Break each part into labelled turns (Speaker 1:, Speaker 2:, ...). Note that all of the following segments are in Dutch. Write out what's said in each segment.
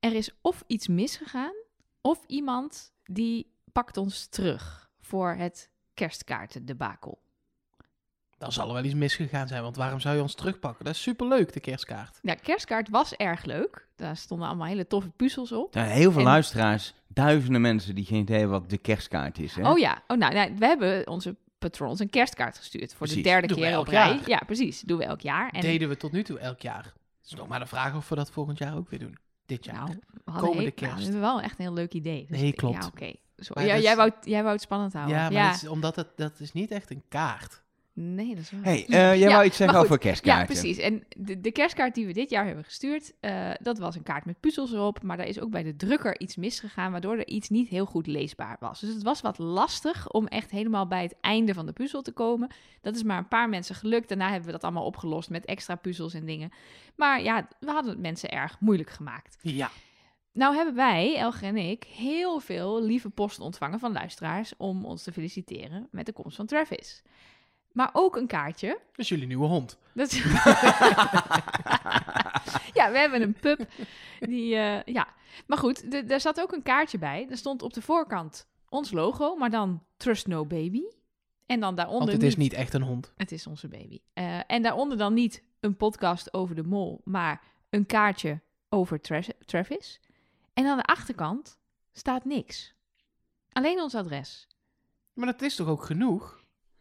Speaker 1: er is of iets misgegaan, of iemand die pakt ons terug voor het kerstkaartendebakel.
Speaker 2: Dan zal er wel iets misgegaan zijn, want waarom zou je ons terugpakken? Dat is superleuk, de kerstkaart.
Speaker 1: Ja, kerstkaart was erg leuk. Daar stonden allemaal hele toffe puzzels op.
Speaker 3: Er zijn Nou, heel veel
Speaker 1: En-
Speaker 3: luisteraars, duizenden mensen die geen idee hebben wat de kerstkaart is. Hè?
Speaker 1: Oh ja, oh, nou, nou, we hebben onze patrons een kerstkaart gestuurd voor
Speaker 3: Precies.
Speaker 1: de derde
Speaker 2: Doen we
Speaker 1: keer op
Speaker 2: elk
Speaker 1: rij.
Speaker 2: jaar.
Speaker 1: Ja, precies. Doen we elk jaar. En
Speaker 2: Deden we tot nu toe elk jaar. Het is nog maar de vraag of we dat volgend jaar ook weer doen. Dit jaar.
Speaker 1: nou, we hadden
Speaker 2: komende
Speaker 1: heel-
Speaker 2: kerst.
Speaker 1: Nou, dat is wel echt een heel leuk idee. Dus
Speaker 2: Nee,
Speaker 1: ik-
Speaker 2: klopt.
Speaker 1: Ja, oké. Zo-
Speaker 2: Maar
Speaker 1: Ja,
Speaker 2: dat is-
Speaker 1: jij, wou, jij wou het spannend houden.
Speaker 2: ja, maar Dat is, omdat het, dat is niet echt een kaart.
Speaker 1: Nee, dat is wel.
Speaker 3: hey, eh, jij
Speaker 1: Ja,
Speaker 3: wou iets zeggen
Speaker 1: maar
Speaker 3: over kerstkaarten.
Speaker 1: Ja, precies. En de, de kerstkaart die we dit jaar hebben gestuurd, eh, dat was een kaart met puzzels erop. Maar daar is ook bij de drukker iets misgegaan, waardoor er iets niet heel goed leesbaar was. Dus het was wat lastig om echt helemaal bij het einde van de puzzel te komen. Dat is maar een paar mensen gelukt. Daarna hebben we dat allemaal opgelost met extra puzzels en dingen. Maar ja, we hadden het mensen erg moeilijk gemaakt.
Speaker 2: Ja.
Speaker 1: Nou hebben wij, Elger en ik, heel veel lieve posten ontvangen van luisteraars om ons te feliciteren met de komst van Travis. Maar ook een kaartje
Speaker 2: Dat is jullie nieuwe hond.
Speaker 1: dat is- ja, we hebben een pup. Die, eh, ja. Maar goed, de- daar zat ook een kaartje bij. Er stond op de voorkant ons logo, maar dan Trust No Baby. En dan
Speaker 2: Want
Speaker 1: daaronder
Speaker 2: het is niet echt een hond.
Speaker 1: het is onze baby. Eh, en daaronder dan niet een podcast over de mol, maar een kaartje over Tra- Travis. En aan de achterkant staat niks. Alleen ons adres.
Speaker 2: Maar dat is toch ook genoeg?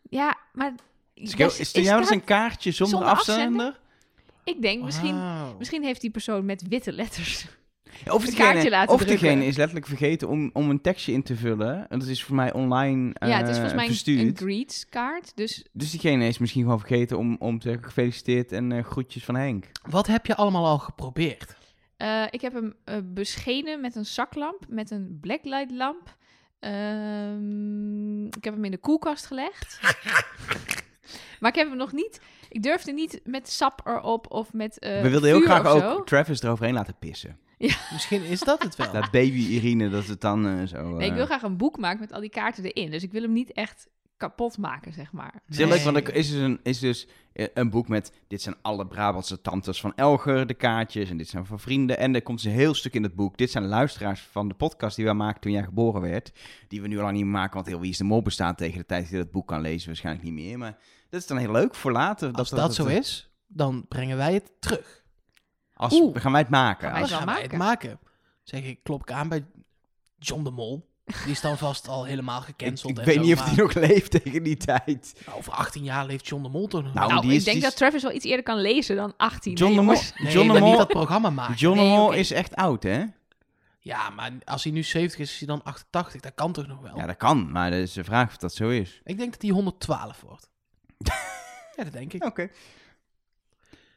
Speaker 1: Ja, maar...
Speaker 3: Is,
Speaker 1: daar
Speaker 3: is,
Speaker 1: s-
Speaker 3: ja, maar dat is
Speaker 1: staat-
Speaker 3: een kaartje zonder,
Speaker 1: zonder
Speaker 3: afzender?
Speaker 1: Ik denk, misschien,
Speaker 2: Wauw.
Speaker 1: misschien heeft die persoon met witte letters
Speaker 3: Of,
Speaker 1: Een
Speaker 3: degene,
Speaker 1: kaartje laten
Speaker 3: of
Speaker 1: drukken.
Speaker 3: degene is letterlijk vergeten om, om een tekstje in te vullen. En dat is voor mij online eh
Speaker 1: Ja, het is volgens mij een-
Speaker 3: verstuurd.
Speaker 1: een greets kaart. Dus
Speaker 3: Dus diegene is misschien gewoon vergeten om, om te zeggen gefeliciteerd en eh, groetjes van Henk.
Speaker 2: Wat heb je allemaal al geprobeerd?
Speaker 1: eh, ik heb hem eh, beschenen met een zaklamp, met een blacklight lamp. Ehm, ik heb hem in de koelkast gelegd. maar ik heb hem nog niet. Ik durfde niet met sap erop of met. eh,
Speaker 3: We wilden heel
Speaker 1: vuur
Speaker 3: graag
Speaker 1: of
Speaker 3: ook
Speaker 1: zo.
Speaker 3: Travis eroverheen laten pissen.
Speaker 2: Misschien is dat het wel.
Speaker 3: Dat baby Irene, dat het dan eh, zo...
Speaker 1: Nee, ik
Speaker 3: eh,
Speaker 1: wil graag een boek maken met al die kaarten erin. Dus ik wil hem niet echt kapot maken, zeg maar.
Speaker 3: Het is heel leuk,
Speaker 2: Nee.
Speaker 3: want er is dus, een, is dus eh, een boek met... Dit zijn alle Brabantse tantes van Elger, de kaartjes. En dit zijn van vrienden. En er komt dus een heel stuk in het boek. Dit zijn luisteraars van de podcast die wij maakten toen jij geboren werd. Die we nu al lang niet meer maken, want heel Wie is de Mol bestaat tegen de tijd dat je dat boek kan lezen. Waarschijnlijk niet meer. Maar dat is dan heel leuk voor later.
Speaker 2: Als dat, zo is, dan brengen wij het terug.
Speaker 3: eh, Als,
Speaker 1: Oeh.
Speaker 3: gaan wij het maken.
Speaker 1: Gaan wij
Speaker 2: Dan
Speaker 3: Als-
Speaker 1: zal
Speaker 2: gaan wij het maken. Zeg ik, klop ik aan bij John de Mol. Die is dan vast al helemaal
Speaker 3: ik
Speaker 2: gecanceld.
Speaker 3: ik
Speaker 2: en
Speaker 3: weet
Speaker 2: zo,
Speaker 3: niet of
Speaker 2: maar-
Speaker 3: die nog leeft tegen die tijd.
Speaker 2: Nou, over 18 jaar leeft John de Mol toch nog.
Speaker 3: Nou,
Speaker 1: nou,
Speaker 3: die
Speaker 1: ik
Speaker 3: is-
Speaker 1: denk
Speaker 3: die is-
Speaker 1: dat Travis wel iets eerder kan lezen dan 18.
Speaker 3: John
Speaker 1: hè,
Speaker 3: de Mol,
Speaker 1: jongens?
Speaker 2: nee,
Speaker 3: John de
Speaker 2: maar niet
Speaker 3: Mol,
Speaker 2: dat ah, programma maken.
Speaker 3: John de
Speaker 1: Nee,
Speaker 3: Mol
Speaker 1: oké.
Speaker 3: is echt oud, hè?
Speaker 2: Ja, maar als hij nu 70 is, is hij dan 88. Dat kan toch nog wel?
Speaker 3: Ja, dat kan. Maar dat is de vraag of dat zo is.
Speaker 2: Ik denk dat hij 112 wordt. ja, dat denk ik.
Speaker 3: Oké.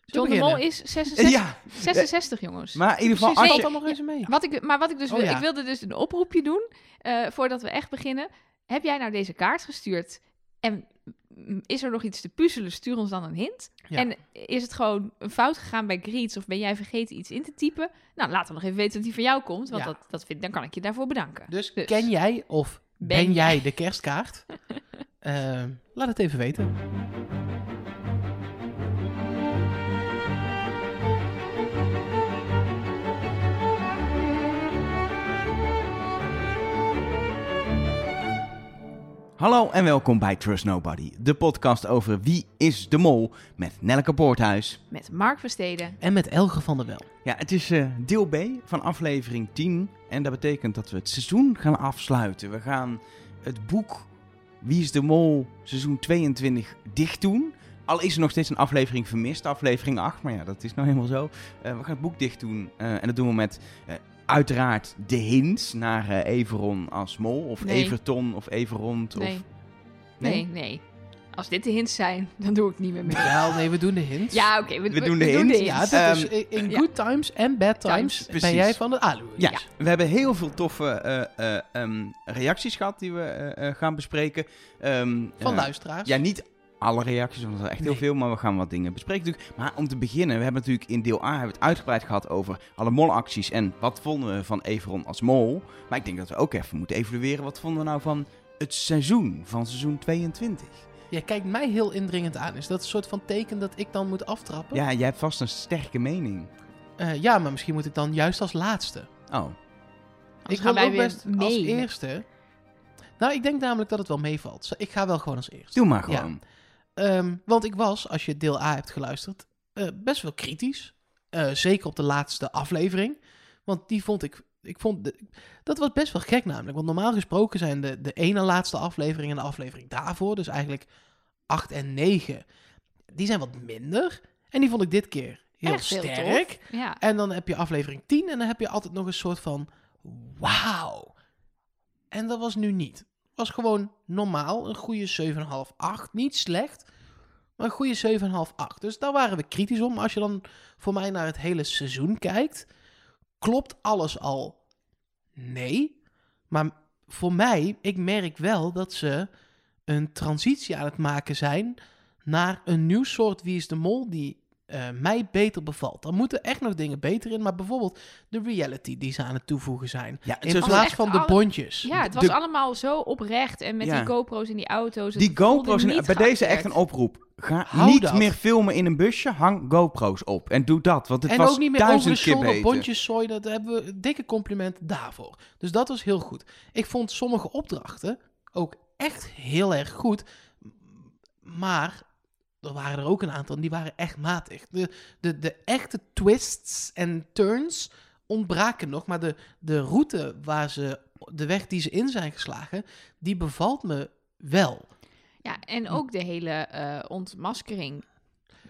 Speaker 1: John de Mol is 66,
Speaker 3: Ja, eh,
Speaker 1: 66 jongens.
Speaker 3: maar in ieder geval...
Speaker 2: Precies,
Speaker 3: Als
Speaker 2: valt
Speaker 3: je,
Speaker 2: allemaal reuze mee.
Speaker 1: Wat ik, maar wat ik dus
Speaker 2: Oh,
Speaker 1: wil,
Speaker 2: ja.
Speaker 1: ik wilde dus een oproepje doen eh, voordat we echt beginnen. Heb jij nou deze kaart gestuurd en mm, is er nog iets te puzzelen? Stuur ons dan een hint.
Speaker 2: Ja.
Speaker 1: En is het gewoon een fout gegaan bij Greets of ben jij vergeten iets in te typen? Nou, laat dan nog even weten dat die van jou komt, want
Speaker 2: Ja.
Speaker 1: dat, dat vind, dan kan ik je daarvoor bedanken.
Speaker 2: Dus,
Speaker 1: Dus.
Speaker 2: ken jij of ben,
Speaker 1: Ben
Speaker 2: jij de kerstkaart? Ehm, laat het even weten.
Speaker 3: Hallo en welkom bij Trust Nobody, de podcast over wie is de mol met Nelleke Poorthuis.
Speaker 1: Met Mark Versteden.
Speaker 2: En met Elge van der Wel.
Speaker 3: Ja, het is eh, deel B van aflevering 10 en dat betekent dat we het seizoen gaan afsluiten. We gaan het boek Wie is de mol seizoen 22 dicht doen. Al is er nog steeds een aflevering vermist, aflevering 8, maar ja, dat is nou helemaal zo. Eh, we gaan het boek dicht doen eh, en dat doen we met eh, uiteraard de hints naar eh, Everon als mol of
Speaker 1: Nee.
Speaker 3: Everton of Everond. Of...
Speaker 1: Nee. Nee, nee, Als dit de hints zijn, dan doe ik niet meer mee.
Speaker 2: Wel, nee, we doen de hints.
Speaker 1: Ja, oké. we,
Speaker 3: We doen de hints.
Speaker 2: Ja, dat
Speaker 1: hints.
Speaker 2: is
Speaker 3: Ehm,
Speaker 2: i- in
Speaker 1: ja.
Speaker 2: good times en bad times
Speaker 1: Times,
Speaker 2: ben
Speaker 3: precies.
Speaker 2: jij van de Ah, alu.
Speaker 3: Ja,
Speaker 1: Ja.
Speaker 3: we hebben heel veel toffe eh, eh, ehm, reacties gehad die we eh, eh, gaan bespreken. Ehm,
Speaker 2: Van
Speaker 3: eh,
Speaker 2: luisteraars.
Speaker 3: Ja, niet alle reacties, want er zijn echt heel
Speaker 2: Nee.
Speaker 3: veel, maar we gaan wat dingen bespreken natuurlijk. Maar om te beginnen, we hebben natuurlijk in deel A hebben we het uitgebreid gehad over alle molacties en wat vonden we van Everon als mol. Maar ik denk dat we ook even moeten evalueren, wat vonden we nou van het seizoen, van seizoen 22?
Speaker 2: Jij kijkt mij heel indringend aan. Is dat een soort van teken dat ik dan moet aftrappen?
Speaker 3: Ja, jij hebt vast een sterke mening.
Speaker 2: Eh, ja maar misschien moet ik dan juist als laatste.
Speaker 3: Oh,
Speaker 1: Anders
Speaker 2: ik wil
Speaker 1: gaan wij
Speaker 2: ook
Speaker 1: weer
Speaker 2: best
Speaker 1: mee.
Speaker 2: als eerste. Nou, ik denk namelijk dat het wel meevalt. Ik ga wel gewoon als eerste.
Speaker 3: doe maar
Speaker 2: Ja.
Speaker 3: gewoon.
Speaker 2: Ehm, want ik was, als je deel A hebt geluisterd, eh, best wel kritisch. Eh, zeker op de laatste aflevering. Want die vond ik. ik vond de- dat was best wel gek namelijk. Want normaal gesproken zijn de, de ene laatste aflevering en de aflevering daarvoor, dus eigenlijk 8 en 9, die zijn wat minder. En die vond ik dit keer heel
Speaker 1: Erg veel,
Speaker 2: sterk.
Speaker 1: tof. Ja.
Speaker 2: En dan heb je aflevering 10 en dan heb je altijd nog een soort van wauw. En dat was nu niet. was gewoon normaal, een goede 7,5, 8. Niet slecht, maar een goede 7,5, 8. Dus daar waren we kritisch om. Als je dan voor mij naar het hele seizoen kijkt, klopt alles al? Nee. Maar voor mij, ik merk wel dat ze een transitie aan het maken zijn naar een nieuw soort Wie is de Mol die eh, mij beter bevalt. Dan moeten echt nog dingen beter in, maar bijvoorbeeld de reality die ze aan het toevoegen zijn.
Speaker 3: Ja,
Speaker 2: In
Speaker 3: zo- zo-
Speaker 2: plaats
Speaker 1: echt
Speaker 2: van de
Speaker 1: alle-
Speaker 2: bondjes.
Speaker 1: ja, het was
Speaker 3: de-
Speaker 1: allemaal zo oprecht en met
Speaker 3: Ja.
Speaker 1: die GoPro's en die auto's. Het
Speaker 3: die
Speaker 1: voelde
Speaker 3: GoPro's, zijn-
Speaker 1: niet
Speaker 3: bij deze echt een
Speaker 1: geacteerd.
Speaker 3: oproep. Ga
Speaker 2: Hou
Speaker 3: niet
Speaker 2: dat.
Speaker 3: meer filmen in een busje, hang GoPro's op. En doe dat, want het
Speaker 2: en
Speaker 3: was
Speaker 2: ook niet meer over de
Speaker 3: duizend keer
Speaker 2: shoulder
Speaker 3: beter.
Speaker 2: bondjes zooi. Dat hebben we een dikke compliment daarvoor. Dus dat was heel goed. Ik vond sommige opdrachten ook echt heel erg goed. m- Maar er waren er ook een aantal die waren echt matig. De, de, de echte twists en turns ontbraken nog. Maar de, de route waar ze, de weg die ze in zijn geslagen, die bevalt me wel.
Speaker 1: Ja, en ook de hele eh, ontmaskering.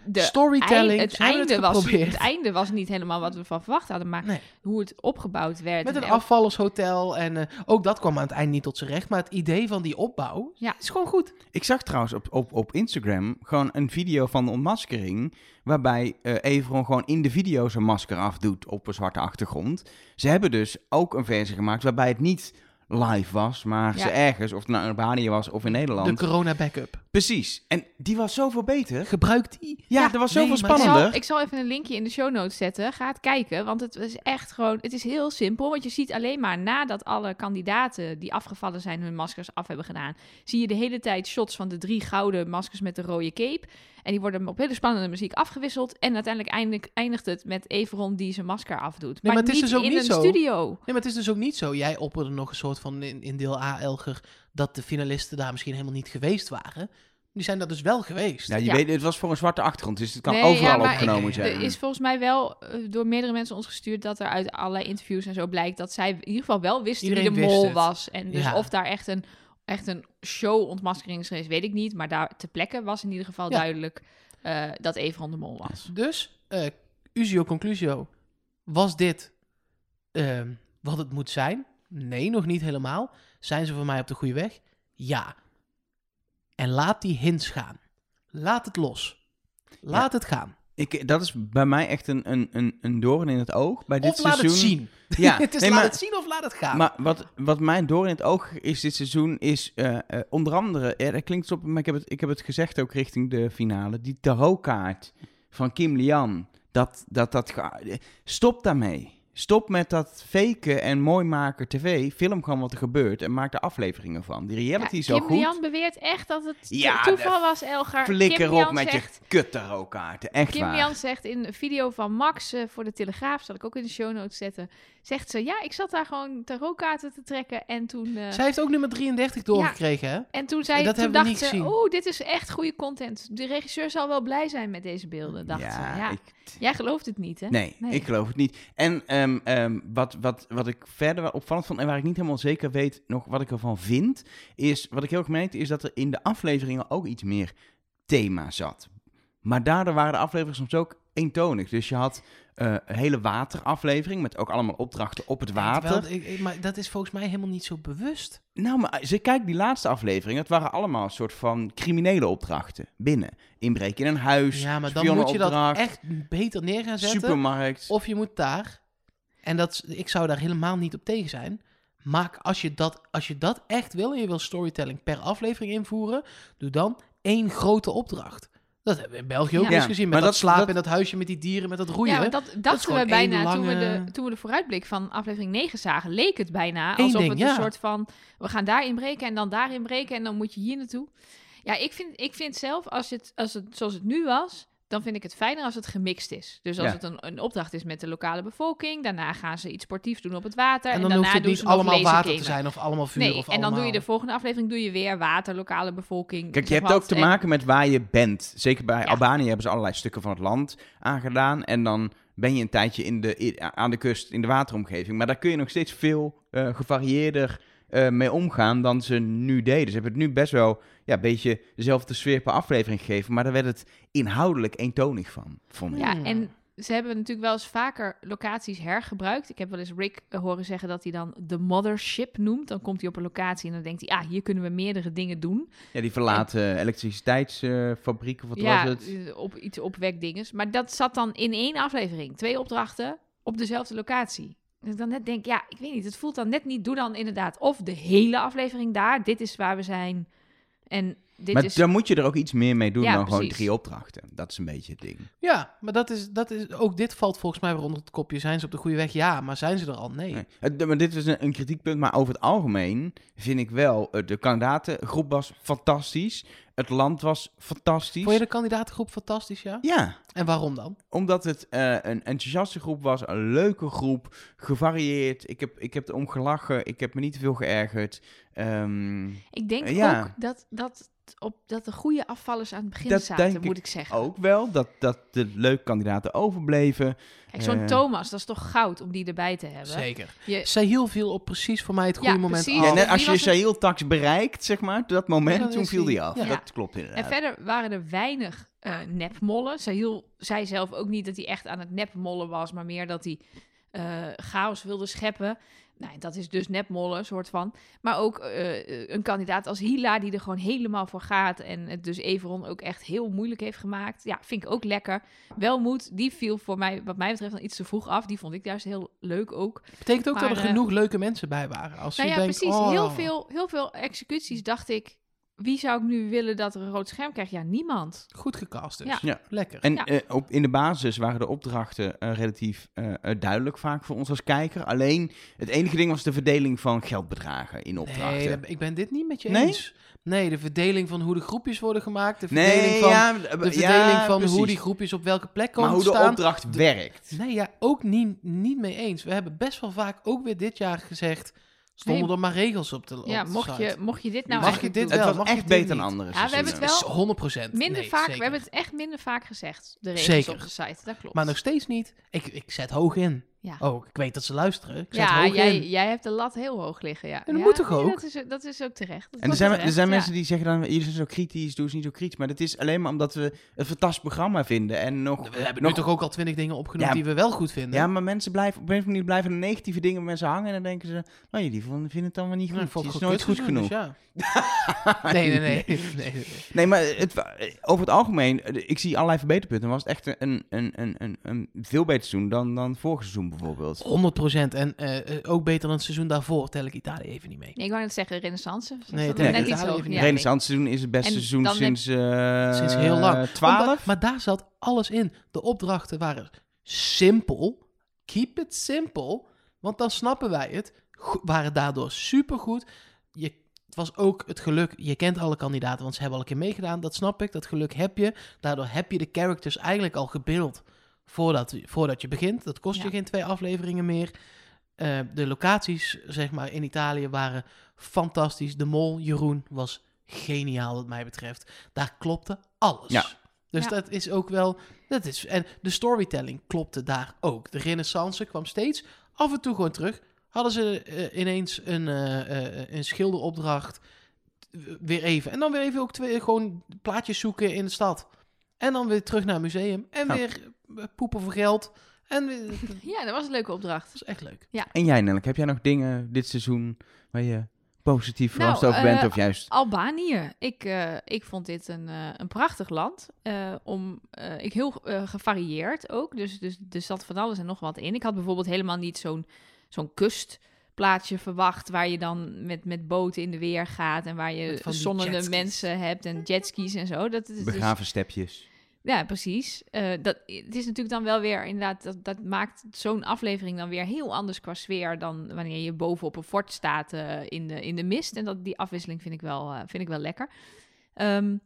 Speaker 1: De
Speaker 2: Storytelling.
Speaker 1: eind- het,
Speaker 2: ze hebben
Speaker 1: einde was,
Speaker 2: geprobeerd.
Speaker 1: het einde was niet helemaal wat we van verwacht hadden, maar
Speaker 2: Nee.
Speaker 1: hoe het opgebouwd werd.
Speaker 2: Met
Speaker 1: en
Speaker 2: een
Speaker 1: elk-
Speaker 2: afvallershotel. En eh, ook dat kwam aan het eind niet tot zijn recht. Maar het idee van die opbouw
Speaker 1: Ja.
Speaker 2: is gewoon goed.
Speaker 3: Ik zag trouwens op, op, op Instagram gewoon een video van de ontmaskering. Waarbij eh Everon gewoon in de video zijn masker afdoet op een zwarte achtergrond. Ze hebben dus ook een versie gemaakt waarbij het niet live was, maar
Speaker 1: Ja.
Speaker 3: ze ergens, of het nou in Albanië was of in
Speaker 2: De
Speaker 3: Nederland.
Speaker 2: corona backup.
Speaker 3: Precies. En die was zoveel beter.
Speaker 2: Gebruik die.
Speaker 3: Ja,
Speaker 1: Ja,
Speaker 3: er was
Speaker 2: nee,
Speaker 3: zoveel
Speaker 2: maar-
Speaker 1: Ik zal,
Speaker 3: spannender.
Speaker 1: ik zal even een linkje in de show notes zetten. Ga het kijken, want het is echt gewoon... Het is heel simpel, want je ziet alleen maar nadat alle kandidaten... die afgevallen zijn hun maskers af hebben gedaan... zie je de hele tijd shots van de drie gouden maskers met de rode cape. En die worden op hele spannende muziek afgewisseld. En uiteindelijk eindig- eindigt het met Everon die zijn masker afdoet. maar,
Speaker 2: maar het is
Speaker 1: niet
Speaker 2: dus ook
Speaker 1: in
Speaker 2: niet
Speaker 1: een
Speaker 2: zo.
Speaker 1: studio.
Speaker 2: Nee, maar het is dus ook niet zo. Jij opperde nog een soort van in, in deel A, Elger, dat de finalisten daar misschien helemaal niet geweest waren. Die zijn dat dus wel geweest.
Speaker 3: Ja, je
Speaker 1: Ja.
Speaker 3: weet, het was voor een zwarte achtergrond, dus het kan
Speaker 1: Nee,
Speaker 3: overal
Speaker 1: ja, maar
Speaker 3: opgenomen
Speaker 2: ik-
Speaker 3: zijn.
Speaker 1: Er is volgens mij wel eh, door meerdere mensen ons gestuurd dat er uit allerlei interviews en zo blijkt dat zij in ieder geval wel wisten
Speaker 2: Iedereen
Speaker 1: wie de
Speaker 2: wist
Speaker 1: mol
Speaker 2: het.
Speaker 1: was. En dus
Speaker 2: Ja.
Speaker 1: of daar echt een, echt een show ontmaskering is geweest, weet ik niet. Maar daar te plekke was in ieder geval
Speaker 2: Ja.
Speaker 1: duidelijk eh, dat Everon de mol was.
Speaker 2: Dus, eh Usio Conclusio, was dit ehm, wat het moet zijn? Nee, nog niet helemaal. Zijn ze voor mij op de goede weg? Ja. En laat die hints gaan. Laat het los. Laat het gaan.
Speaker 3: Ik, dat is bij mij echt een, een, een, een doorn in het oog. Bij dit
Speaker 2: Of laat
Speaker 3: seizoen.
Speaker 2: het zien.
Speaker 3: Ja,
Speaker 2: het is
Speaker 3: nee,
Speaker 2: laat
Speaker 3: maar-
Speaker 2: het zien of laat het gaan.
Speaker 3: Maar wat, wat mij door in het oog is dit seizoen is eh, eh, onder andere, eh, dat klinkt op, maar ik heb, het, ik heb het gezegd ook richting de finale, die tarotkaart van Kim Lian. Dat, dat, dat, ge- eh, stop daarmee. Stop met dat faken en mooi maken tv. Film gewoon wat er gebeurt en maak er afleveringen van. Die reality
Speaker 1: Ja,
Speaker 3: is al
Speaker 1: Kim
Speaker 3: goed.
Speaker 1: Lian beweert echt dat het to-
Speaker 3: Ja,
Speaker 1: toeval
Speaker 3: de
Speaker 1: was, Elgar.
Speaker 3: Flikker
Speaker 1: Kim
Speaker 3: op
Speaker 1: Lian
Speaker 3: met
Speaker 1: zegt,
Speaker 3: je kut tarotkaarten. Echt
Speaker 1: Kim
Speaker 3: waar.
Speaker 1: Jan zegt in een video van Max eh, voor de Telegraaf, zal ik ook in de show notes zetten, zegt ze, ja, ik zat daar gewoon tarotkaarten te trekken en toen... eh,
Speaker 2: Zij heeft ook nummer 33 doorgekregen, hè?
Speaker 1: En toen, zei,
Speaker 2: En dat
Speaker 1: toen
Speaker 2: hebben we
Speaker 1: dacht
Speaker 2: niet
Speaker 1: ze,
Speaker 2: gezien.
Speaker 1: oeh, dit is echt goede content. De regisseur zal wel blij zijn met deze beelden, dacht ze. Ja.
Speaker 3: ik-
Speaker 1: Jij gelooft het niet, hè?
Speaker 3: Nee,
Speaker 1: Nee.
Speaker 3: ik geloof het niet. En ehm, ehm, wat, wat, wat ik verder wel opvallend vond en waar ik niet helemaal zeker weet nog wat ik ervan vind, is wat ik heel erg merkte, is dat er in de afleveringen ook iets meer thema zat. Maar daardoor waren de afleveringen soms ook eentonig. Dus je had eh, een hele wateraflevering met ook allemaal opdrachten op het water.
Speaker 2: Terwijl ik- ik- maar dat is volgens mij helemaal niet zo bewust.
Speaker 3: Nou, maar ze kijkt die laatste aflevering. Dat waren allemaal een soort van criminele opdrachten binnen. Inbreken in een huis,
Speaker 2: Ja, maar dan moet je dat
Speaker 3: spionnenopdracht,
Speaker 2: echt beter neer gaan zetten.
Speaker 3: supermarkt.
Speaker 2: Of je moet daar, en dat, is- ik zou daar helemaal niet op tegen zijn. Maak als je, dat, als je dat echt wil en je wil storytelling per aflevering invoeren, doe dan één grote opdracht. Dat hebben we in België ook
Speaker 1: Ja.
Speaker 2: eens
Speaker 3: Ja,
Speaker 2: gezien. Met
Speaker 3: maar
Speaker 2: dat,
Speaker 3: dat-
Speaker 2: slapen
Speaker 3: dat-
Speaker 2: in dat huisje met die dieren, met dat roeien.
Speaker 1: Ja, want dat dachten
Speaker 2: gewoon
Speaker 1: we bijna
Speaker 2: één
Speaker 1: toen, we
Speaker 2: lange-
Speaker 1: de, toen we de vooruitblik van aflevering 9 zagen. Leek het bijna
Speaker 2: Eén
Speaker 1: alsof
Speaker 2: ding,
Speaker 1: het
Speaker 2: ja.
Speaker 1: een soort van, we gaan daarin breken en dan daarin breken en dan moet je hier naartoe. Ja, ik vind, ik vind zelf, als het, als het, zoals het nu was, dan vind ik het fijner als het gemixt is. Dus als
Speaker 3: Ja.
Speaker 1: het een, een opdracht is met de lokale bevolking, daarna gaan ze iets sportiefs doen op het water.
Speaker 2: En dan
Speaker 1: daarna
Speaker 2: hoeft het
Speaker 1: doen
Speaker 2: niet
Speaker 1: ze nog
Speaker 2: allemaal water te
Speaker 1: lasergamen.
Speaker 2: zijn of allemaal vuur
Speaker 1: Nee,
Speaker 2: of
Speaker 1: en dan doe je de volgende aflevering doe je weer water, lokale bevolking.
Speaker 3: Kijk, je
Speaker 1: zeg
Speaker 3: hebt ook
Speaker 1: wat. eh,
Speaker 3: te
Speaker 1: En-
Speaker 3: maken met waar je bent. Zeker bij
Speaker 1: Ja.
Speaker 3: Albanië hebben ze allerlei stukken van het land aangedaan. En dan ben je een tijdje in de, i- aan de kust, in de wateromgeving. Maar daar kun je nog steeds veel eh, gevarieerder eh, mee omgaan dan ze nu deden. Ze hebben het nu best wel ja, een beetje dezelfde sfeer per aflevering gegeven. Maar daar werd het inhoudelijk eentonig van, vond ik.
Speaker 1: Ja,
Speaker 2: Hmm.
Speaker 1: en ze hebben natuurlijk wel eens vaker locaties hergebruikt. Ik heb wel eens Rick eh, horen zeggen dat hij dan de mothership noemt. Dan komt hij op een locatie en dan denkt hij, ah, hier kunnen we meerdere dingen doen.
Speaker 3: Ja, die verlaten elektriciteitsfabriek of wat
Speaker 1: ja,
Speaker 3: was het?
Speaker 1: eh, op iets opwekdinges. Maar dat zat dan in één aflevering. Twee opdrachten op dezelfde locatie. Dus ik dan net denk, ja, ik weet niet, het voelt dan net niet. Doe dan inderdaad of de hele aflevering daar. Dit is waar we zijn. En dit
Speaker 3: Maar
Speaker 1: is...
Speaker 3: dan moet je er ook iets meer mee doen
Speaker 1: Ja,
Speaker 3: dan gewoon
Speaker 1: precies.
Speaker 3: drie opdrachten. Dat is een beetje het ding.
Speaker 2: Ja, maar dat is, dat is, ook dit valt volgens mij weer onder het kopje. Zijn ze op de goede weg? Ja, maar zijn ze er al? Nee.
Speaker 3: Nee. Het- maar dit is een, een kritiekpunt, maar over het algemeen vind ik wel... eh, de kandidatengroep was fantastisch. Het land was fantastisch.
Speaker 2: Vond je de kandidatengroep fantastisch, ja?
Speaker 3: Ja,
Speaker 2: En waarom dan?
Speaker 3: omdat het eh, een enthousiaste groep was, een leuke groep, gevarieerd. Ik heb, ik heb erom gelachen, ik heb me niet te veel geërgerd. Ehm,
Speaker 1: Ik denk
Speaker 3: Ja.
Speaker 1: ook dat, dat, op, dat de goede afvallers aan het begin
Speaker 3: Dat
Speaker 1: zaten,
Speaker 3: denk
Speaker 1: moet
Speaker 3: ik
Speaker 1: ik zeggen.
Speaker 3: ook wel dat, dat de leuke kandidaten overbleven.
Speaker 1: Kijk, zo'n
Speaker 3: Eh.
Speaker 1: Thomas, dat is toch goud om die erbij te hebben.
Speaker 2: Zeker.
Speaker 1: Je,
Speaker 2: Sahil viel op precies voor mij het goede
Speaker 1: Ja,
Speaker 2: moment
Speaker 1: precies.
Speaker 2: af.
Speaker 3: Ja,
Speaker 1: Oh,
Speaker 3: net
Speaker 1: wie
Speaker 3: als je
Speaker 1: was het?
Speaker 3: Sahil-tax bereikt, zeg maar, toen dat moment,
Speaker 2: Ja,
Speaker 3: toen
Speaker 2: is
Speaker 3: viel
Speaker 2: die-
Speaker 3: die af.
Speaker 2: ja.
Speaker 3: Dat klopt inderdaad.
Speaker 1: en verder waren er weinig eh, nepmollen. Sahil zei zelf ook niet dat hij echt aan het nepmollen was, maar meer dat hij eh, chaos wilde scheppen. Nou, dat is dus nepmollen, soort van. Maar ook eh, een kandidaat als Hila, die er gewoon helemaal voor gaat. En het dus Everon ook echt heel moeilijk heeft gemaakt. Ja, vind ik ook lekker. Welmoed, die viel voor mij, wat mij betreft, dan iets te vroeg af. Die vond ik juist heel leuk ook.
Speaker 2: Betekent ook
Speaker 1: Maar,
Speaker 2: dat er
Speaker 1: eh,
Speaker 2: genoeg leuke mensen bij waren. Als
Speaker 1: Nou
Speaker 2: Dus je
Speaker 1: ja,
Speaker 2: denkt,
Speaker 1: precies.
Speaker 2: oh,
Speaker 1: Heel, veel, heel veel executies dacht ik. Wie zou ik nu willen dat er een rood scherm krijgt? Ja, niemand.
Speaker 2: Goed gecast dus.
Speaker 1: Ja.
Speaker 3: Ja.
Speaker 2: Lekker.
Speaker 3: En
Speaker 1: Ja.
Speaker 3: eh, op, in de basis waren de opdrachten eh, relatief eh, eh, duidelijk vaak voor ons als kijker. Alleen het enige ding was de verdeling van geldbedragen in opdrachten.
Speaker 2: Nee, dat- ik ben dit niet met je
Speaker 3: Nee?
Speaker 2: eens. Nee, de verdeling van hoe de groepjes worden gemaakt. De
Speaker 3: Nee,
Speaker 2: verdeling van,
Speaker 3: ja,
Speaker 2: de verdeling van hoe die groepjes op welke plek
Speaker 3: Maar
Speaker 2: komen
Speaker 3: hoe
Speaker 2: te
Speaker 3: de
Speaker 2: staan.
Speaker 3: opdracht werkt.
Speaker 2: Nee, ja, ook niet, niet mee eens. We hebben best wel vaak ook weer dit jaar gezegd... stonden
Speaker 1: Nee.
Speaker 2: er maar regels op de op
Speaker 1: ja,
Speaker 2: de
Speaker 1: mocht je,
Speaker 2: site.
Speaker 1: mocht je dit nou
Speaker 3: Mag
Speaker 1: eigenlijk
Speaker 2: je dit
Speaker 1: doen?
Speaker 3: Het
Speaker 2: wel,
Speaker 3: was
Speaker 2: mag je
Speaker 3: echt
Speaker 2: dit
Speaker 3: beter dan
Speaker 2: niet?
Speaker 3: andere
Speaker 1: Ja, we hebben het
Speaker 2: Dat
Speaker 1: wel
Speaker 2: is 100 procent.
Speaker 1: Minder vaak, we hebben het echt minder vaak gezegd. De regels
Speaker 2: Zeker.
Speaker 1: op de site, dat klopt.
Speaker 2: Maar nog steeds niet. Ik, ik zet hoog in.
Speaker 1: Ja.
Speaker 2: Oh, ik weet dat ze luisteren. Ik zet
Speaker 1: ja,
Speaker 2: hoog
Speaker 1: jij,
Speaker 2: in.
Speaker 1: jij hebt de lat heel hoog liggen. Ja,
Speaker 2: dat
Speaker 1: Ja,
Speaker 2: moet toch
Speaker 1: nee,
Speaker 2: ook?
Speaker 1: Dat is, dat is ook terecht. Dat
Speaker 3: En er
Speaker 1: was
Speaker 3: zijn, er
Speaker 1: terecht,
Speaker 3: zijn
Speaker 1: ja.
Speaker 3: mensen die zeggen dan, jullie zijn zo kritisch, doe eens niet zo kritisch. Maar dat is alleen maar omdat we een fantastisch programma vinden. En nog,
Speaker 2: We hebben
Speaker 3: nog,
Speaker 2: nu toch ook al twintig dingen opgenoemd
Speaker 3: Ja.
Speaker 2: die we wel goed vinden.
Speaker 3: Ja, maar mensen blijven, op een of andere manier blijven de negatieve dingen met mensen hangen. En dan denken ze, oh jullie vinden het dan wel niet goed.
Speaker 2: Nou, ik vond
Speaker 3: het is
Speaker 2: gewoon
Speaker 3: nooit
Speaker 2: kut
Speaker 3: goed
Speaker 2: gevonden,
Speaker 3: genoeg.
Speaker 2: dus ja. nee, nee, nee. nee, nee, nee.
Speaker 3: Nee, maar het, wa- over het algemeen, eh, ik zie allerlei verbeterpunten. Was het echt een, een, een, een, een veel beter seizoen dan, dan vorig seizoen bijvoorbeeld.
Speaker 2: 100 procent. En eh, eh, ook beter dan het seizoen daarvoor. Tel ik Italië even niet mee.
Speaker 1: Nee, ik wou net zeggen, renaissance. Dat
Speaker 2: Nee,
Speaker 1: is
Speaker 2: het
Speaker 1: net
Speaker 3: heeft
Speaker 1: iets
Speaker 2: Italië
Speaker 1: hoger. Ja,
Speaker 2: even
Speaker 3: het
Speaker 1: nee.
Speaker 3: renaissant seizoen is het beste
Speaker 1: En
Speaker 3: seizoen
Speaker 1: dan heb-
Speaker 3: sinds, eh,
Speaker 2: Sinds heel lang.
Speaker 3: 12.
Speaker 2: Omdat- maar daar zat alles in. De opdrachten waren simpel. Keep it simple. Want dan snappen wij het. Go- waren daardoor supergoed. Je, het was ook het geluk. Je kent alle kandidaten, want ze hebben al een keer meegedaan. Dat snap ik. Dat geluk heb je. Daardoor heb je de characters eigenlijk al gebeeld voordat, voordat je begint. Dat kost
Speaker 1: Ja.
Speaker 2: je geen twee afleveringen meer. Eh, de locaties, zeg maar, in Italië waren fantastisch. De mol, Jeroen, was geniaal wat mij betreft. Daar klopte alles.
Speaker 3: Ja.
Speaker 2: Dus
Speaker 1: Ja.
Speaker 2: dat is ook wel... Dat is, en de storytelling klopte daar ook. De renaissance kwam steeds af en toe gewoon terug. Hadden ze eh, ineens een, eh, eh, een schilderopdracht. eh, Weer even. En dan weer even ook twee, eh, gewoon plaatjes zoeken in de stad. En dan weer terug naar het museum. En
Speaker 3: Ja.
Speaker 2: weer eh, poepen voor geld. En weer- dat
Speaker 1: Ja, dat was een leuke opdracht.
Speaker 2: was echt leuk.
Speaker 3: En jij Nelk, heb jij nog dingen dit seizoen waar je positief
Speaker 1: Nou,
Speaker 3: verrast over bent
Speaker 1: eh,
Speaker 3: of juist...
Speaker 1: Albanië. Ik, eh, ik vond dit een, eh, een prachtig land. eh, om, eh, ik heel eh, gevarieerd ook. Dus, dus er zat van alles en nog wat in. Ik had bijvoorbeeld helemaal niet zo'n zo'n kustplaatje verwacht... waar je dan met, met boten in de weer gaat... en waar je
Speaker 2: Met van die
Speaker 1: zonnende
Speaker 2: jetskis.
Speaker 1: mensen hebt en jetskis en zo. Dat is, dus-
Speaker 3: Begraven stepjes.
Speaker 1: ja, precies. Eh, dat, het is natuurlijk dan wel weer, inderdaad, dat, dat maakt zo'n aflevering dan weer heel anders qua sfeer dan wanneer je boven op een fort staat eh, in, de, in de mist. En dat, die afwisseling vind ik wel, eh, vind ik wel lekker. Ehm,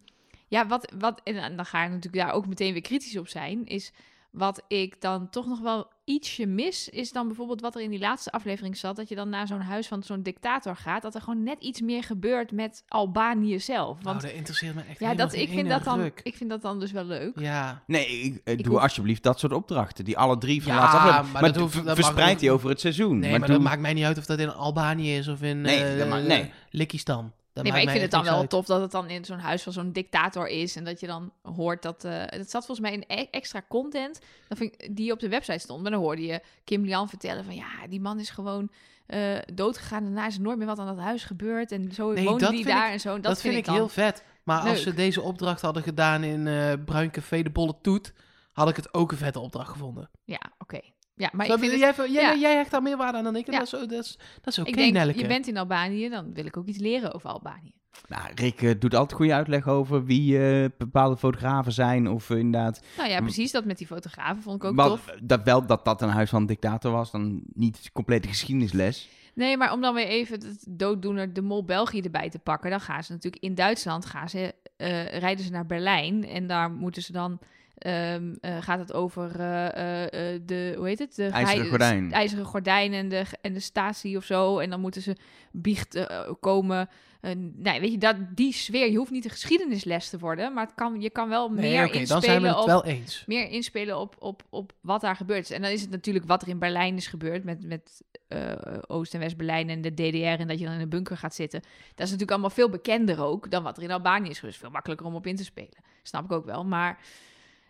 Speaker 1: Ja, wat, wat, en dan ga ik natuurlijk daar ook meteen weer kritisch op zijn, is wat ik dan toch nog wel ietsje mis, is dan bijvoorbeeld wat er in die laatste aflevering zat, dat je dan naar zo'n huis van zo'n dictator gaat, dat er gewoon net iets meer gebeurt met Albanië zelf.
Speaker 2: Nou,
Speaker 1: Want
Speaker 2: dat interesseert me echt
Speaker 1: ja, dat, ik, vind dat dan,
Speaker 2: druk.
Speaker 1: ik vind dat dan dus wel leuk.
Speaker 2: Ja.
Speaker 3: Nee, ik, eh,
Speaker 1: Ik
Speaker 3: doe
Speaker 1: hoef-
Speaker 3: alsjeblieft dat soort opdrachten. Die alle drie van
Speaker 2: Ja,
Speaker 3: de laatste aflevering.
Speaker 2: maar
Speaker 3: Maar,
Speaker 2: dat
Speaker 3: d-
Speaker 2: hoeft-
Speaker 3: v-
Speaker 2: dat mag
Speaker 3: verspreid
Speaker 2: ook-
Speaker 3: die over het seizoen.
Speaker 2: Nee, maar,
Speaker 3: doe-
Speaker 2: dat maakt mij niet uit of dat in Albanië is of in
Speaker 3: Nee,
Speaker 2: eh,
Speaker 3: dat maakt- nee.
Speaker 2: Likistan. Dat
Speaker 1: Nee, maar
Speaker 2: maakt
Speaker 1: ik
Speaker 2: mij
Speaker 1: vind
Speaker 2: echt
Speaker 1: het dan
Speaker 2: niks
Speaker 1: wel
Speaker 2: uit.
Speaker 1: tof dat het dan in zo'n huis van zo'n dictator is. En dat je dan hoort dat. eh het zat volgens mij in e- extra content. Dat vind ik, die op de website stond. Maar dan hoorde je Kim Lian vertellen van ja, die man is gewoon eh doodgegaan. Daarna is er nooit meer wat aan dat huis gebeurd. En zo
Speaker 2: Nee,
Speaker 1: woonde
Speaker 2: dat
Speaker 1: die
Speaker 2: vind
Speaker 1: daar
Speaker 2: ik-
Speaker 1: en zo. Dat,
Speaker 2: Dat, vind ik
Speaker 1: dan-
Speaker 2: heel vet. Maar als ze
Speaker 1: leuk.
Speaker 2: deze opdracht hadden gedaan in eh, Bruin Café de Bolle Toet, had ik het ook een vette opdracht gevonden.
Speaker 1: Ja, oké. Ja, maar
Speaker 2: Zo,
Speaker 1: ik vind het-
Speaker 2: jij, jij,
Speaker 1: ja.
Speaker 2: jij hecht daar meer waarde aan dan ik. En
Speaker 1: Ja.
Speaker 2: dat is, dat is, dat is oké,
Speaker 1: ik denk,
Speaker 2: Nelleke.
Speaker 1: je bent in Albanië, dan wil ik ook iets leren over Albanië.
Speaker 3: Nou, Rick eh, doet altijd goede uitleg over wie eh, bepaalde fotografen zijn. Of eh, inderdaad.
Speaker 1: Nou
Speaker 2: Hm.
Speaker 1: ja, precies. Dat met die fotografen vond ik ook
Speaker 3: Wel-
Speaker 1: tof.
Speaker 3: dat wel dat dat een huis van een dictator was. Dan niet complete geschiedenisles.
Speaker 1: Nee, maar om dan weer even het dooddoener de mol België erbij te pakken, dan gaan ze natuurlijk in Duitsland gaan ze, eh, rijden ze naar Berlijn en daar moeten ze dan ehm, eh, gaat het over eh, eh, eh, de hoe heet het de
Speaker 3: IJzeren
Speaker 1: geheim-
Speaker 3: gordijn.
Speaker 1: de ijzeren gordijn en de en de statie of zo en dan moeten ze biecht eh, komen. Eh, nee, weet je dat die sfeer. Je hoeft niet een geschiedenisles te worden, maar het kan, je kan wel
Speaker 2: Nee,
Speaker 1: meer
Speaker 2: oké, dan
Speaker 1: inspelen
Speaker 2: zijn we het
Speaker 1: op
Speaker 2: wel eens.
Speaker 1: meer inspelen op, op, op wat daar gebeurd is. En dan is het natuurlijk wat er in Berlijn is gebeurd met, met eh, Oost- en West-Berlijn en de DDR en dat je dan in een bunker gaat zitten. Dat is natuurlijk allemaal veel bekender ook dan wat er in Albanië is gebeurd. Veel makkelijker om op in te spelen. Snap ik ook wel. Maar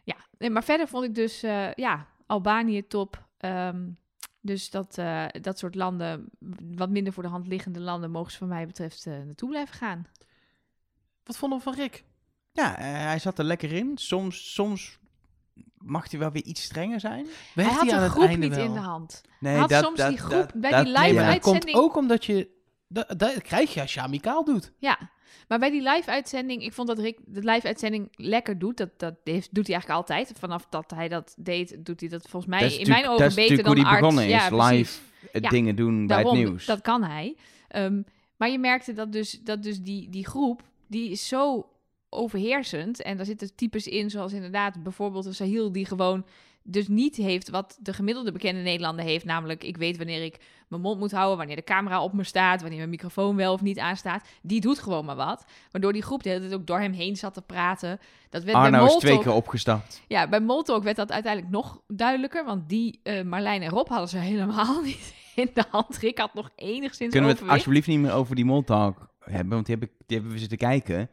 Speaker 1: ja, nee, maar verder vond ik dus eh, ja, Albanië top. Ehm, dus dat, eh, dat soort landen, wat minder voor de hand liggende landen, mogen ze van mij betreft eh, naartoe blijven gaan.
Speaker 2: Wat vonden we van Rick?
Speaker 3: Ja, eh, hij zat er lekker in. Soms, soms mag hij wel weer iets strenger zijn.
Speaker 2: We
Speaker 1: Hij had de groep niet in de hand.
Speaker 3: Nee,
Speaker 1: Hij had soms die groep bij die
Speaker 3: ja.
Speaker 1: live
Speaker 2: maar dat komt
Speaker 1: uitzending-
Speaker 2: ook omdat je... Dat, dat krijg je als je amicaal doet.
Speaker 1: Ja, maar bij die live-uitzending, ik vond dat Rick de live-uitzending lekker doet. Dat, dat heeft, doet hij eigenlijk altijd. Vanaf dat hij dat deed, doet hij dat volgens mij
Speaker 3: Dat is
Speaker 1: in mijn
Speaker 3: natuurlijk-
Speaker 1: ogen
Speaker 3: dat is
Speaker 1: beter
Speaker 3: natuurlijk
Speaker 1: dan
Speaker 3: hoe die
Speaker 1: Art.
Speaker 3: begonnen
Speaker 1: ja,
Speaker 3: is,
Speaker 1: precies.
Speaker 3: live eh,
Speaker 1: Ja,
Speaker 3: dingen doen bij het
Speaker 1: Daarom,
Speaker 3: nieuws.
Speaker 1: dat kan hij. Ehm, maar je merkte dat dus, dat dus die, die groep, die is zo overheersend. En daar zitten types in, zoals inderdaad bijvoorbeeld een Sahil die gewoon dus niet heeft wat de gemiddelde bekende Nederlander heeft. Namelijk, ik weet wanneer ik mijn mond moet houden, wanneer de camera op me staat, wanneer mijn microfoon wel of niet aanstaat. Die doet gewoon maar wat. Waardoor die groep de hele tijd ook door hem heen zat te praten. Dat werd bij
Speaker 3: Arno is
Speaker 1: Moltok-
Speaker 3: twee keer opgestapt.
Speaker 1: ja, bij Moltalk werd dat uiteindelijk nog duidelijker. Want die eh, Marlijn en Rob hadden ze helemaal niet in de hand. Rick had nog enigszins
Speaker 3: Kunnen we het
Speaker 1: overwicht
Speaker 3: alsjeblieft niet meer over die Montauk hebben? Want die, heb ik, die hebben we zitten kijken.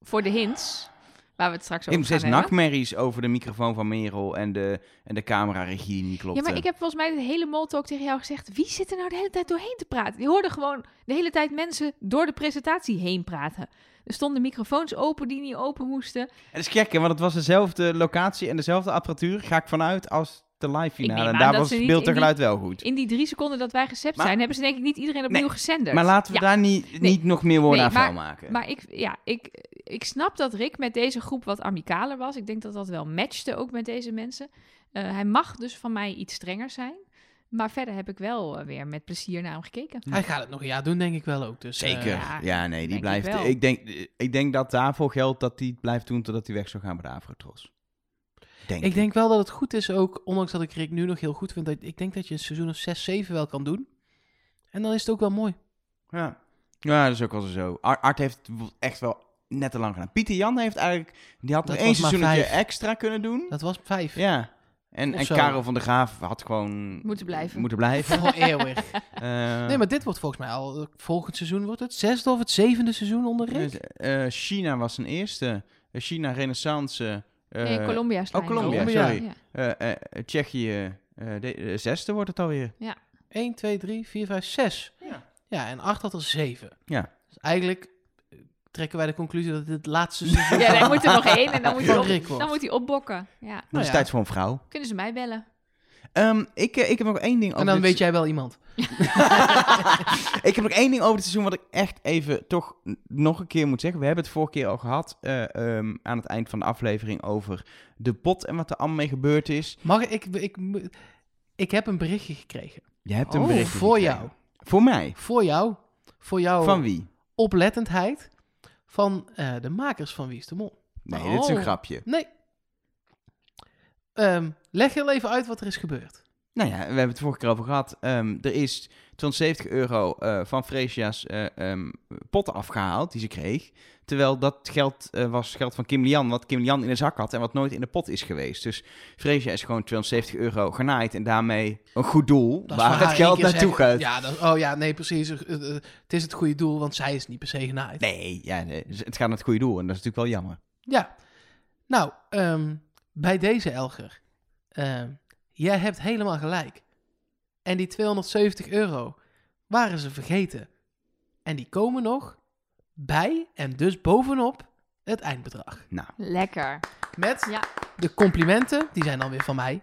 Speaker 1: voor de hints. Waar we het straks
Speaker 3: Ik heb
Speaker 1: over gaan
Speaker 3: zes
Speaker 1: hebben.
Speaker 3: nachtmerries over de microfoon van Merel en de, en de cameraregie die niet klopte.
Speaker 1: Ja, maar ik heb volgens mij de hele Moltalk tegen jou gezegd. Wie zit er nou de hele tijd doorheen te praten? Die hoorden gewoon de hele tijd mensen door de presentatie heen praten. Er stonden microfoons open die niet open moesten.
Speaker 3: Het is gek, hè, want het was dezelfde locatie en dezelfde apparatuur. Ga ik vanuit als de live finale.
Speaker 1: neem
Speaker 3: En
Speaker 1: aan
Speaker 3: daar
Speaker 1: dat
Speaker 3: was
Speaker 1: ze
Speaker 3: het
Speaker 1: niet
Speaker 3: beeld en
Speaker 1: in die-
Speaker 3: geluid wel goed.
Speaker 1: In die drie seconden dat wij gecept
Speaker 3: Maar-
Speaker 1: zijn, hebben ze denk ik niet iedereen opnieuw gezenderd.
Speaker 3: Maar laten we
Speaker 1: Ja.
Speaker 3: daar niet, niet nog meer woorden
Speaker 1: Nee,
Speaker 3: aan
Speaker 1: maar-
Speaker 3: vuil maken.
Speaker 1: Maar ik, ja, ik, ik snap dat Rick met deze groep wat amicaler was. Ik denk dat dat wel matchte ook met deze mensen. Eh, hij mag dus van mij iets strenger zijn. Maar verder heb ik wel eh, weer met plezier naar hem gekeken.
Speaker 2: Hij gaat het nog een jaar doen, denk ik wel ook. Dus, eh,
Speaker 3: Zeker.
Speaker 1: ja,
Speaker 3: ja, nee, die
Speaker 1: denk
Speaker 3: blijft.
Speaker 1: ik
Speaker 3: Ik,
Speaker 1: wel.
Speaker 3: denk, ik denk dat daarvoor geldt dat hij het blijft doen totdat hij weg zou gaan bij de Avrotros. Denk
Speaker 2: Ik denk wel dat het goed is ook, ondanks dat ik Rick nu nog heel goed vind, dat ik denk dat je een seizoen of 6, 7 wel kan doen. En dan is het ook wel mooi.
Speaker 3: Ja. ja, dat is ook wel zo. Ar- Art heeft het bijvoorbeeld echt wel net te lang gedaan. Pieter Jan heeft eigenlijk. Die had
Speaker 2: Dat
Speaker 3: nog één
Speaker 2: was maar
Speaker 3: seizoenetje
Speaker 2: vijf.
Speaker 3: extra kunnen doen.
Speaker 2: Dat was 5.
Speaker 3: Ja. En,
Speaker 2: Of
Speaker 3: en
Speaker 2: zo.
Speaker 3: Karel van der Graaf had gewoon.
Speaker 1: Moeten blijven.
Speaker 3: Moeten blijven.
Speaker 2: Voor eeuwig.
Speaker 3: Eh,
Speaker 2: Nee, maar dit wordt volgens mij al, eh, volgend seizoen wordt het zesde of het zevende seizoen onder Rick.
Speaker 3: eh, eh, China was zijn eerste. Eh, China Renaissance. eh,
Speaker 1: nee, Colombia is
Speaker 3: Oh, Colombia,
Speaker 2: Colombia.
Speaker 3: sorry.
Speaker 1: Ja.
Speaker 3: Eh, eh, Tsjechië. eh, de, eh, zesde wordt het
Speaker 2: Nou
Speaker 3: alweer.
Speaker 2: 1, 2, 3, 4, 5, 6.
Speaker 3: Ja.
Speaker 2: Ja, en 8 had er 7.
Speaker 3: Ja.
Speaker 2: Dus eigenlijk eh, trekken wij de conclusie dat dit het laatste seizoen
Speaker 1: Ja, daar moet er nog één en dan moet, hij
Speaker 2: Van
Speaker 1: op-
Speaker 2: Rick wordt.
Speaker 1: dan moet hij opbokken. Ja.
Speaker 3: Dan is
Speaker 2: ja.
Speaker 3: Dus het tijd voor een vrouw.
Speaker 1: Kunnen ze mij bellen?
Speaker 3: Ehm, ik, eh, ik heb nog één ding
Speaker 2: En
Speaker 3: over
Speaker 2: dan
Speaker 3: dit
Speaker 2: weet jij wel iemand.
Speaker 3: ik heb nog één ding over dit seizoen wat ik echt even toch n- nog een keer moet zeggen. We hebben het vorige keer al gehad eh, ehm, aan het eind van de aflevering over de pot en wat er allemaal mee gebeurd is.
Speaker 2: Mag ik, ik, ik, ik heb een berichtje gekregen.
Speaker 3: Je hebt een
Speaker 1: Oh,
Speaker 3: bericht
Speaker 2: voor jou.
Speaker 3: Voor mij.
Speaker 2: Voor jou. Voor jou.
Speaker 3: Van wie?
Speaker 2: oplettendheid van eh, de makers van Wie is de Mol.
Speaker 3: Nee, dit is een
Speaker 1: Oh.
Speaker 3: grapje.
Speaker 2: Nee. Ehm, leg heel even uit wat er is gebeurd.
Speaker 3: Nou ja, we hebben het vorige keer over gehad. Ehm, er is 270 euro eh, van Fresia's eh, ehm, potten afgehaald die ze kreeg. Terwijl dat geld eh, was geld van Kim Lian, wat Kim Lian in de zak had en wat nooit in de pot is geweest. Dus Fresia is gewoon 270 euro genaaid en daarmee een goed doel
Speaker 2: Dat is
Speaker 3: waar
Speaker 2: voor
Speaker 3: het
Speaker 2: haar
Speaker 3: geld
Speaker 2: één keer
Speaker 3: naartoe
Speaker 2: zeggen-
Speaker 3: gaat.
Speaker 2: Ja, dat- oh ja, nee, precies. Eh, eh, Het is het goede doel, want zij is niet per se genaaid.
Speaker 3: Nee, ja, nee, het gaat naar het goede doel en dat is natuurlijk wel jammer.
Speaker 2: Ja. Nou, ehm, bij deze Elger. Ehm, jij hebt helemaal gelijk. En die 270 euro waren ze vergeten. En die komen nog bij en dus bovenop het eindbedrag.
Speaker 3: Nou,
Speaker 1: Lekker.
Speaker 2: Met
Speaker 1: Ja.
Speaker 2: de complimenten, die zijn dan weer van mij.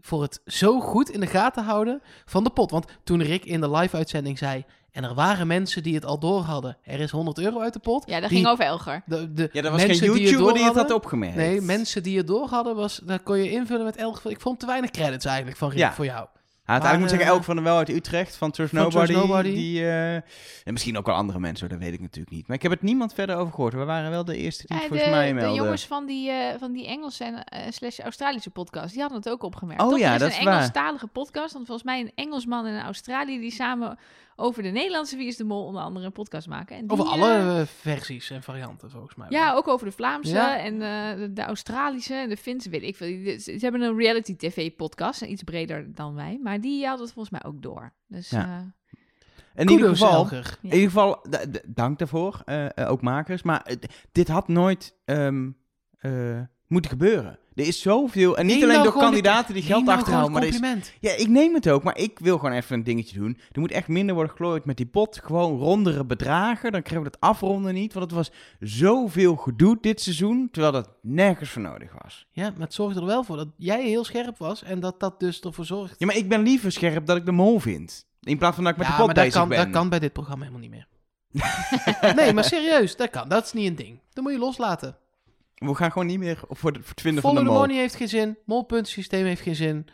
Speaker 2: Voor het zo goed in de gaten houden van de pot. Want toen Rick in de live-uitzending zei. En er waren mensen die het al door hadden. Er is 100 euro uit de pot.
Speaker 1: Ja, dat
Speaker 2: die-
Speaker 1: ging over Elger.
Speaker 2: De, de
Speaker 3: ja, er was
Speaker 2: mensen
Speaker 3: geen
Speaker 2: die het
Speaker 3: YouTuber die het
Speaker 2: doorhadden-
Speaker 3: had opgemerkt.
Speaker 2: Nee, mensen die het door hadden, was, daar kon je invullen met elk. Ik vond te weinig credits eigenlijk van Rick
Speaker 3: Ja.
Speaker 2: voor jou.
Speaker 3: Hij had
Speaker 2: Maar,
Speaker 3: eigenlijk moet
Speaker 2: eh,
Speaker 3: zeggen, Elk van der Wel uit Utrecht, van Turf
Speaker 2: van Turf
Speaker 3: Nobody.
Speaker 2: Nobody.
Speaker 3: Die, eh, en misschien ook wel andere mensen, hoor, dat weet ik natuurlijk niet. Maar ik heb het niemand verder over gehoord. We waren wel de eerste die het
Speaker 1: Eh,
Speaker 3: volgens mij
Speaker 1: de, de
Speaker 3: meldden.
Speaker 1: jongens van die, eh, van die Engelse en eh, slash Australische podcast, die hadden het ook opgemerkt.
Speaker 3: Oh
Speaker 1: Toch?
Speaker 3: ja,
Speaker 1: er is
Speaker 3: dat
Speaker 1: een
Speaker 3: is waar.
Speaker 1: Engelstalige podcast, want volgens mij een Engelsman en een Australië die samen over de Nederlandse Wie is de Mol onder andere een podcast maken. En die,
Speaker 2: Over
Speaker 1: eh,
Speaker 2: alle eh, versies en varianten volgens mij.
Speaker 1: ja, ook over de Vlaamse
Speaker 2: Ja.
Speaker 1: en eh, de, de Australische en de Finse, weet ik veel. Die- Ze, ze hebben een reality tv-podcast, iets breder dan wij, maar die hadden het volgens mij ook door. Dus
Speaker 3: Ja.
Speaker 1: eh,
Speaker 3: in ieder geval,
Speaker 2: Elger.
Speaker 3: in ieder geval da- da- dank daarvoor, eh, eh, ook makers. Maar eh, d- dit had nooit ehm, eh, moeten gebeuren. Er is zoveel, en niet
Speaker 2: Neem
Speaker 3: alleen
Speaker 2: nou
Speaker 3: door
Speaker 2: gewoon de-
Speaker 3: kandidaten die geld
Speaker 2: Neem nou
Speaker 3: achterhouden,
Speaker 2: gewoon
Speaker 3: maar er
Speaker 2: het
Speaker 3: is
Speaker 2: compliment.
Speaker 3: Ja, ik neem het ook, maar ik wil gewoon even een dingetje doen. Er moet echt minder worden geklooid met die pot. Gewoon rondere bedragen. Dan krijgen we dat afronden niet. Want het was zoveel gedoe dit seizoen. Terwijl dat nergens voor nodig was.
Speaker 2: Ja, maar het zorgde er wel voor dat jij heel scherp was en dat dat dus ervoor zorgt.
Speaker 3: Ja, maar ik ben liever scherp dat ik de mol vind. In plaats van dat ik met
Speaker 2: Ja,
Speaker 3: de pot
Speaker 2: maar dat
Speaker 3: bezig
Speaker 2: kan,
Speaker 3: ben.
Speaker 2: dat kan bij dit programma helemaal niet meer. nee, maar serieus, dat kan. Dat is niet een ding. Dat moet je loslaten.
Speaker 3: We gaan gewoon niet meer voor, de, voor het vinden van
Speaker 2: Follow
Speaker 3: de
Speaker 2: the
Speaker 3: mol.
Speaker 2: money heeft geen zin. Molpuntensysteem heeft geen zin.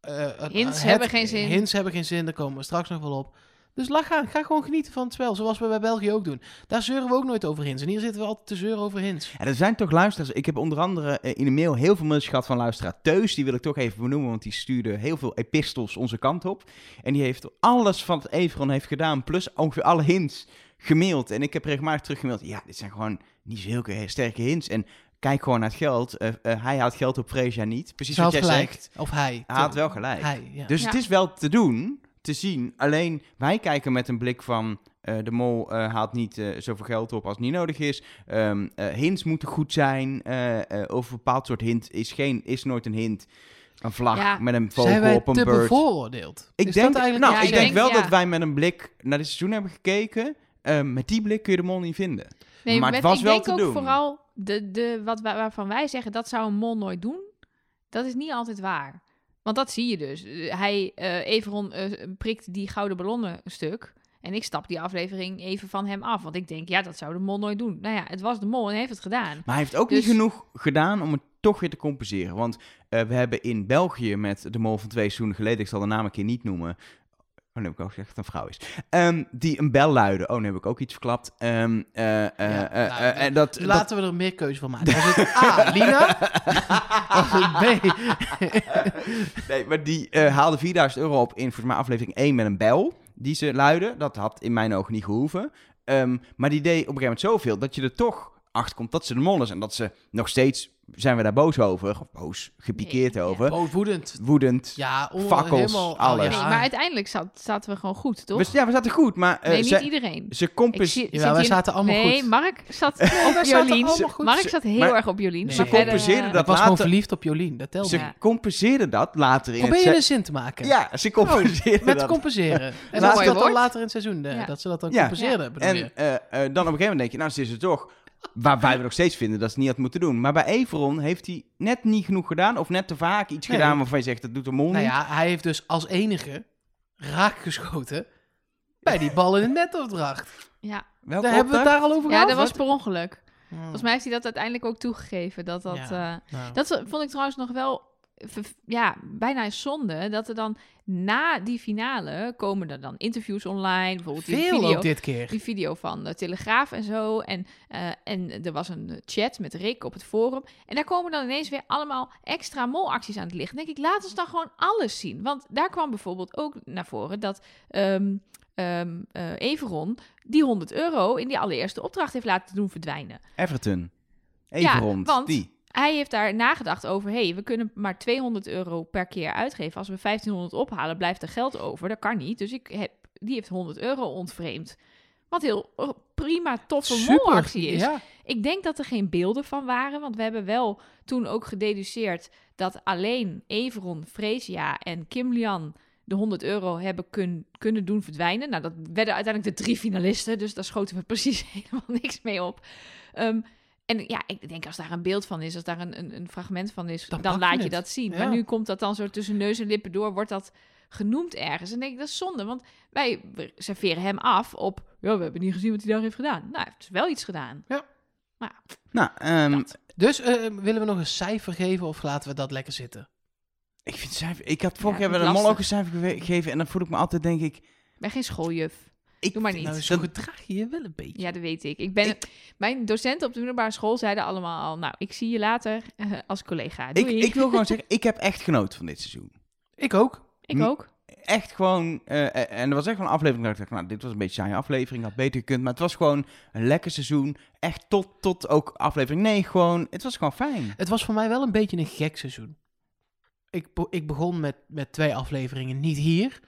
Speaker 2: Eh, eh,
Speaker 1: Hints hebben geen zin.
Speaker 2: Hints hebben geen zin. Daar komen we straks nog wel op. Dus lach aan. Ga gewoon genieten van het spel. Zoals we bij België ook doen. Daar zeuren we ook nooit over hints. En hier zitten we altijd te zeuren over hints.
Speaker 3: En er zijn toch luisteraars. Ik heb onder andere eh, in de mail heel veel mailtjes gehad van luisteraar Teus. Die wil ik toch even benoemen, want die stuurde heel veel epistels onze kant op. En die heeft alles van het Evron heeft gedaan, plus ongeveer alle hints gemaild. En ik heb regelmatig teruggemaild. Ja, dit zijn gewoon niet zulke sterke hints. En kijk gewoon naar het geld. Eh, eh, hij haalt geld op Freja niet. Precies
Speaker 2: Ze
Speaker 3: wat
Speaker 2: had
Speaker 3: jij
Speaker 2: gelijk.
Speaker 3: zegt.
Speaker 2: Of hij.
Speaker 3: Hij had wel gelijk.
Speaker 2: Hij, ja.
Speaker 3: Dus
Speaker 1: Ja.
Speaker 3: het is wel te doen, te zien. Alleen wij kijken met een blik van. eh, de mol eh, haalt niet eh, zoveel geld op als niet nodig is. Ehm, eh, hints moeten goed zijn. eh eh over een bepaald soort hint is, geen, is nooit een hint. Een vlag
Speaker 1: Ja.
Speaker 3: met een vogel
Speaker 2: Zijn wij
Speaker 3: op een
Speaker 2: te
Speaker 3: bird.
Speaker 2: bevooroordeeld?
Speaker 3: Ik
Speaker 2: Is
Speaker 3: denk,
Speaker 2: dat eigenlijk
Speaker 3: nou,
Speaker 1: Ja,
Speaker 2: wat
Speaker 3: ik
Speaker 2: je
Speaker 3: denk
Speaker 2: zegt?
Speaker 3: wel
Speaker 1: ja.
Speaker 3: dat wij met een blik naar dit seizoen hebben gekeken. Ehm, met die blik kun je de mol niet vinden.
Speaker 1: Nee,
Speaker 3: Maar
Speaker 1: maar
Speaker 3: het was
Speaker 1: ik
Speaker 3: wel
Speaker 1: denk
Speaker 3: te
Speaker 1: ook
Speaker 3: doen.
Speaker 1: vooral de, de, wat, wa- waarvan wij zeggen dat zou een mol nooit doen. Dat is niet altijd waar. Want dat zie je dus. Eh, Hij, eh Everon eh, prikt die gouden ballonnen stuk. En ik stap die aflevering even van hem af. Want ik denk, ja, dat zou de mol nooit doen. Nou ja, het was de mol en hij heeft het gedaan.
Speaker 3: Maar hij heeft ook niet
Speaker 1: Dus-
Speaker 3: genoeg gedaan om het toch weer te compenseren. Want eh, we hebben in België met de mol van twee seizoenen geleden, ik zal de naam een keer niet noemen. Oh, nu heb ik ook gezegd dat het een vrouw is. Ehm, die een bel luidde. Oh, nu heb ik ook iets verklapt. Ehm, eh, eh,
Speaker 2: Ja,
Speaker 3: eh,
Speaker 2: nou,
Speaker 3: eh, en dat, dat,
Speaker 2: Laten we er meer keuze van maken. Was het A, Lina? Was het B?
Speaker 3: nee, maar die eh, haalde 4000 euro op in volgens mij aflevering 1 met een bel. Die ze luidde. Dat had in mijn ogen niet gehoeven. Ehm, maar die deed op een gegeven moment zoveel dat je er toch achter komt dat ze de mol is. En dat ze nog steeds, zijn we daar boos over. Of boos, gepikeerd
Speaker 1: Nee, ja.
Speaker 3: over.
Speaker 2: Oh, woedend.
Speaker 3: Woedend.
Speaker 2: Ja, on-
Speaker 3: Fakkels,
Speaker 2: helemaal... oh,
Speaker 3: alles.
Speaker 2: ja.
Speaker 1: Nee, maar uiteindelijk zat, zaten we gewoon goed, toch?
Speaker 3: We, ja, we zaten goed, maar eh,
Speaker 1: nee, niet
Speaker 3: ze,
Speaker 1: iedereen.
Speaker 3: ze
Speaker 1: Ik zie-
Speaker 3: compenseerde
Speaker 1: zit
Speaker 2: wij
Speaker 1: hier-
Speaker 2: zaten allemaal
Speaker 1: nee,
Speaker 2: goed.
Speaker 1: Mark zat op
Speaker 2: zaten
Speaker 1: Jolien.
Speaker 2: allemaal goed.
Speaker 1: Mark zat heel
Speaker 3: Maar-
Speaker 1: erg op Jolien.
Speaker 2: Ze
Speaker 1: maar verder,
Speaker 3: compenseerden
Speaker 1: eh,
Speaker 3: dat
Speaker 2: Ik was gewoon
Speaker 3: later-
Speaker 2: verliefd op Jolien. Dat telde.
Speaker 3: ze
Speaker 1: Ja.
Speaker 3: compenseerde dat later in
Speaker 2: Probeer
Speaker 3: het...
Speaker 2: je
Speaker 3: se-
Speaker 2: een zin te maken.
Speaker 3: Ja,
Speaker 1: Oh,
Speaker 3: ze compenseerde
Speaker 2: Met
Speaker 3: dat.
Speaker 2: compenseren.
Speaker 1: Laat-
Speaker 2: En dat ze dat dan
Speaker 1: Mooi woord.
Speaker 2: later in het seizoen, eh,
Speaker 1: Ja.
Speaker 2: dat ze dat dan
Speaker 3: Ja.
Speaker 2: compenseerden. bedoel
Speaker 3: en
Speaker 2: je.
Speaker 3: eh, eh, dan op een gegeven moment denk je, nou, ze is het toch. Waar wij nog steeds vinden dat ze het niet had moeten doen. Maar bij Everon heeft hij net niet genoeg gedaan. Of net te vaak iets
Speaker 2: Nee.
Speaker 3: gedaan waarvan je zegt, dat doet de mol
Speaker 2: nou
Speaker 3: niet.
Speaker 2: ja, hij heeft dus als enige raakgeschoten bij die bal in de netopdracht.
Speaker 1: ja.
Speaker 3: Welke
Speaker 2: Daar hebben we het
Speaker 3: opdracht?
Speaker 2: daar al over
Speaker 1: ja,
Speaker 2: gehad.
Speaker 1: dat was per ongeluk.
Speaker 2: Hmm.
Speaker 1: Volgens mij heeft hij dat uiteindelijk ook toegegeven. Dat, dat,
Speaker 2: Ja.
Speaker 1: eh,
Speaker 2: Nou,
Speaker 1: dat vond ik trouwens nog wel ver- ja, bijna een zonde dat er dan na die finale komen er dan interviews online. Bijvoorbeeld die
Speaker 2: Veel
Speaker 1: video,
Speaker 2: ook dit keer.
Speaker 1: die video van de Telegraaf en zo. En, eh, en er was een chat met Rick op het forum. En daar komen dan ineens weer allemaal extra molacties aan het licht. Dan denk ik, laat ons dan gewoon alles zien. Want daar kwam bijvoorbeeld ook naar voren dat ehm ehm, eh, Everon die 100 euro in die allereerste opdracht heeft laten doen verdwijnen.
Speaker 3: Everton.
Speaker 1: Ja,
Speaker 3: Even rond.
Speaker 1: want-
Speaker 3: Die.
Speaker 1: Hij heeft daar nagedacht over, hey, we kunnen maar 200 euro per keer uitgeven. Als we 1500 ophalen, blijft er geld over. Dat kan niet. Dus ik heb, die heeft 100 euro ontvreemd. Wat heel eh, prima, toffe molactie is.
Speaker 2: Ja.
Speaker 1: Ik denk dat er geen beelden van waren, want we hebben wel toen ook gededuceerd dat alleen Everon, Freesia en Kimlian de 100 euro hebben kun- kunnen doen verdwijnen. Nou, dat werden uiteindelijk de drie finalisten, dus daar schoten we precies helemaal niks mee op. Ehm, en ja, ik denk als daar een beeld van is, als daar een, een, een fragment van is,
Speaker 2: Dan
Speaker 1: dan,
Speaker 2: pak je
Speaker 1: laat je
Speaker 2: het.
Speaker 1: dat zien.
Speaker 2: Ja.
Speaker 1: Maar nu komt dat dan zo tussen neus en lippen door, wordt dat genoemd ergens. En denk ik, dat is zonde, want wij serveren hem af op, ja, we hebben niet gezien wat hij daar heeft gedaan. Nou, hij heeft wel iets gedaan.
Speaker 3: Nou, ehm,
Speaker 1: Dat.
Speaker 2: Dus eh, willen we nog een cijfer geven of laten we dat lekker zitten?
Speaker 3: ik vind cijfer... Ik had vorig
Speaker 1: Ja,
Speaker 3: jaar wel
Speaker 1: vind
Speaker 3: een
Speaker 1: ik
Speaker 3: mol ook een cijfer geve- gegeven. En dan voel ik me altijd, denk ik...
Speaker 1: Ik ben geen schooljuf.
Speaker 3: ik
Speaker 1: Doe maar niet.
Speaker 2: Nou, zo gedraag je je wel een beetje.
Speaker 1: Ja, dat weet ik. ik, ben, Mijn docenten op de middelbare school zeiden allemaal al... nou, ik zie je later eh, als collega.
Speaker 3: Ik,
Speaker 1: Doei.
Speaker 3: ik wil gewoon zeggen, ik heb echt genoten van dit seizoen.
Speaker 2: Ik ook.
Speaker 1: Ik ook.
Speaker 3: Echt gewoon, eh, eh, en er was echt wel een aflevering dat ik dacht, nou, dit was een beetje een saaie aflevering, had beter gekund. Maar het was gewoon een lekker seizoen. Echt tot, tot ook aflevering 9 gewoon. Het was gewoon fijn.
Speaker 2: Het was voor mij wel een beetje een gek seizoen. Ik, be- ik begon met, met twee afleveringen niet hier.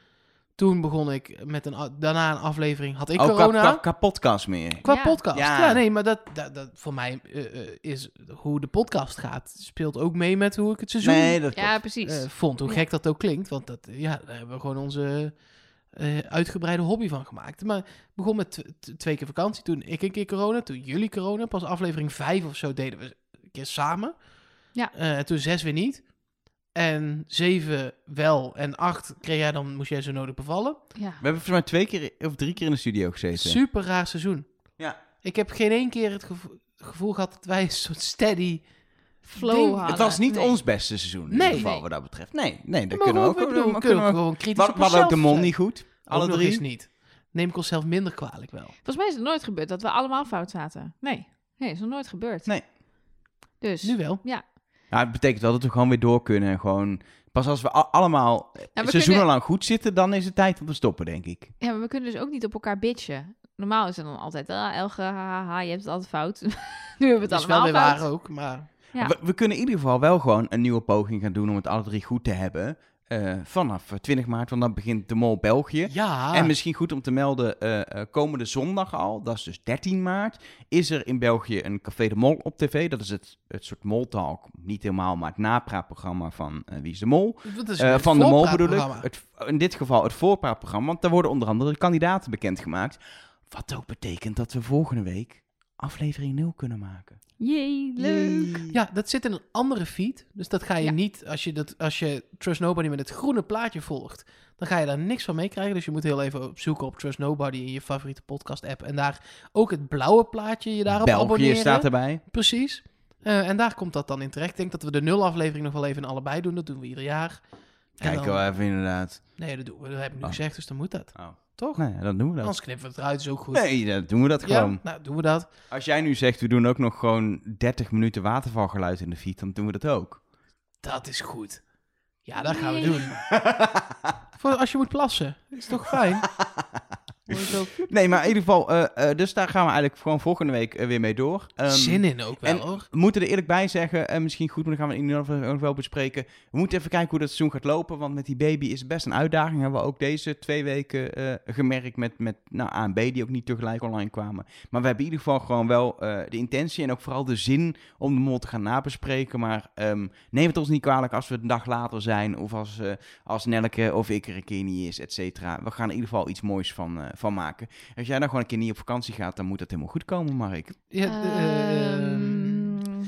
Speaker 2: Toen begon ik met een... a- Daarna een aflevering had ik
Speaker 3: ook
Speaker 2: corona.
Speaker 3: Oh, Qua, qua podcast meer.
Speaker 2: Qua
Speaker 1: Ja.
Speaker 2: podcast. Ja.
Speaker 3: Ja.
Speaker 2: nee, maar dat, dat, dat voor mij eh, eh, is hoe de podcast gaat. Speelt ook mee met hoe ik het seizoen
Speaker 3: Nee, dat
Speaker 1: Ja,
Speaker 3: klopt.
Speaker 1: precies.
Speaker 2: eh, vond. Hoe
Speaker 1: Ja.
Speaker 2: gek dat ook klinkt. Want dat, ja, daar hebben we gewoon onze eh, uitgebreide hobby van gemaakt. Maar het begon met tw- t- twee keer vakantie. Toen ik een keer corona. Toen jullie corona. Pas aflevering vijf of zo deden we een keer samen.
Speaker 1: Ja.
Speaker 2: Eh, en toen zes weer niet. En zeven wel. En acht kreeg jij dan, moest jij zo nodig bevallen.
Speaker 1: ja.
Speaker 3: We hebben volgens mij twee keer of drie keer in de studio gezeten.
Speaker 2: Super raar seizoen.
Speaker 3: Ja.
Speaker 2: Ik heb geen één keer het gevo- gevoel gehad dat wij een soort steady...
Speaker 1: Flow
Speaker 2: ding-
Speaker 1: hadden.
Speaker 3: Het was niet
Speaker 1: Nee.
Speaker 3: ons beste seizoen in
Speaker 2: Nee.
Speaker 3: ieder geval wat dat betreft. Nee, nee, dat
Speaker 2: Maar
Speaker 3: kunnen we
Speaker 2: goed,
Speaker 3: ook.
Speaker 2: ik bedoel,
Speaker 3: we
Speaker 2: we
Speaker 3: kunnen
Speaker 2: ook
Speaker 3: we ook.
Speaker 2: gewoon kritisch
Speaker 3: We
Speaker 2: op
Speaker 3: hadden- we hadden ook de
Speaker 2: onszelf
Speaker 3: mol
Speaker 2: zijn.
Speaker 3: niet goed.
Speaker 2: Ook
Speaker 3: Alle
Speaker 2: nog eens
Speaker 3: drie.
Speaker 2: niet. Neem ik onszelf minder kwalijk wel.
Speaker 1: Volgens mij is het nooit gebeurd dat we allemaal fout zaten. Nee. Nee, is nog nooit gebeurd.
Speaker 3: Nee.
Speaker 1: Dus...
Speaker 2: Nu wel.
Speaker 3: Ja, het betekent wel dat we gewoon weer door kunnen. en Gewoon, pas als we a- allemaal
Speaker 1: Nou, we
Speaker 3: seizoenenlang goed zitten, dan is het tijd om te stoppen, denk ik.
Speaker 1: Ja, maar we kunnen dus ook niet op elkaar bitchen. Normaal is het dan altijd... Ah, Elge, haha, je hebt het altijd fout. nu hebben we het
Speaker 2: Dat is wel
Speaker 1: allemaal
Speaker 2: weer
Speaker 1: fout.
Speaker 2: waar ook, maar...
Speaker 1: Ja.
Speaker 3: We, we kunnen in ieder geval wel gewoon een nieuwe poging gaan doen om het alle drie goed te hebben. eh, vanaf eh, 20 maart, want dan begint de Mol België.
Speaker 2: Ja.
Speaker 3: En misschien goed om te melden, eh, eh, komende zondag al, dat is dus 13 maart, is er in België een Café de Mol op tv. Dat is het, het soort moltalk, niet helemaal, maar het napraatprogramma van eh, Wie is de Mol.
Speaker 2: Dat is
Speaker 3: Eh,
Speaker 2: een
Speaker 3: van de Mol bedoel ik.
Speaker 2: voorpraatprogramma.
Speaker 3: Het, in dit geval het voorpraatprogramma, want daar worden onder andere de kandidaten bekendgemaakt. Wat ook betekent dat we volgende week aflevering 0 kunnen maken.
Speaker 1: Jee, leuk.
Speaker 2: Ja, dat zit in een andere feed. Dus dat ga je
Speaker 1: Ja.
Speaker 2: niet... Als je, dat, als je Trust Nobody met het groene plaatje volgt... dan ga je daar niks van meekrijgen. Dus je moet heel even op zoeken op Trust Nobody... in je favoriete podcast-app. En daar ook het blauwe plaatje je daarop
Speaker 3: België
Speaker 2: abonneren.
Speaker 3: staat erbij.
Speaker 2: Precies. Eh, en daar komt dat dan in terecht. Ik denk dat we de nul aflevering nog wel even in allebei doen. Dat doen we ieder jaar. En
Speaker 3: Kijken
Speaker 2: dan-
Speaker 3: we even inderdaad.
Speaker 2: Nee, dat, doen we, dat heb ik nu
Speaker 3: Oh.
Speaker 2: gezegd, dus dan moet dat.
Speaker 3: Oh.
Speaker 2: Toch?
Speaker 3: Nou ja, dan doen we dat.
Speaker 2: Anders knippen we het eruit, is ook goed.
Speaker 3: Nee, dan doen we dat gewoon.
Speaker 2: ja, nou doen we dat.
Speaker 3: Als jij nu zegt, we doen ook nog gewoon 30 minuten watervalgeluid in de fiets, dan doen we dat ook.
Speaker 2: Dat is goed. Ja, dat gaan we
Speaker 1: Nee.
Speaker 2: doen. Voor als je moet plassen. Is toch fijn?
Speaker 3: Nee, maar in ieder geval, eh, eh, dus daar gaan we eigenlijk gewoon volgende week eh, weer mee door. Ehm,
Speaker 2: Zin in ook wel,
Speaker 3: en-
Speaker 2: hoor.
Speaker 3: We moeten er eerlijk bij zeggen, en misschien goed, maar dan gaan we in ieder geval ook wel bespreken. We moeten even kijken hoe dat seizoen gaat lopen, want met die baby is het best een uitdaging. Hebben we ook deze twee weken eh, gemerkt met, met nou, A en B, die ook niet tegelijk online kwamen. Maar we hebben in ieder geval gewoon wel eh, de intentie en ook vooral de zin om de mol te gaan nabespreken. Maar ehm, neem het ons niet kwalijk als we een dag later zijn of als, eh, als Nelke of ik er een keer niet is, et cetera. We gaan er in ieder geval iets moois van, eh, van maken. Als jij dan gewoon een keer niet op vakantie gaat, dan moet dat helemaal goed komen, Mark.
Speaker 2: Ja, ehm,
Speaker 1: Ehm,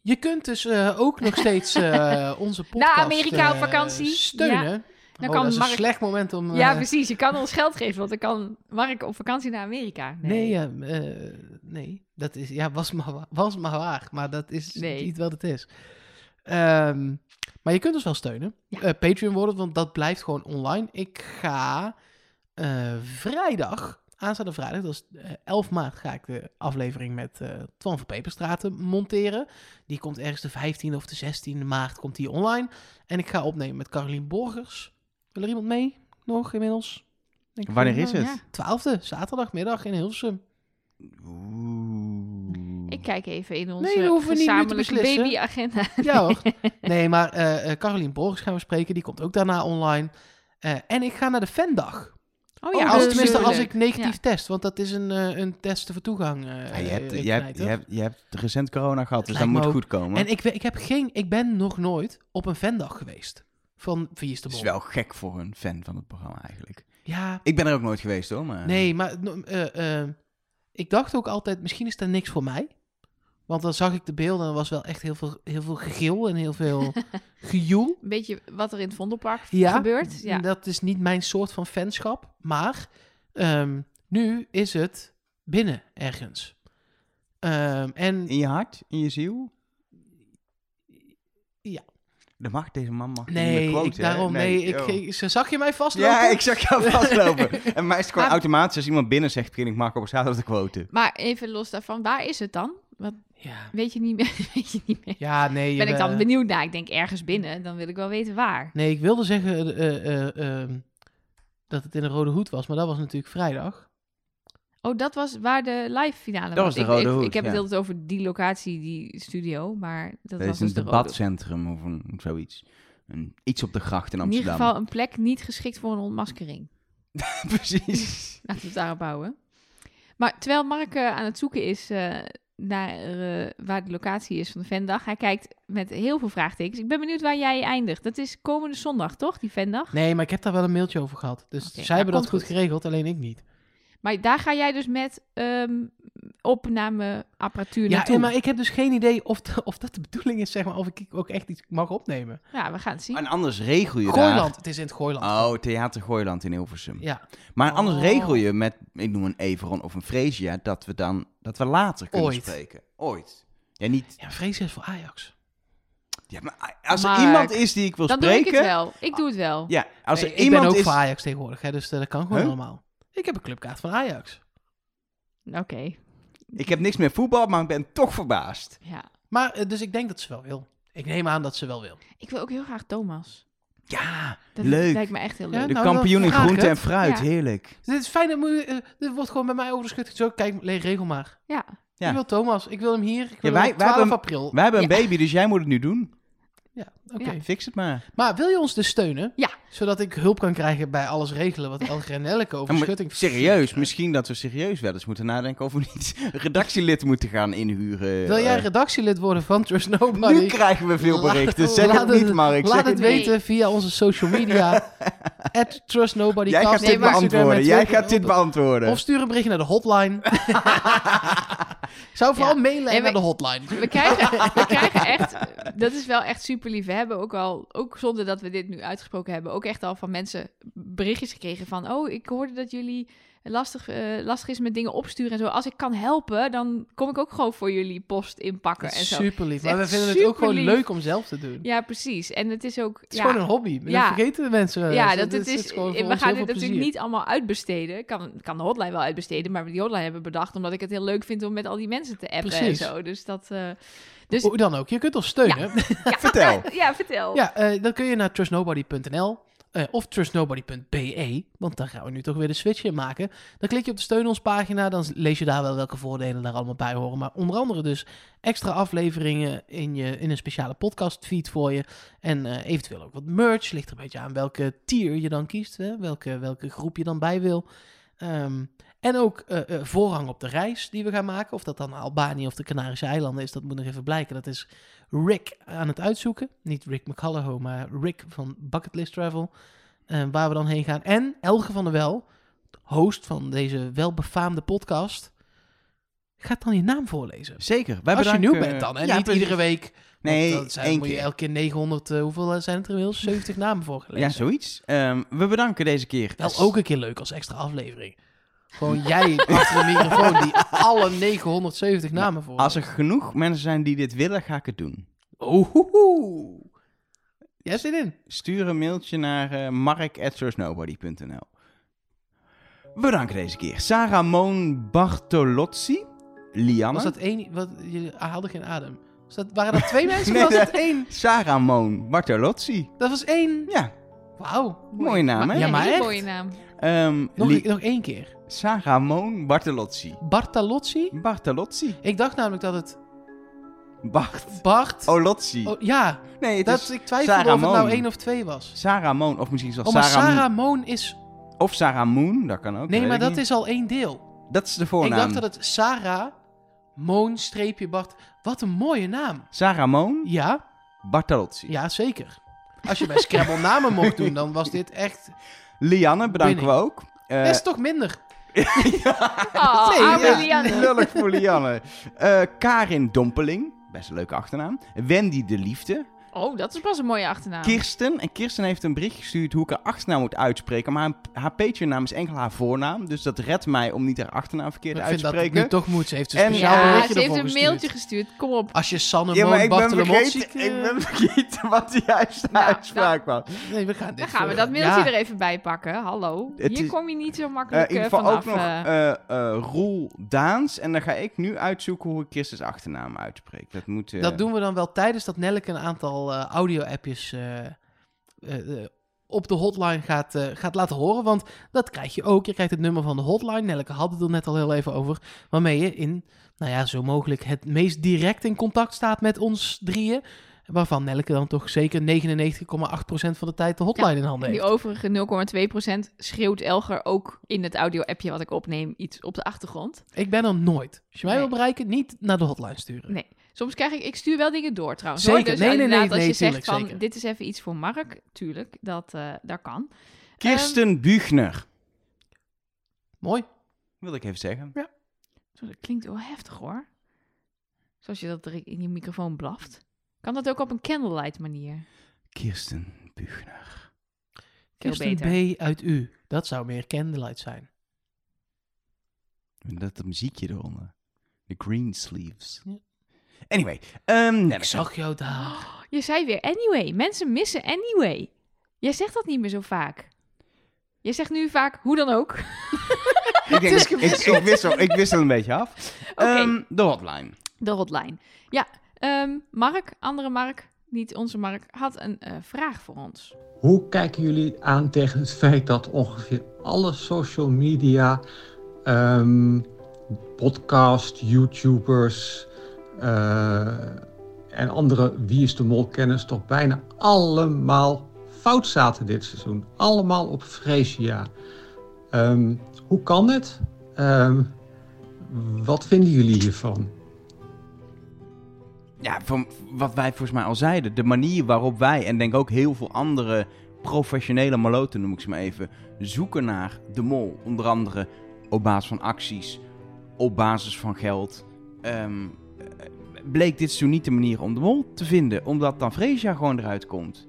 Speaker 2: je kunt dus eh, ook nog steeds eh, onze podcast
Speaker 1: Amerika op
Speaker 2: eh,
Speaker 1: vakantie.
Speaker 2: steunen.
Speaker 1: Dan
Speaker 2: oh,
Speaker 1: kan
Speaker 2: dat is een
Speaker 1: Mark-
Speaker 2: slecht moment om... eh,
Speaker 1: Ja, precies. Je kan ons geld geven, want dan kan Mark op vakantie naar Amerika.
Speaker 2: Nee, ja, eh, nee. Dat is, ja, was, maar, wa- was maar waar. Maar dat is
Speaker 1: Nee.
Speaker 2: niet wat het is. Ehm, maar je kunt ons wel steunen.
Speaker 1: Ja.
Speaker 2: Eh, Patreon worden, want dat blijft gewoon online. Ik ga eh, vrijdag, aanstaande vrijdag, dat is eh, 11 maart, ga ik de aflevering met eh Twan van Peperstraten monteren. Die komt ergens de 15e of de 16e maart komt die online. En ik ga opnemen met Carolien Borgers. Wil er iemand mee? Nog inmiddels? Denk ik
Speaker 3: Wanneer
Speaker 2: wel.
Speaker 3: is het?
Speaker 1: Ja.
Speaker 2: 12e, zaterdagmiddag in Hilversum.
Speaker 3: Oeh.
Speaker 1: Ik kijk even in onze
Speaker 2: Nee, we hoeven niet nu te
Speaker 1: gezamenlijke
Speaker 2: beslissen.
Speaker 1: babyagenda.
Speaker 2: Ja hoor. Nee, maar eh eh, Carolien Borgers gaan we spreken. Die komt ook daarna online. Eh, en ik ga naar de fandag.
Speaker 1: Oh
Speaker 2: Oh,
Speaker 1: ja,
Speaker 2: als,
Speaker 1: dat is
Speaker 2: tenminste als
Speaker 1: leuk.
Speaker 2: ik negatief
Speaker 1: Ja.
Speaker 2: test, want dat is een, eh, een test voor toegang. eh,
Speaker 3: Ja, je, hebt,
Speaker 2: eh,
Speaker 3: je, hebt,
Speaker 2: knijter.
Speaker 3: je, hebt, je hebt recent corona gehad, dus
Speaker 2: Lijkt
Speaker 3: dat
Speaker 2: me
Speaker 3: moet
Speaker 2: ook.
Speaker 3: goed komen.
Speaker 2: En ik, we- ik, heb geen, ik ben nog nooit op een fandag geweest van Vierste
Speaker 3: Het is
Speaker 2: Bol.
Speaker 3: wel gek voor een fan van het programma eigenlijk.
Speaker 2: Ja,
Speaker 3: Ik ben er ook nooit geweest hoor, maar...
Speaker 2: nee, maar no- eh, eh, ik dacht ook altijd, misschien is daar niks voor mij. Want dan zag ik de beelden en er was wel echt heel veel, heel veel gegil en heel veel gejoel.
Speaker 1: Een beetje wat er in het Vondelpark
Speaker 2: Ja,
Speaker 1: gebeurt. Ja.
Speaker 2: Dat is niet mijn soort van fanschap. Maar ehm, nu is het binnen ergens. Ehm, en
Speaker 3: In je hart? In je ziel?
Speaker 2: Ja.
Speaker 3: Dat mag, deze man mag niet meer
Speaker 2: Nee,
Speaker 3: quote,
Speaker 2: ik,
Speaker 3: hè?
Speaker 2: daarom nee. ik,
Speaker 3: oh.
Speaker 2: ik- ze zag je mij vastlopen?
Speaker 3: Ja, ik zag jou vastlopen. en mij is het gewoon
Speaker 1: Maar-
Speaker 3: automatisch als iemand binnen zegt, begin ik maak op zaterdag de quote.
Speaker 1: Maar even los daarvan, waar is het dan? Wat,
Speaker 2: Ja,
Speaker 1: weet je niet meer? Weet je niet meer?
Speaker 2: ja nee.
Speaker 1: Ben ik dan
Speaker 2: eh,
Speaker 1: benieuwd naar? Ik denk ergens binnen, dan wil ik wel weten waar.
Speaker 2: Nee, ik wilde zeggen eh, eh, eh, ehm, dat het in de Rode Hoed was, maar dat was natuurlijk vrijdag.
Speaker 1: Oh, dat was waar de live finale
Speaker 3: Dat was de Rode
Speaker 1: ik, ik,
Speaker 3: Hoed,
Speaker 1: ik heb het
Speaker 3: ja.
Speaker 1: altijd over die locatie, die studio, maar dat
Speaker 3: Dat,
Speaker 1: was
Speaker 3: is een
Speaker 1: dus de Rode Hoed.
Speaker 3: debatcentrum of een, zoiets. Een, iets op de gracht in
Speaker 1: In ieder
Speaker 3: Amsterdam.
Speaker 1: geval een plek niet geschikt voor een ontmaskering.
Speaker 3: Precies.
Speaker 1: Laten we het daarop houden. Maar terwijl Mark eh, aan het zoeken is eh, naar eh, waar de locatie is van de Vendag, hij kijkt met heel veel vraagtekens. Ik ben benieuwd waar jij eindigt. Dat is komende zondag, toch, die Vendag?
Speaker 2: Nee, maar ik heb daar wel een mailtje over gehad. Dus
Speaker 1: Oké,
Speaker 2: zij hebben
Speaker 1: nou,
Speaker 2: dat
Speaker 1: komt
Speaker 2: goed geregeld, alleen ik niet.
Speaker 1: Maar daar ga jij dus met ehm, opnameapparatuur
Speaker 2: Ja,
Speaker 1: naartoe.
Speaker 2: en, maar ik heb dus geen idee of, de- of dat de bedoeling is, zeg maar, of ik ook echt iets mag opnemen.
Speaker 1: Ja, we gaan het zien.
Speaker 3: En anders regel je
Speaker 2: Gooiland, het is in het
Speaker 3: daar...
Speaker 2: Gooiland.
Speaker 3: Oh, Theater Gooiland in Hilversum.
Speaker 2: Ja,
Speaker 3: Maar anders
Speaker 2: Oh.
Speaker 3: regel je met, ik noem een Everon of een Freesia, dat we dan, dat we later kunnen
Speaker 2: Ooit.
Speaker 3: spreken. Ooit. Ja, niet.
Speaker 2: ja vrees is voor Ajax.
Speaker 3: Ja, maar als
Speaker 1: Mark,
Speaker 3: er iemand is die ik wil
Speaker 1: Dan doe ik
Speaker 3: spreken. Ah,
Speaker 1: het wel. Ik doe het wel.
Speaker 3: Ja, als
Speaker 2: Nee,
Speaker 3: er
Speaker 2: ik ben
Speaker 3: iemand
Speaker 2: ook voor
Speaker 3: is.
Speaker 2: Ajax tegenwoordig, hè, dus eh, dat kan gewoon
Speaker 3: Huh?
Speaker 2: normaal. Ik heb een clubkaart van Ajax.
Speaker 1: Oké,
Speaker 3: Ik heb niks meer voetbal, maar ik ben toch verbaasd.
Speaker 1: ja.
Speaker 2: Maar, eh, dus ik denk dat ze wel wil. Ik neem aan dat ze wel wil.
Speaker 1: Ik wil ook heel graag Thomas.
Speaker 3: Ja,
Speaker 1: Dat
Speaker 3: Leuk.
Speaker 1: lijkt me echt heel
Speaker 2: Ja,
Speaker 1: leuk.
Speaker 3: de
Speaker 2: nou,
Speaker 3: kampioen
Speaker 2: dan
Speaker 3: in
Speaker 2: vraag ik
Speaker 3: groente en
Speaker 2: het.
Speaker 3: fruit,
Speaker 1: Ja.
Speaker 3: heerlijk.
Speaker 2: Dus dit is fijn, dat moet, je- eh, dit wordt gewoon bij mij over de schut gezogen. Kijk, le- regel maar.
Speaker 1: Ja.
Speaker 3: Ja.
Speaker 2: Ik wil Thomas, ik wil hem hier. Ik wil
Speaker 3: Ja, wij-
Speaker 2: hem op
Speaker 3: wij
Speaker 2: 12
Speaker 3: hebben hem-
Speaker 2: april.
Speaker 3: Wij hebben een
Speaker 1: Ja.
Speaker 3: baby, dus jij moet het nu doen.
Speaker 2: Ja, oké.
Speaker 1: Ja.
Speaker 3: Fix het maar.
Speaker 2: Maar wil je ons dus steunen?
Speaker 1: Ja.
Speaker 2: Zodat ik hulp kan krijgen bij alles regelen wat Elger en Elke over
Speaker 3: Ja, maar
Speaker 2: schutting...
Speaker 3: Serieus, misschien dat we serieus wel eens moeten nadenken of we niet een redactielid moeten gaan inhuren.
Speaker 2: Wil jij
Speaker 3: Eh,
Speaker 2: redactielid worden van Trust Nobody?
Speaker 3: nu krijgen we veel
Speaker 2: Laat-
Speaker 3: berichten. Zeg
Speaker 2: laat
Speaker 3: het niet,
Speaker 2: het-
Speaker 3: Mark. Zeg
Speaker 2: Laat
Speaker 3: het
Speaker 2: het
Speaker 1: niet.
Speaker 2: weten via onze social media. At Trust Nobody
Speaker 3: Jij gaat
Speaker 2: Cast
Speaker 3: dit
Speaker 2: op Instagram en
Speaker 3: beantwoorden. Jij
Speaker 2: Twitter.
Speaker 3: gaat dit beantwoorden.
Speaker 2: Of stuur een berichtje naar de hotline. Zou vooral
Speaker 1: Ja.
Speaker 2: mailen
Speaker 1: En we-
Speaker 2: naar de hotline.
Speaker 1: We krijgen, we krijgen echt, dat is wel echt super lief. We hebben ook al, ook zonder dat we dit nu uitgesproken hebben, ook echt al van mensen berichtjes gekregen van, oh, ik hoorde dat jullie lastig, eh, lastig is met dingen opsturen en zo. Als ik kan helpen, dan kom ik ook gewoon voor jullie post inpakken en zo.
Speaker 2: Super
Speaker 1: Het is
Speaker 2: lief. Maar we
Speaker 1: echt
Speaker 2: vinden het ook gewoon
Speaker 1: superlief.
Speaker 2: leuk om zelf te doen.
Speaker 1: Ja, precies. En het is ook,
Speaker 2: Het is
Speaker 1: ja,
Speaker 2: gewoon een hobby. Dat
Speaker 1: Ja.
Speaker 2: vergeten de mensen. wel
Speaker 1: ja,
Speaker 2: eens. Dus
Speaker 1: dat het
Speaker 2: het
Speaker 1: is,
Speaker 2: gewoon voor
Speaker 1: we
Speaker 2: ons
Speaker 1: gaan dit
Speaker 2: heel veel
Speaker 1: natuurlijk
Speaker 2: plezier.
Speaker 1: niet allemaal uitbesteden. Kan, kan de hotline wel uitbesteden, maar we die hotline hebben bedacht omdat ik het heel leuk vind om met al die mensen te appen
Speaker 2: Precies.
Speaker 1: en zo. Dus dat, eh, dus
Speaker 2: Hoe dan ook, je kunt ons steunen. Ja,
Speaker 3: Vertel.
Speaker 1: ja, vertel.
Speaker 2: eh, dan kun je naar trustnobody.nl eh, of trustnobody.be, E, want daar gaan we nu toch weer de switch in maken. Dan klik je op de steun ons pagina, dan lees je daar wel welke voordelen daar allemaal bij horen. Maar onder andere dus extra afleveringen in, je, in een speciale podcast feed voor je. En eh, eventueel ook wat merch, ligt er een beetje aan welke tier je dan kiest, hè? Welke, welke groep je dan bij wil. Ehm, en ook eh, eh, voorrang op de reis die we gaan maken. Of dat dan Albanië of de Canarische eilanden is, dat moet nog even blijken. Dat is Rick aan het uitzoeken. Niet Rick McCallagho, maar Rick van Bucketlist Travel. eh, waar we dan heen gaan. En Elge van der Wel, host van deze welbefaamde podcast, gaat dan je naam voorlezen.
Speaker 3: Zeker. Wij
Speaker 2: Als je
Speaker 3: bedanken-
Speaker 2: nieuw bent dan, en
Speaker 3: Ja,
Speaker 2: niet
Speaker 3: precies.
Speaker 2: iedere week. want
Speaker 3: Nee,
Speaker 2: dan zijn,
Speaker 3: één
Speaker 2: moet je
Speaker 3: keer.
Speaker 2: elke keer 900, eh, hoeveel zijn het er inmiddels? 70 namen voorgelezen.
Speaker 3: Ja, zoiets. Ehm, we bedanken deze keer.
Speaker 2: Wel ook een keer leuk als extra aflevering. Gewoon jij achter de microfoon die alle 970 namen voor.
Speaker 3: Als er genoeg mensen zijn die dit willen, ga ik het doen.
Speaker 2: Oeh. Jij zit in.
Speaker 3: Stuur een mailtje naar eh mark@sourcenobody.nl. Bedankt deze keer. Sarah Moon Bartolozzi. Lianne.
Speaker 2: Was dat één? Wat, je haalde geen adem. Was dat, waren dat twee mensen?
Speaker 3: Nee,
Speaker 2: of was
Speaker 3: nee.
Speaker 2: dat één?
Speaker 3: Sarah Moon Bartolozzi.
Speaker 2: Dat was één.
Speaker 3: Ja,
Speaker 2: Wauw.
Speaker 3: mooie naam, hè?
Speaker 2: Ja,
Speaker 1: Ja,
Speaker 2: maar
Speaker 1: maar
Speaker 2: echt.
Speaker 1: mooie naam.
Speaker 3: Ehm,
Speaker 2: Nog,
Speaker 3: Li-
Speaker 2: een- nog één keer.
Speaker 3: Sarah Moon Bartolozzi.
Speaker 2: Bartalozzi?
Speaker 3: Bartolozzi.
Speaker 2: Ik dacht namelijk dat het
Speaker 3: Bart.
Speaker 2: Bart...
Speaker 3: Olozzi.
Speaker 2: Oh, ja,
Speaker 3: nee, het
Speaker 2: dat,
Speaker 3: is
Speaker 2: ik twijfelde
Speaker 3: Sarah
Speaker 2: of het nou
Speaker 3: Moon.
Speaker 2: één of twee was.
Speaker 3: Sarah Moon. Of misschien zelfs
Speaker 2: Oh, maar
Speaker 3: Sarah,
Speaker 2: Sarah,
Speaker 3: Moon.
Speaker 2: Moon is...
Speaker 3: Of Sarah Moon, dat kan ook.
Speaker 2: nee,
Speaker 3: weet
Speaker 2: maar
Speaker 3: ik
Speaker 2: dat
Speaker 3: niet.
Speaker 2: is al één deel.
Speaker 3: Dat is de
Speaker 2: Ik
Speaker 3: voornaam.
Speaker 2: dacht dat het Sarah Moon streepje Bart... Wat een mooie naam.
Speaker 3: Sarah Moon
Speaker 2: Ja,
Speaker 3: Bartolozzi.
Speaker 2: ja, zeker. Als je bij Scrabble namen mocht doen, dan was dit echt...
Speaker 3: Eh, Lianne, bedanken we
Speaker 2: Winning.
Speaker 3: ook. Eh,
Speaker 2: Dat is toch minder?
Speaker 1: Oh,
Speaker 2: Nee,
Speaker 1: arme
Speaker 2: ja.
Speaker 1: Lianne.
Speaker 3: Lullig voor Lianne. Eh, Karin Dompeling, best een leuke achternaam. Wendy de Liefde.
Speaker 1: Oh, dat is pas een mooie achternaam.
Speaker 2: Ah.
Speaker 3: Kirsten. En Kirsten heeft een bericht gestuurd hoe ik haar achternaam moet uitspreken. Maar haar, haar Patreon-naam is enkel haar voornaam. Dus dat redt mij om niet haar achternaam verkeerd
Speaker 2: Ik
Speaker 3: uit
Speaker 2: vind
Speaker 3: te
Speaker 2: dat het
Speaker 3: spreken.
Speaker 2: nu toch moet. Ze heeft een
Speaker 3: En-
Speaker 2: speciaal
Speaker 1: ja,
Speaker 2: berichtje
Speaker 1: ze heeft
Speaker 2: ervoor
Speaker 1: een
Speaker 2: gestuurd.
Speaker 1: mailtje gestuurd. Kom op.
Speaker 2: Als je Sanne
Speaker 3: Ja, maar
Speaker 2: Moon eh,
Speaker 3: ik ben,
Speaker 2: Bartolomotsi...
Speaker 3: vergeten, ik ben vergeten wat de juiste
Speaker 1: Nou,
Speaker 3: uitspraak was.
Speaker 2: Nee, we gaan dit
Speaker 1: Dan gaan we
Speaker 2: voor-
Speaker 1: dat mailtje
Speaker 2: Ja.
Speaker 1: er even bij pakken. Hallo.
Speaker 3: Het
Speaker 1: Hier
Speaker 3: is-
Speaker 1: kom je niet zo
Speaker 3: Eh, in
Speaker 1: makkelijk
Speaker 3: ieder
Speaker 1: eh,
Speaker 3: geval
Speaker 1: vanaf.
Speaker 3: ook nog
Speaker 1: eh.
Speaker 3: eh eh, Roel Daans. En dan ga ik nu uitzoeken hoe ik Kirsten's achternaam uitspreek. Dat moet... eh,
Speaker 2: Dat doen we dan wel tijdens dat Nelleke een aantal eh, audio-appjes eh, eh, eh, op de hotline gaat, eh, gaat laten horen. Want dat krijg je ook. Je krijgt het nummer van de hotline. Nelleke had het er net al heel even over. Waarmee je in, nou ja, zo mogelijk het meest direct in contact staat met ons drieën. Waarvan Nelleke dan toch zeker 99,8% van de tijd de hotline in handen
Speaker 1: En die
Speaker 2: heeft.
Speaker 1: overige 0,2% schreeuwt Elger ook in het audio-appje wat ik opneem iets op de achtergrond.
Speaker 2: Ik ben er nooit. Als je mij
Speaker 1: Nee.
Speaker 2: wil bereiken, niet naar de hotline sturen.
Speaker 1: Nee. Soms krijg ik, ik stuur wel dingen door trouwens.
Speaker 2: Zeker.
Speaker 1: hoor. Dus
Speaker 2: Nee, nee, nee,
Speaker 1: inderdaad, als
Speaker 2: nee,
Speaker 1: je zegt
Speaker 2: tuurlijk,
Speaker 1: van,
Speaker 2: zeker.
Speaker 1: dit is even iets voor Mark, tuurlijk, dat, eh dat kan.
Speaker 3: Kirsten Buchner.
Speaker 2: Mooi.
Speaker 3: Wil ik even zeggen.
Speaker 1: Zo, dat klinkt wel heftig hoor. Zoals je dat er in je microfoon blaft. Kan dat ook op een candlelight manier?
Speaker 3: Kirsten Buchner.
Speaker 1: Veel
Speaker 2: Kirsten
Speaker 1: beter.
Speaker 2: B. uit U. Dat zou meer candlelight zijn.
Speaker 3: En Dat, dat muziekje eronder. De green sleeves.
Speaker 2: Ja.
Speaker 3: Anyway. ehm,
Speaker 2: Ik zag jou daar.
Speaker 1: Je zei weer anyway. Mensen missen anyway. Jij zegt dat niet meer zo vaak. Je zegt nu vaak hoe dan ook.
Speaker 3: ik, denk, ik, ik, ik wissel, ik wissel een beetje af.
Speaker 1: Oké.
Speaker 3: Ehm, de hotline.
Speaker 1: De hotline. Ja, ehm, Mark, andere Mark, niet onze Mark, had een eh, vraag voor ons.
Speaker 4: Hoe kijken jullie aan tegen het feit dat ongeveer alle social media, ehm podcast, YouTubers eh, en andere Wie is de Mol kennis toch bijna allemaal fout zaten dit seizoen? Allemaal op Freesia. Ehm, hoe kan dit? Ehm, wat vinden jullie hiervan?
Speaker 3: Ja, van wat wij volgens mij al zeiden. De manier waarop wij en denk ook heel veel andere professionele maloten, noem ik ze maar even, zoeken naar de mol. Onder andere op basis van acties, op basis van geld. Ehm, eh, bleek dit zo niet de manier om de mol te vinden, omdat dan Freesia gewoon eruit komt.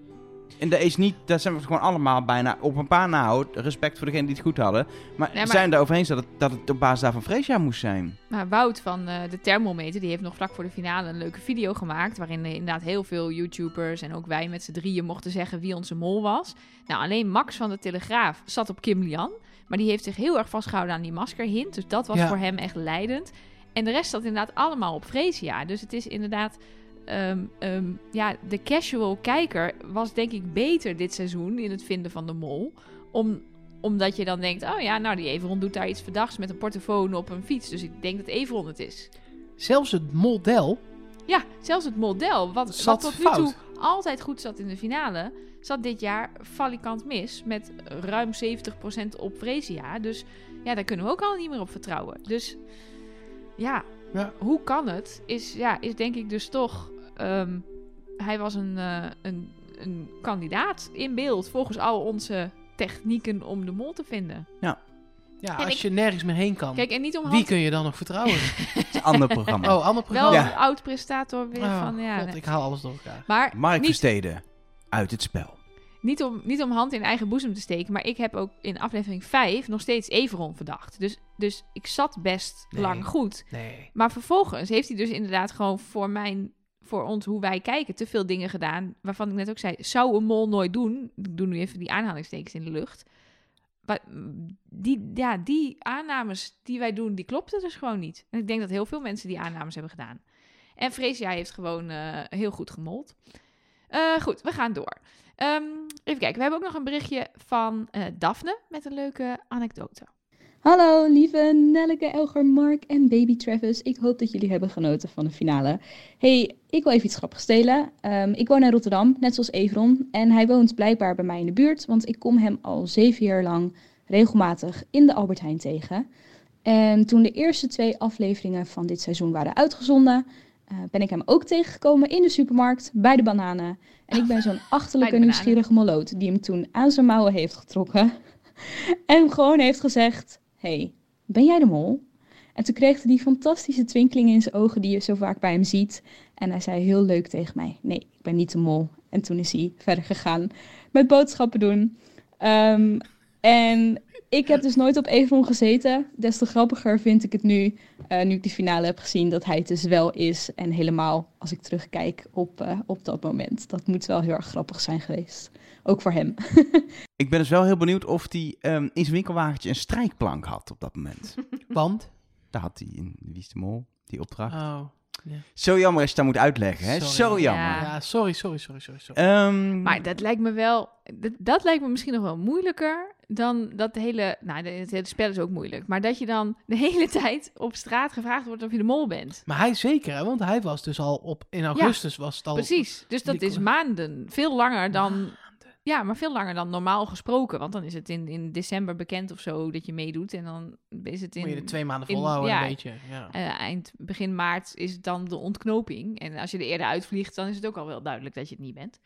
Speaker 3: En dat is niet, daar zijn we gewoon allemaal bijna op een paar nou, respect voor degenen die het goed hadden. Maar,
Speaker 1: Nee, maar-
Speaker 3: zijn er over eens dat het, dat het op basis daarvan Freesia moest zijn?
Speaker 1: Maar Wout van eh, de Thermometer, die heeft nog vlak voor de finale een leuke video gemaakt. Waarin eh, inderdaad heel veel YouTubers en ook wij met z'n drieën mochten zeggen wie onze mol was. Nou, alleen Max van de Telegraaf zat op Kim Lian. Maar die heeft zich heel erg vastgehouden aan die maskerhint. Dus dat was
Speaker 2: Ja.
Speaker 1: voor hem echt leidend. En de rest zat inderdaad allemaal op Freesia. Dus het is inderdaad. ehm, ehm, ja, de casual kijker was denk ik beter dit seizoen in het vinden van de mol. Om, omdat je dan denkt, oh ja, nou die Everon doet daar iets verdachts met een portofoon op een fiets. Dus ik denk dat Everon het is.
Speaker 2: Zelfs het model
Speaker 1: Ja, zelfs het model, wat,
Speaker 2: Zat
Speaker 1: wat tot
Speaker 2: fout.
Speaker 1: nu toe altijd goed zat in de finale, zat dit jaar falikant mis. Met ruim 70% op Fresia. Dus ja, daar kunnen we ook al niet meer op vertrouwen. Dus ja,
Speaker 2: Ja.
Speaker 1: hoe kan het? Is, ja, is denk ik dus toch. ehm, hij was een, eh, een, een kandidaat in beeld volgens al onze technieken om de mol te vinden.
Speaker 2: Ja,
Speaker 1: En
Speaker 2: als
Speaker 1: ik-
Speaker 2: je nergens meer heen kan,
Speaker 1: Kijk, en niet om
Speaker 2: wie
Speaker 1: hand...
Speaker 2: kun je dan nog vertrouwen?
Speaker 3: Het is een ander programma.
Speaker 2: oh, ander
Speaker 1: wel
Speaker 2: programma.
Speaker 3: Ja.
Speaker 1: een oud prestator weer
Speaker 2: Oh,
Speaker 1: van ja.
Speaker 2: God,
Speaker 1: nee.
Speaker 2: ik haal alles door elkaar.
Speaker 1: Maar
Speaker 3: Mark
Speaker 1: niet
Speaker 3: Versteden, uit het spel.
Speaker 1: niet om, niet om hand in eigen boezem te steken, maar ik heb ook in aflevering 5 nog steeds Everon verdacht. Dus, dus ik zat best
Speaker 2: Nee.
Speaker 1: lang goed.
Speaker 2: Nee.
Speaker 1: Maar vervolgens heeft hij dus inderdaad gewoon voor mijn, voor ons hoe wij kijken te veel dingen gedaan. Waarvan ik net ook zei, zou een mol nooit doen. Ik doe nu even die aanhalingstekens in de lucht. Maar mm, die, ja, die aannames die wij doen, die klopten dus gewoon niet. En ik denk dat heel veel mensen die aannames hebben gedaan. En Freesia heeft gewoon eh, heel goed gemold. Eh, goed, we gaan door. Ehm, even kijken, we hebben ook nog een berichtje van eh Daphne met een leuke anekdote.
Speaker 5: Hallo lieve Nelleke, Elger, Mark en baby Travis. Ik hoop dat jullie hebben genoten van de finale. hey, ik wil even iets grappigs stelen. Ehm, ik woon in Rotterdam, net zoals Evron. En hij woont blijkbaar bij mij in de buurt, want ik kom hem al zeven jaar lang regelmatig in de Albert Heijn tegen. En toen de eerste twee afleveringen van dit seizoen waren uitgezonden, eh, ben ik hem ook tegengekomen in de supermarkt bij de bananen. En ik ben zo'n achterlijke
Speaker 1: bananen.
Speaker 5: nieuwsgierige moloot die hem toen aan zijn mouwen heeft getrokken. En hem gewoon heeft gezegd: hey, ben jij de mol? En toen kreeg hij die fantastische twinkeling in zijn ogen die je zo vaak bij hem ziet. En hij zei heel leuk tegen mij: Nee, ik ben niet de mol. En toen is hij verder gegaan met boodschappen doen. Ehm, en ik heb dus nooit op Evron gezeten. Des te grappiger vind ik het nu, eh, nu ik die finale heb gezien, dat hij het dus wel is. En helemaal als ik terugkijk op, eh, op dat moment. Dat moet wel heel erg grappig zijn geweest. Ook voor hem.
Speaker 3: Ik ben dus wel heel benieuwd of hij ehm, in zijn winkelwagentje een strijkplank had op dat moment.
Speaker 2: Want?
Speaker 3: Daar had hij in Wie is de Mol, die opdracht.
Speaker 2: Oh.
Speaker 3: Zo jammer als je dat moet uitleggen, hè?
Speaker 2: Sorry.
Speaker 3: Zo jammer.
Speaker 1: Ja.
Speaker 2: Ja, sorry, sorry, sorry, sorry. sorry.
Speaker 3: Ehm,
Speaker 1: Maar dat lijkt me wel, dat, dat lijkt me misschien nog wel moeilijker dan dat hele, nou de- het hele spel is ook moeilijk, maar dat je dan de hele tijd op straat gevraagd wordt of je de mol bent.
Speaker 2: Maar hij zeker, hè? want hij was dus al op... In augustus was het al...
Speaker 1: Precies, dus dat
Speaker 2: Oh, die-
Speaker 1: is maanden, veel langer dan, ja, maar veel langer dan normaal gesproken, want dan is het in, in december bekend of zo dat je meedoet en dan is het
Speaker 2: Moet je er
Speaker 1: in...
Speaker 2: twee maanden
Speaker 1: in-
Speaker 2: volhouden,
Speaker 1: ja.
Speaker 2: een beetje. Ja.
Speaker 1: eh, eind, begin maart is het dan de ontknoping. En als je er eerder uitvliegt, dan is het ook al wel duidelijk dat je het niet bent.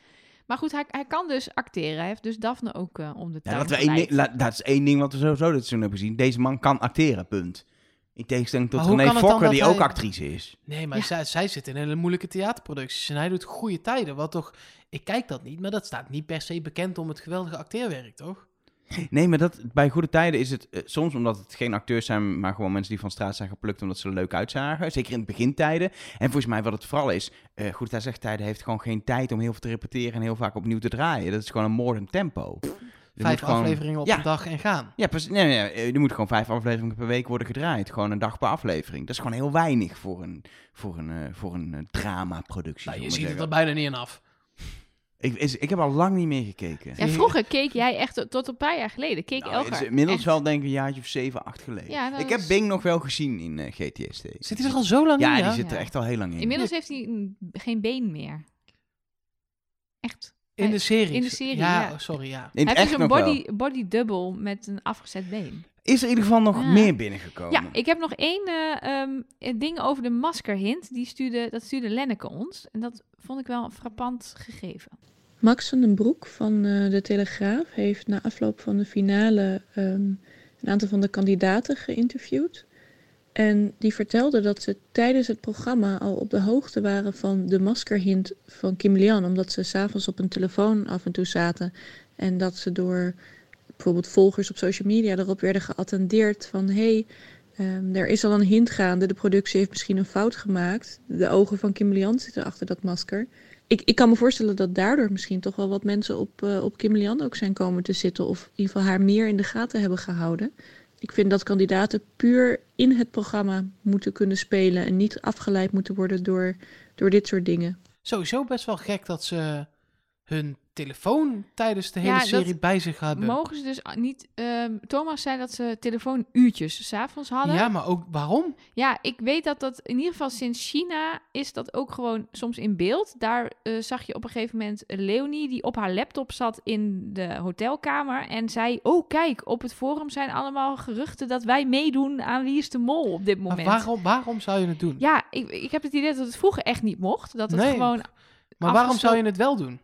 Speaker 1: Maar goed, hij, hij kan dus acteren. Hij heeft dus Daphne ook eh, om de
Speaker 3: ja,
Speaker 1: tuin
Speaker 3: dat, we één
Speaker 1: geleid.
Speaker 3: ding- la- dat is één ding wat we sowieso dit seizoen hebben gezien. Deze man kan acteren, punt. In tegenstelling tot
Speaker 2: Maar hoe
Speaker 3: René
Speaker 2: kan het dan
Speaker 3: Fokker,
Speaker 2: dat
Speaker 3: die
Speaker 2: hij-
Speaker 3: ook actrice is.
Speaker 2: Nee, maar
Speaker 1: Ja.
Speaker 2: zij, zij zit in hele moeilijke theaterproducties en hij doet goede tijden. Wat toch, ik kijk dat niet, maar dat staat niet per se bekend om het geweldige acteerwerk, toch?
Speaker 3: Nee, maar dat, bij goede tijden is het eh, soms omdat het geen acteurs zijn, maar gewoon mensen die van straat zijn geplukt omdat ze er leuk uitzagen. Zeker in het begintijden. En volgens mij wat het vooral is, eh goede tijden, slechte tijden heeft gewoon geen tijd om heel veel te repeteren en heel vaak opnieuw te draaien. Dat is gewoon een moordend tempo. Je moet
Speaker 2: Vijf
Speaker 3: gewoon-
Speaker 2: afleveringen op
Speaker 3: Ja.
Speaker 2: een dag en gaan.
Speaker 3: Ja, precies. Nee, nee, nee, er moet gewoon vijf afleveringen per week worden gedraaid. Gewoon een dag per aflevering. Dat is gewoon heel weinig voor een, voor een, eh, voor een eh, dramaproductie.
Speaker 2: Nou, je
Speaker 3: zullen we
Speaker 2: ziet het er
Speaker 3: zeggen.
Speaker 2: bijna niet in af.
Speaker 3: ik, is, ik heb al lang niet meer gekeken.
Speaker 1: Ja, vroeger keek jij echt tot- tot een paar jaar geleden. Keek
Speaker 3: Nou,
Speaker 1: Elgar
Speaker 3: het is inmiddels
Speaker 1: echt-
Speaker 3: wel denk ik een jaartje of zeven, acht geleden.
Speaker 1: Ja, dat
Speaker 3: ik heb
Speaker 1: is-
Speaker 3: Bing nog wel gezien in eh, GTSD.
Speaker 2: Zit hij er al zo lang
Speaker 3: Ja,
Speaker 2: in?
Speaker 3: die zit er
Speaker 1: Ja.
Speaker 3: echt al heel lang in.
Speaker 1: Inmiddels heeft hij een- geen been meer. Echt.
Speaker 2: In de serie.
Speaker 1: Eh, In de serie, ja.
Speaker 2: oh, sorry, ja.
Speaker 3: In het
Speaker 1: hij heeft
Speaker 3: echt
Speaker 1: dus een
Speaker 3: nog wel.
Speaker 1: body, body double met een afgezet been.
Speaker 3: Is er in ieder geval nog
Speaker 1: Ja.
Speaker 3: meer binnengekomen?
Speaker 1: Ja, ik heb nog één eh, ehm, eh, ding over de maskerhint. Die stuurde, dat stuurde Lenneke ons. En dat vond ik wel een frappant gegeven.
Speaker 6: Max van den Broek van eh, De Telegraaf heeft na afloop van de finale ehm, een aantal van de kandidaten geïnterviewd. En die vertelde dat ze tijdens het programma al op de hoogte waren van de maskerhint van Kim Lian. Omdat ze s'avonds op een telefoon af en toe zaten. En dat ze door bijvoorbeeld volgers op social media erop werden geattendeerd van... Hey, ehm, er is al een hint gaande, de productie heeft misschien een fout gemaakt. De ogen van Kim Lian zitten achter dat masker ik, ik kan me voorstellen dat daardoor misschien toch wel wat mensen op, eh, op Kim Lian ook zijn komen te zitten. Of in ieder geval haar meer in de gaten hebben gehouden. Ik vind dat kandidaten puur in het programma moeten kunnen spelen. En niet afgeleid moeten worden door, door dit soort dingen.
Speaker 2: Sowieso best wel gek dat ze hun telefoon tijdens de hele
Speaker 1: Ja, dat
Speaker 2: serie bij zich hebben.
Speaker 1: Mogen ze dus a- niet... ehm, Thomas zei dat ze telefoonuurtjes s'avonds hadden.
Speaker 2: Ja, maar ook waarom?
Speaker 1: Ja, ik weet dat dat in ieder geval sinds China is dat ook gewoon soms in beeld. Daar eh, zag je op een gegeven moment Leonie die op haar laptop zat in de hotelkamer en zei: "Oh kijk, op het forum zijn allemaal geruchten dat wij meedoen aan Wie is de Mol op dit moment."
Speaker 2: Maar waarom, waarom zou je het doen?
Speaker 1: Ja, ik, ik heb het idee dat het vroeger echt niet mocht. Dat het
Speaker 2: Nee.
Speaker 1: gewoon.
Speaker 2: maar waarom
Speaker 1: afgesloten-
Speaker 2: zou je het wel doen?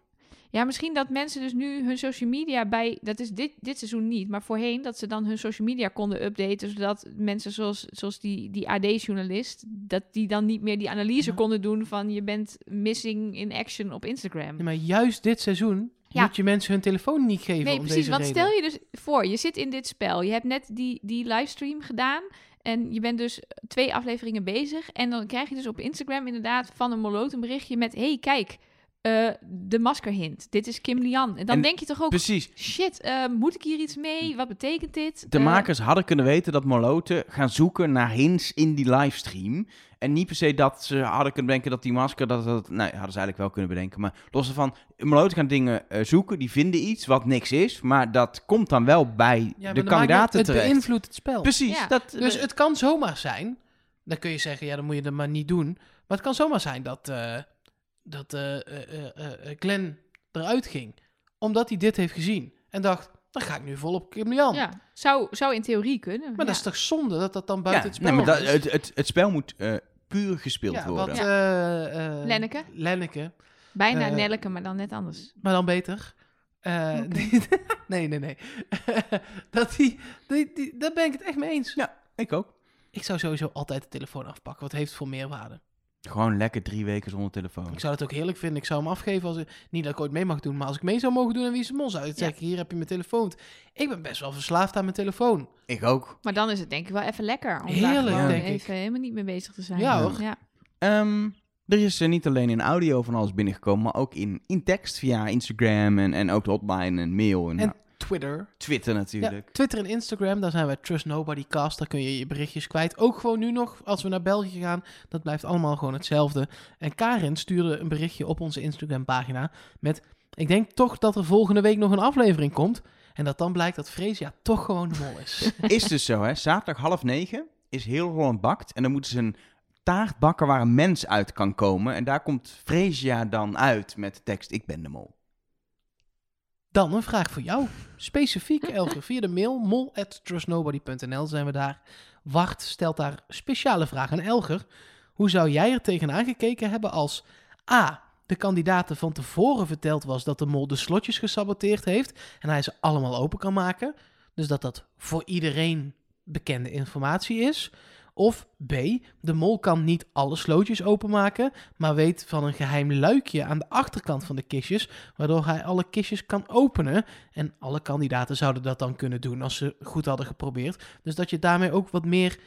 Speaker 1: Ja, misschien dat mensen dus nu hun social media bij. Dat is dit, dit seizoen niet, maar voorheen dat ze dan hun social media konden updaten. Zodat mensen zoals, zoals die, die AD-journalist. dat die dan niet meer die analyse
Speaker 2: Ja.
Speaker 1: konden doen van je bent missing in action op Instagram.
Speaker 2: Nee, maar juist dit seizoen
Speaker 1: Ja.
Speaker 2: moet je mensen hun telefoon niet geven
Speaker 1: Nee,
Speaker 2: om
Speaker 1: precies.
Speaker 2: deze
Speaker 1: Want
Speaker 2: reden.
Speaker 1: stel je dus voor, je zit in dit spel. Je hebt net die, die livestream gedaan. En je bent dus twee afleveringen bezig. En dan krijg je dus op Instagram inderdaad van een moloot een berichtje met... hey, kijk, eh, de maskerhint. Dit is Kim Lian. En dan
Speaker 3: En
Speaker 1: denk je toch ook...
Speaker 3: Precies.
Speaker 1: Shit, eh, moet ik hier iets mee? Wat betekent dit?
Speaker 3: De
Speaker 1: Eh,
Speaker 3: makers hadden kunnen weten dat Moloten gaan zoeken naar hints in die livestream. En niet per se dat ze hadden kunnen bedenken dat die masker... Dat, dat, nou, hadden ze eigenlijk wel kunnen bedenken. Maar los daarvan, Moloten gaan dingen eh, zoeken. Die vinden iets wat niks is. Maar dat komt dan wel bij
Speaker 2: Ja, maar dat
Speaker 3: de
Speaker 2: maakt niet uit.
Speaker 3: kandidaten
Speaker 2: Het
Speaker 3: terecht.
Speaker 2: beïnvloedt het spel.
Speaker 3: Precies.
Speaker 1: Ja.
Speaker 3: Dat,
Speaker 2: Dus het kan zomaar zijn. Dan kun je zeggen, ja, dan moet je dat maar niet doen. Maar het kan zomaar zijn dat, eh, dat eh, eh, eh, eh, Glenn eruit ging. Omdat hij dit heeft gezien. En dacht, dan ga ik nu volop Kim Lian.
Speaker 1: Ja, zou, zou in theorie kunnen.
Speaker 2: Maar
Speaker 1: ja.
Speaker 2: dat is toch zonde dat dat dan
Speaker 3: ja,
Speaker 2: buiten het spel
Speaker 3: nee, maar dat-
Speaker 2: is?
Speaker 3: het, het, het spel moet eh, puur gespeeld
Speaker 2: ja,
Speaker 3: worden.
Speaker 2: wat, eh, eh,
Speaker 1: Lenneke?
Speaker 2: Lenneke.
Speaker 1: Bijna
Speaker 2: eh,
Speaker 1: Nelleke, maar dan net anders.
Speaker 2: Maar dan beter. Eh,
Speaker 1: Oké.
Speaker 2: die- nee, nee, nee. dat die, die, die, daar ben ik het echt mee eens.
Speaker 3: Ik ook.
Speaker 2: Ik zou sowieso altijd de telefoon afpakken. Wat heeft het voor meerwaarde?
Speaker 3: Gewoon lekker drie weken zonder telefoon.
Speaker 2: Ik zou het ook heerlijk vinden. Ik zou hem afgeven als ik... Niet dat ik ooit mee mag doen, maar als ik mee zou mogen doen aan Wie is de Mol... zou ik
Speaker 1: Ja.
Speaker 2: zeggen, hier heb je mijn telefoon. Ik ben best wel verslaafd aan mijn telefoon.
Speaker 3: Ik ook.
Speaker 1: Maar dan is het denk ik wel even lekker. Om daar
Speaker 2: Heerlijk,
Speaker 1: gewoon
Speaker 2: denk ik.
Speaker 1: even helemaal niet mee bezig te zijn.
Speaker 2: Ja, hoor.
Speaker 1: Ja.
Speaker 3: Ehm, er is eh, niet alleen in audio van alles binnengekomen, maar ook in, in tekst via Instagram en, en ook de hotline en mail en,
Speaker 2: En
Speaker 3: nou,
Speaker 2: Twitter.
Speaker 3: Twitter
Speaker 2: Ja,
Speaker 3: natuurlijk.
Speaker 2: Twitter en Instagram, daar zijn wij Trust Nobody Cast. Daar kun je je berichtjes kwijt. Ook gewoon nu nog, als we naar België gaan. Dat blijft allemaal gewoon hetzelfde. En Karin stuurde een berichtje op onze Instagram pagina met... Ik denk toch dat er volgende week nog een aflevering komt. En dat dan blijkt dat Freesia toch gewoon de mol is.
Speaker 3: Is dus zo, hè. Zaterdag half negen is heel Holland Bakt en dan moeten ze een taart bakken waar een mens uit kan komen. En daar komt Freesia dan uit met de tekst Ik ben de mol.
Speaker 2: Dan een vraag voor jou. Specifiek, Elger, via de mail mol.trustnobody.nl zijn we daar. Wart stelt daar speciale vragen aan Elger. Hoe zou jij er tegenaan gekeken hebben als A. de kandidaten van tevoren verteld was dat de mol de slotjes gesaboteerd heeft en hij ze allemaal open kan maken, dus dat dat voor iedereen bekende informatie is. Of B. De mol kan niet alle slootjes openmaken, maar weet van een geheim luikje aan de achterkant van de kistjes waardoor hij alle kistjes kan openen. En alle kandidaten zouden dat dan kunnen doen als ze goed hadden geprobeerd. Dus dat je daarmee ook wat meer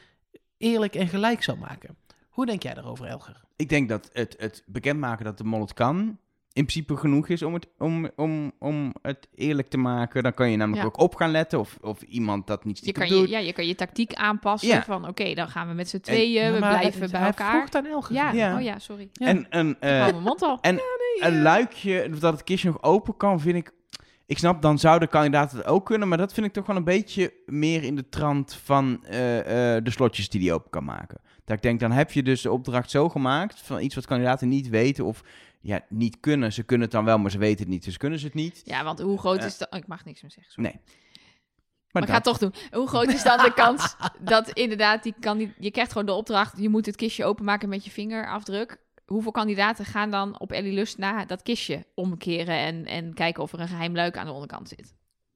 Speaker 2: eerlijk en gelijk zou maken. Hoe denk jij daarover, Elger?
Speaker 3: Ik denk dat het, het bekendmaken dat de mol het kan, in principe genoeg is om het, om, om, om het eerlijk te maken. Dan kan je namelijk
Speaker 1: Ja.
Speaker 3: ook op gaan letten of, of iemand dat niet
Speaker 1: Je,
Speaker 3: stiekem
Speaker 1: kan
Speaker 3: doet.
Speaker 1: je, ja, je kan je tactiek aanpassen
Speaker 3: Ja.
Speaker 1: van oké, dan gaan we met z'n tweeën, we
Speaker 2: Maar
Speaker 1: blijven
Speaker 2: hij-
Speaker 1: bij
Speaker 2: Hij
Speaker 1: elkaar.
Speaker 2: vroeg aan Elger.
Speaker 1: Ja.
Speaker 3: Ja.
Speaker 1: oh ja, sorry.
Speaker 2: Ja.
Speaker 3: En een, eh,
Speaker 1: Hou mijn mond al.
Speaker 3: een luikje, dat het kistje nog open kan, vind ik... Ik snap, dan zouden kandidaten het ook kunnen, maar dat vind ik toch wel een beetje meer in de trant van eh, eh, de slotjes die die open kan maken. Dat ik denk, dan heb je dus de opdracht zo gemaakt van iets wat kandidaten niet weten of ja, niet kunnen. Ze kunnen het dan wel, maar ze weten het niet, dus kunnen ze het niet.
Speaker 1: Ja, want hoe groot
Speaker 3: Eh.
Speaker 1: is dat? Ik mag niks meer zeggen. sorry.
Speaker 3: Nee.
Speaker 1: Maar ik ga het toch doen. Hoe groot is dan de kans dat inderdaad die kandidaat... Je krijgt gewoon de opdracht, je moet het kistje openmaken met je vingerafdruk. Hoeveel kandidaten gaan dan op Ellie Lust na dat kistje omkeren... en, en kijken of er een geheim luik aan de onderkant zit?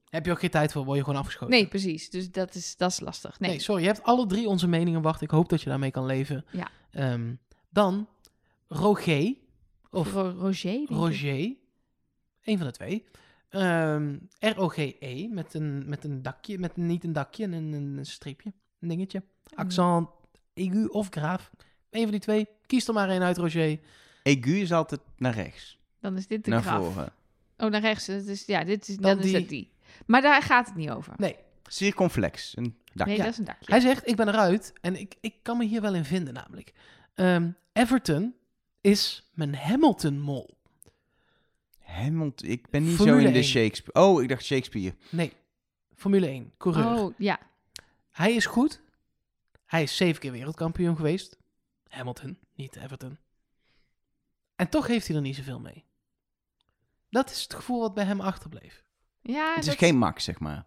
Speaker 2: Heb je ook geen tijd voor, word je gewoon afgeschoten.
Speaker 1: Nee, precies. Dus dat is, dat is lastig. Nee.
Speaker 2: Oh, Nee, sorry. Je hebt alle drie onze meningen, wacht. Ik hoop dat je daarmee kan leven.
Speaker 1: Ja.
Speaker 2: Ehm, dan Roger, of
Speaker 1: Ro- Roger? denk ik.
Speaker 2: Roger, een van de twee. Ehm, R-O-G-E, E met een, met een dakje, met een- niet een dakje, een, een een streepje, een dingetje. Accent, aigu of graaf. Een van die twee. Kies er maar één uit, Roger.
Speaker 3: Egu is altijd naar rechts,
Speaker 1: Dan is dit de
Speaker 3: naar
Speaker 1: graf.
Speaker 3: voren.
Speaker 1: Oh, naar rechts. Dat is, ja, dit is,
Speaker 2: Dan
Speaker 1: dan is
Speaker 2: die.
Speaker 1: dat die. Maar daar gaat het niet over.
Speaker 2: Nee,
Speaker 3: Circonflex, een dak.
Speaker 1: Nee,
Speaker 2: Ja.
Speaker 1: dat is een dakje.
Speaker 2: hij zegt, ik ben eruit en ik, ik kan me hier wel in vinden namelijk. Ehm, Everton is mijn Hamilton-mol.
Speaker 3: Hamilton, ik ben niet
Speaker 2: Formule
Speaker 3: zo in de
Speaker 2: één.
Speaker 3: Shakespeare. Oh, ik dacht Shakespeare.
Speaker 2: Nee, Formule 1, coureur.
Speaker 1: Oh, ja.
Speaker 2: Hij is goed. Hij is zeven keer wereldkampioen geweest. Hamilton, niet Everton. En toch heeft hij er niet zoveel mee. Dat is het gevoel wat bij hem achterbleef.
Speaker 1: ja
Speaker 3: het is
Speaker 1: dat,
Speaker 3: geen Max, zeg maar.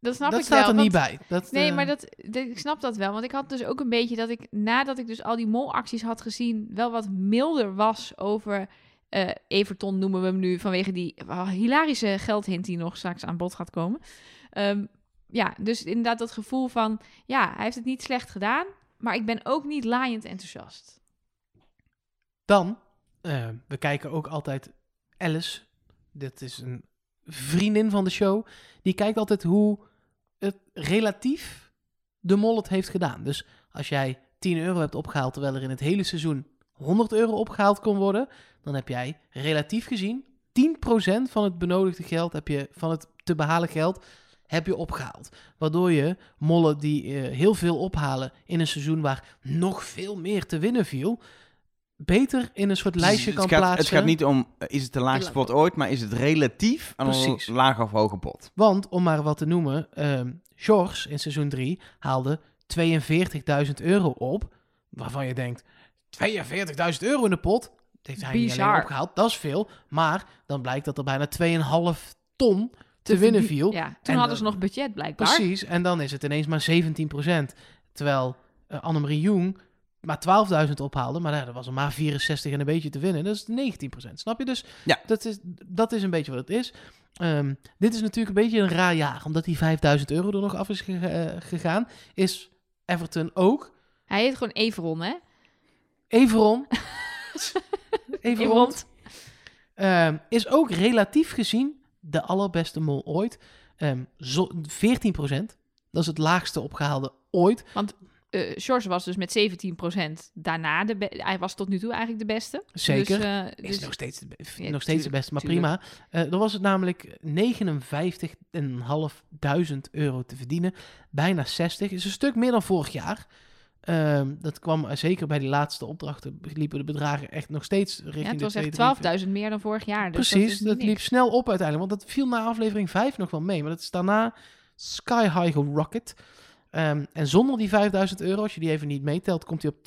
Speaker 1: dat snap
Speaker 2: dat
Speaker 1: ik
Speaker 2: staat
Speaker 1: wel.
Speaker 2: er niet
Speaker 1: want-
Speaker 2: bij. Dat,
Speaker 1: Nee,
Speaker 2: eh,
Speaker 1: maar dat, dat- ik snap dat wel. Want ik had dus ook een beetje dat ik, nadat ik dus al die molacties had gezien, wel wat milder was over eh, Everton, noemen we hem nu, vanwege die ah, hilarische geldhint die nog straks aan bod gaat komen. Ehm, ja, dus inderdaad dat gevoel van, ja, hij heeft het niet slecht gedaan, maar ik ben ook niet laaiend enthousiast.
Speaker 2: Dan, eh, we kijken ook altijd Alice. Dit is een vriendin van de show. Die kijkt altijd hoe het relatief de mol het heeft gedaan. Dus als jij 10 euro hebt opgehaald terwijl er in het hele seizoen 100 euro opgehaald kon worden, dan heb jij relatief gezien 10% van het benodigde geld, heb je, van het te behalen geld, heb je opgehaald. Waardoor je mollen die eh, heel veel ophalen in een seizoen waar nog veel meer te winnen viel, beter in een soort lijstje
Speaker 3: Dus
Speaker 2: kan
Speaker 3: het gaat,
Speaker 2: plaatsen.
Speaker 3: Het gaat niet om, eh, is het de laagste pot ooit, maar is het relatief aan een
Speaker 2: Precies.
Speaker 3: lage of hoge pot?
Speaker 2: Want, om maar wat te noemen, ehm Georges in seizoen 3 haalde 42.000 euro op. Waarvan je denkt, 42.000 euro in de pot? Dat heeft hij niet alleen
Speaker 1: Bizar.
Speaker 2: opgehaald, dat is veel. Maar dan blijkt dat er bijna 2,5 ton te, winnen
Speaker 1: verdie-
Speaker 2: viel.
Speaker 1: Ja, toen
Speaker 2: En
Speaker 1: hadden ze
Speaker 2: dan-
Speaker 1: nog budget blijkbaar.
Speaker 2: Precies, en dan is het ineens maar 17%. Terwijl eh, Annemarie Jong maar 12.000 ophaalde, maar ja, er was er maar 64 en een beetje te winnen. Dat is 19%, snap je? Dus
Speaker 3: Ja.
Speaker 2: dat, is, dat is een beetje wat het is. Ehm, dit is natuurlijk een beetje een raar jaar, omdat die 5.000 euro er nog af is ge- eh, gegaan. Is Everton ook.
Speaker 1: Hij heet gewoon Everon, hè?
Speaker 2: Everon.
Speaker 1: Everon.
Speaker 2: Ehm, is ook relatief gezien de allerbeste mol ooit. Ehm, zo, 14%. Dat is het laagste opgehaalde ooit.
Speaker 1: eh George was dus met 17% daarna de be- Hij was tot nu toe eigenlijk de beste.
Speaker 2: Zeker.
Speaker 1: Dus, eh,
Speaker 2: Is
Speaker 1: dus-
Speaker 2: nog steeds, de, be-
Speaker 1: Ja,
Speaker 2: nog steeds de
Speaker 1: tuurlijk,
Speaker 2: beste, maar
Speaker 1: tuurlijk.
Speaker 2: prima. Eh dan was het namelijk 59.500 euro te verdienen. Bijna 60. Is een stuk meer dan vorig jaar. Ehm, dat kwam eh, zeker bij die laatste opdrachten. Liepen de bedragen echt nog steeds richting
Speaker 1: ja, het
Speaker 2: de
Speaker 1: was
Speaker 2: 2,
Speaker 1: echt
Speaker 2: 3, 4.
Speaker 1: 12.000 meer dan vorig jaar. Dus
Speaker 2: Precies,
Speaker 1: dat,
Speaker 2: dat, liep snel op uiteindelijk. Want dat viel na aflevering 5 nog wel mee. Maar dat is daarna sky high gerocket. Ehm, en zonder die 5000 euro, als je die even niet meetelt, komt hij op